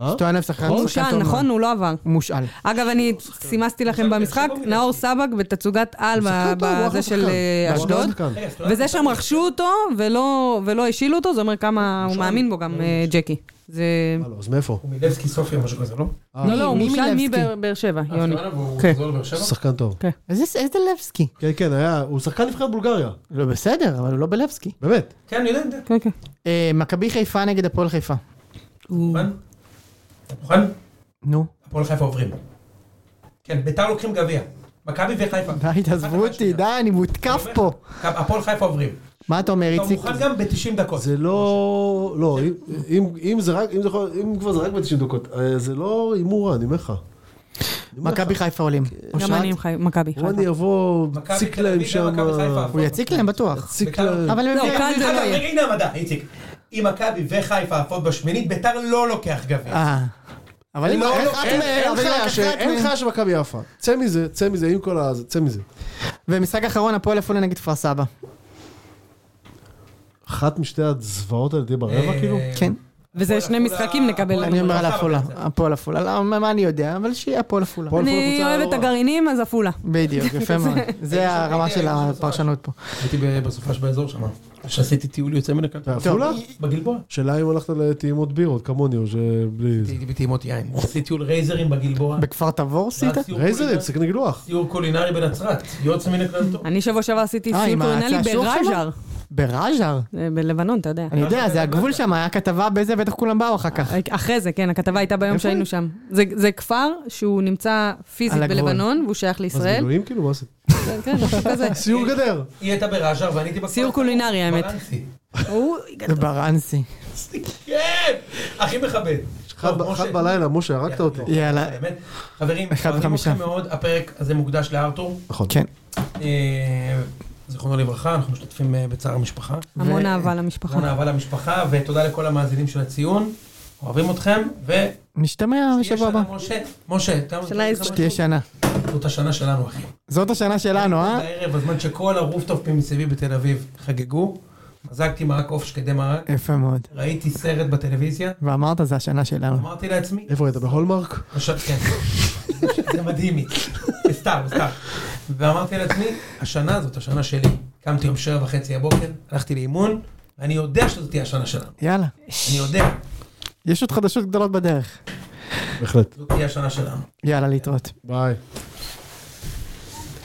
[SPEAKER 4] אה?
[SPEAKER 1] סטויאנוב שחקן
[SPEAKER 3] הוא
[SPEAKER 1] שחקן
[SPEAKER 3] מושל,
[SPEAKER 1] טוב מאוד.
[SPEAKER 3] נכון? הוא לא עבר.
[SPEAKER 1] הוא מושאל.
[SPEAKER 3] אגב, אני סימסתי לכם במשחק, נאור סבק בתצוגת על
[SPEAKER 4] הוא שחקן טוב, הוא אחלה
[SPEAKER 3] בזה של
[SPEAKER 4] שחקן.
[SPEAKER 3] אה,
[SPEAKER 4] הוא אחלה
[SPEAKER 3] אשדוד.
[SPEAKER 4] שחקן.
[SPEAKER 2] רגע, סטויאנוב
[SPEAKER 3] וזה שהם רכשו אותו ולא, ולא השילו אותו, זה אומר כמה הוא מאמין בו גם אה, ג'קי. זה...
[SPEAKER 4] מה לא, אז מאיפה?
[SPEAKER 2] הוא מלבסקי סופיה, משהו כזה, לא?
[SPEAKER 1] אה,
[SPEAKER 3] לא, לא, הוא
[SPEAKER 1] מי
[SPEAKER 3] מושל
[SPEAKER 1] מילבסקי?
[SPEAKER 3] מבאר באר שבע, יוני.
[SPEAKER 2] סטויאנוב, הוא
[SPEAKER 3] כן.
[SPEAKER 2] חזור לבאר שבע?
[SPEAKER 4] שחקן טוב.
[SPEAKER 1] איזה איזה לבסקי?
[SPEAKER 4] כן, כן, היה, הוא שחקן נבחרת בולגריה.
[SPEAKER 1] לא בסדר, אבל הוא לא בלבסקי.
[SPEAKER 4] באמת.
[SPEAKER 2] כן, אני יודע, אני יודע.
[SPEAKER 3] כן, כן.
[SPEAKER 1] אה, מכבי חיפה נגד הפועל חיפה.
[SPEAKER 2] מוכן? אתה מוכן?
[SPEAKER 1] נו.
[SPEAKER 2] הפועל חיפה עוברים. כן, ביתר לוקחים גביע. מכבי וחיפה.
[SPEAKER 1] די, תעזבו
[SPEAKER 2] אחת
[SPEAKER 1] אותי,
[SPEAKER 2] מהשנייה.
[SPEAKER 1] די, אני מותקף פה.
[SPEAKER 2] הפועל חיפה עוברים.
[SPEAKER 1] מה אתה אומר,
[SPEAKER 2] אתה
[SPEAKER 1] איציק?
[SPEAKER 2] מוכן גם ב-90 דקות.
[SPEAKER 4] זה לא... לא, אם- אם- אם זה רק... אם זה יכול- אם כבר זה רק ב-90 דקות. אה, זה לא הימור רע, אני אומר לך. אני אומר לך.
[SPEAKER 1] מכבי חיפה עולים.
[SPEAKER 3] גם
[SPEAKER 1] אושרת?
[SPEAKER 3] אני עם חי- מכבי חיפה.
[SPEAKER 4] רוני יבוא,
[SPEAKER 2] לא. מכבי
[SPEAKER 4] יציק
[SPEAKER 2] תל אביב
[SPEAKER 4] להם שם...
[SPEAKER 2] ומכבי חיפה.
[SPEAKER 1] הוא יציק להם בטוח.
[SPEAKER 4] יציק
[SPEAKER 2] בית"ר.
[SPEAKER 4] להם...
[SPEAKER 1] אבל הם
[SPEAKER 3] לא,
[SPEAKER 1] מביאים-
[SPEAKER 3] כאן זה לא
[SPEAKER 2] אגב,
[SPEAKER 3] יהיה.
[SPEAKER 2] הנה המדע, איציק. אם מכבי וחיפה עפות בשמינית, ביתר לא לוקח גביע.
[SPEAKER 1] אה. אבל אם...
[SPEAKER 4] לא,
[SPEAKER 1] איך
[SPEAKER 4] לא,
[SPEAKER 1] את
[SPEAKER 4] אין-
[SPEAKER 1] מ-
[SPEAKER 4] אין
[SPEAKER 1] אבל
[SPEAKER 4] חיה
[SPEAKER 1] רק
[SPEAKER 4] ש-
[SPEAKER 1] אחת
[SPEAKER 4] אין
[SPEAKER 1] מ-
[SPEAKER 4] חיה של מכבי יפה. צא מזה, צא מזה, עם כל ה... צא מזה.
[SPEAKER 1] ומשחק אחרון, הפועל עפולה נגד כפר סבא.
[SPEAKER 4] אחת משתי הזוועות על ידי ברבע,
[SPEAKER 2] אה,
[SPEAKER 4] כאילו?
[SPEAKER 1] כן.
[SPEAKER 3] וזה שני משחקים נקבל.
[SPEAKER 4] לא,
[SPEAKER 2] הפועל
[SPEAKER 1] אני אומר על
[SPEAKER 2] עפולה
[SPEAKER 1] עפולה.
[SPEAKER 2] בקבוצה.
[SPEAKER 1] הפועל עפולה. לא, מה מה אני יודע, אבל שיהיה הפועל עפולה.
[SPEAKER 4] הפועל עפולה
[SPEAKER 3] אני
[SPEAKER 4] קבוצה
[SPEAKER 3] אוהב
[SPEAKER 4] לא
[SPEAKER 3] את
[SPEAKER 4] רעה.
[SPEAKER 3] הגרעינים, אז עפולה.
[SPEAKER 1] בדיוק, יפה מאוד. זה הרמה של
[SPEAKER 2] הייתי
[SPEAKER 1] הפרשנות פה.
[SPEAKER 2] הייתי בסופש באזור שם. שעשיתי טיול יוצא מן הכלל.
[SPEAKER 4] בעפולה?
[SPEAKER 2] בגלבוע.
[SPEAKER 4] שאלה אם הלכת לטעימות בירות, כמוני, או שבלי... זה.
[SPEAKER 2] הייתי בטעימות יין. עשיתי טיול רייזרים בגלבוע.
[SPEAKER 1] בכפר תבור עשית?
[SPEAKER 2] ואז סיור
[SPEAKER 4] רייזרים,
[SPEAKER 2] קולינרי-
[SPEAKER 4] פסק נגלוח.
[SPEAKER 2] סיור קולינרי בנצרת. יוצא מן הכלל טוב.
[SPEAKER 3] אני שבוע שעבר עשיתי
[SPEAKER 1] אה,
[SPEAKER 3] סיור
[SPEAKER 1] עם
[SPEAKER 3] קולינלי
[SPEAKER 1] ההצעה שוב
[SPEAKER 3] בראז'ר,
[SPEAKER 1] שמה? בראז'ר?
[SPEAKER 3] אה, בלבנון, אתה יודע.
[SPEAKER 1] אני יודע, זה הגבול שם, היה כתבה בזה, בטח כולם באו אחר כך.
[SPEAKER 3] אחרי זה, כן, הכתבה הייתה ביום
[SPEAKER 4] איפה
[SPEAKER 3] שהיינו
[SPEAKER 4] היא?
[SPEAKER 3] שם. זה- זה כפר שהוא נמצא פיזית
[SPEAKER 1] על הגבול.
[SPEAKER 3] בלבנון, והוא שייך
[SPEAKER 4] מה זה
[SPEAKER 3] לישראל.
[SPEAKER 4] מילואים כאילו? מה זה?
[SPEAKER 3] כן, כן, משהו כזה.
[SPEAKER 4] סיור
[SPEAKER 2] אה.
[SPEAKER 4] גדר.
[SPEAKER 2] היא הייתה בראז'ר ואני הייתי בכל...
[SPEAKER 3] סיור קולינרי, האמת.
[SPEAKER 2] ברנסי.
[SPEAKER 3] הוא-
[SPEAKER 1] ברנסי.
[SPEAKER 2] כן! הכי מכבד.
[SPEAKER 4] אחת
[SPEAKER 2] טוב,
[SPEAKER 4] ב-
[SPEAKER 2] משה.
[SPEAKER 4] אחת בלילה, משה, הרגת אותי.
[SPEAKER 1] יאללה. לא.
[SPEAKER 2] באמת. חברים,
[SPEAKER 1] אחד
[SPEAKER 2] אוהבים
[SPEAKER 1] וחמישה.
[SPEAKER 2] אתכם מאוד. הפרק הזה מוקדש לארתור.
[SPEAKER 4] נכון.
[SPEAKER 1] כן.
[SPEAKER 2] אה, זיכרונו לברכה, אנחנו משתתפים אה, בצער המשפחה.
[SPEAKER 3] המון
[SPEAKER 1] ו-
[SPEAKER 3] אהבה למשפחה.
[SPEAKER 2] המון אהבה למשפחה, ותודה לכל המאזינים של הציון. אוהבים אתכם, ו...
[SPEAKER 1] נשתמע בשבוע אה, הבא.
[SPEAKER 2] משה, משה, אתה...
[SPEAKER 3] שנה איזה-
[SPEAKER 1] שתהיה שנה.
[SPEAKER 2] זאת השנה שלנו, אחי.
[SPEAKER 1] זאת השנה שלנו, אה?
[SPEAKER 2] בערב, בזמן שכל הרופטופים מסביבי בתל אביב חגגו, מזגתי מרק עוף שקדי מרק,
[SPEAKER 4] כן.
[SPEAKER 1] יפה מאוד.
[SPEAKER 2] ראיתי סרט בטלוויזיה,
[SPEAKER 1] ואמרת, זה השנה שלנו.
[SPEAKER 2] אמרתי לעצמי,
[SPEAKER 4] איפה היית? בהולמרק?
[SPEAKER 2] עכשיו כן, זה מדהים, סתם, סתם. ואמרתי לעצמי, השנה זאת השנה שלי. קמתי יום שבע וחצי הבוקר, הלכתי לאימון, ואני יודע שזאת תהיה השנה שלנו.
[SPEAKER 1] יאללה.
[SPEAKER 2] אני יודע,
[SPEAKER 1] יש עוד חדשות גדולות בדרך.
[SPEAKER 4] בהחלט.
[SPEAKER 2] זאת תהיה השנה שלנו.
[SPEAKER 1] יאללה, להתראות.
[SPEAKER 4] ביי.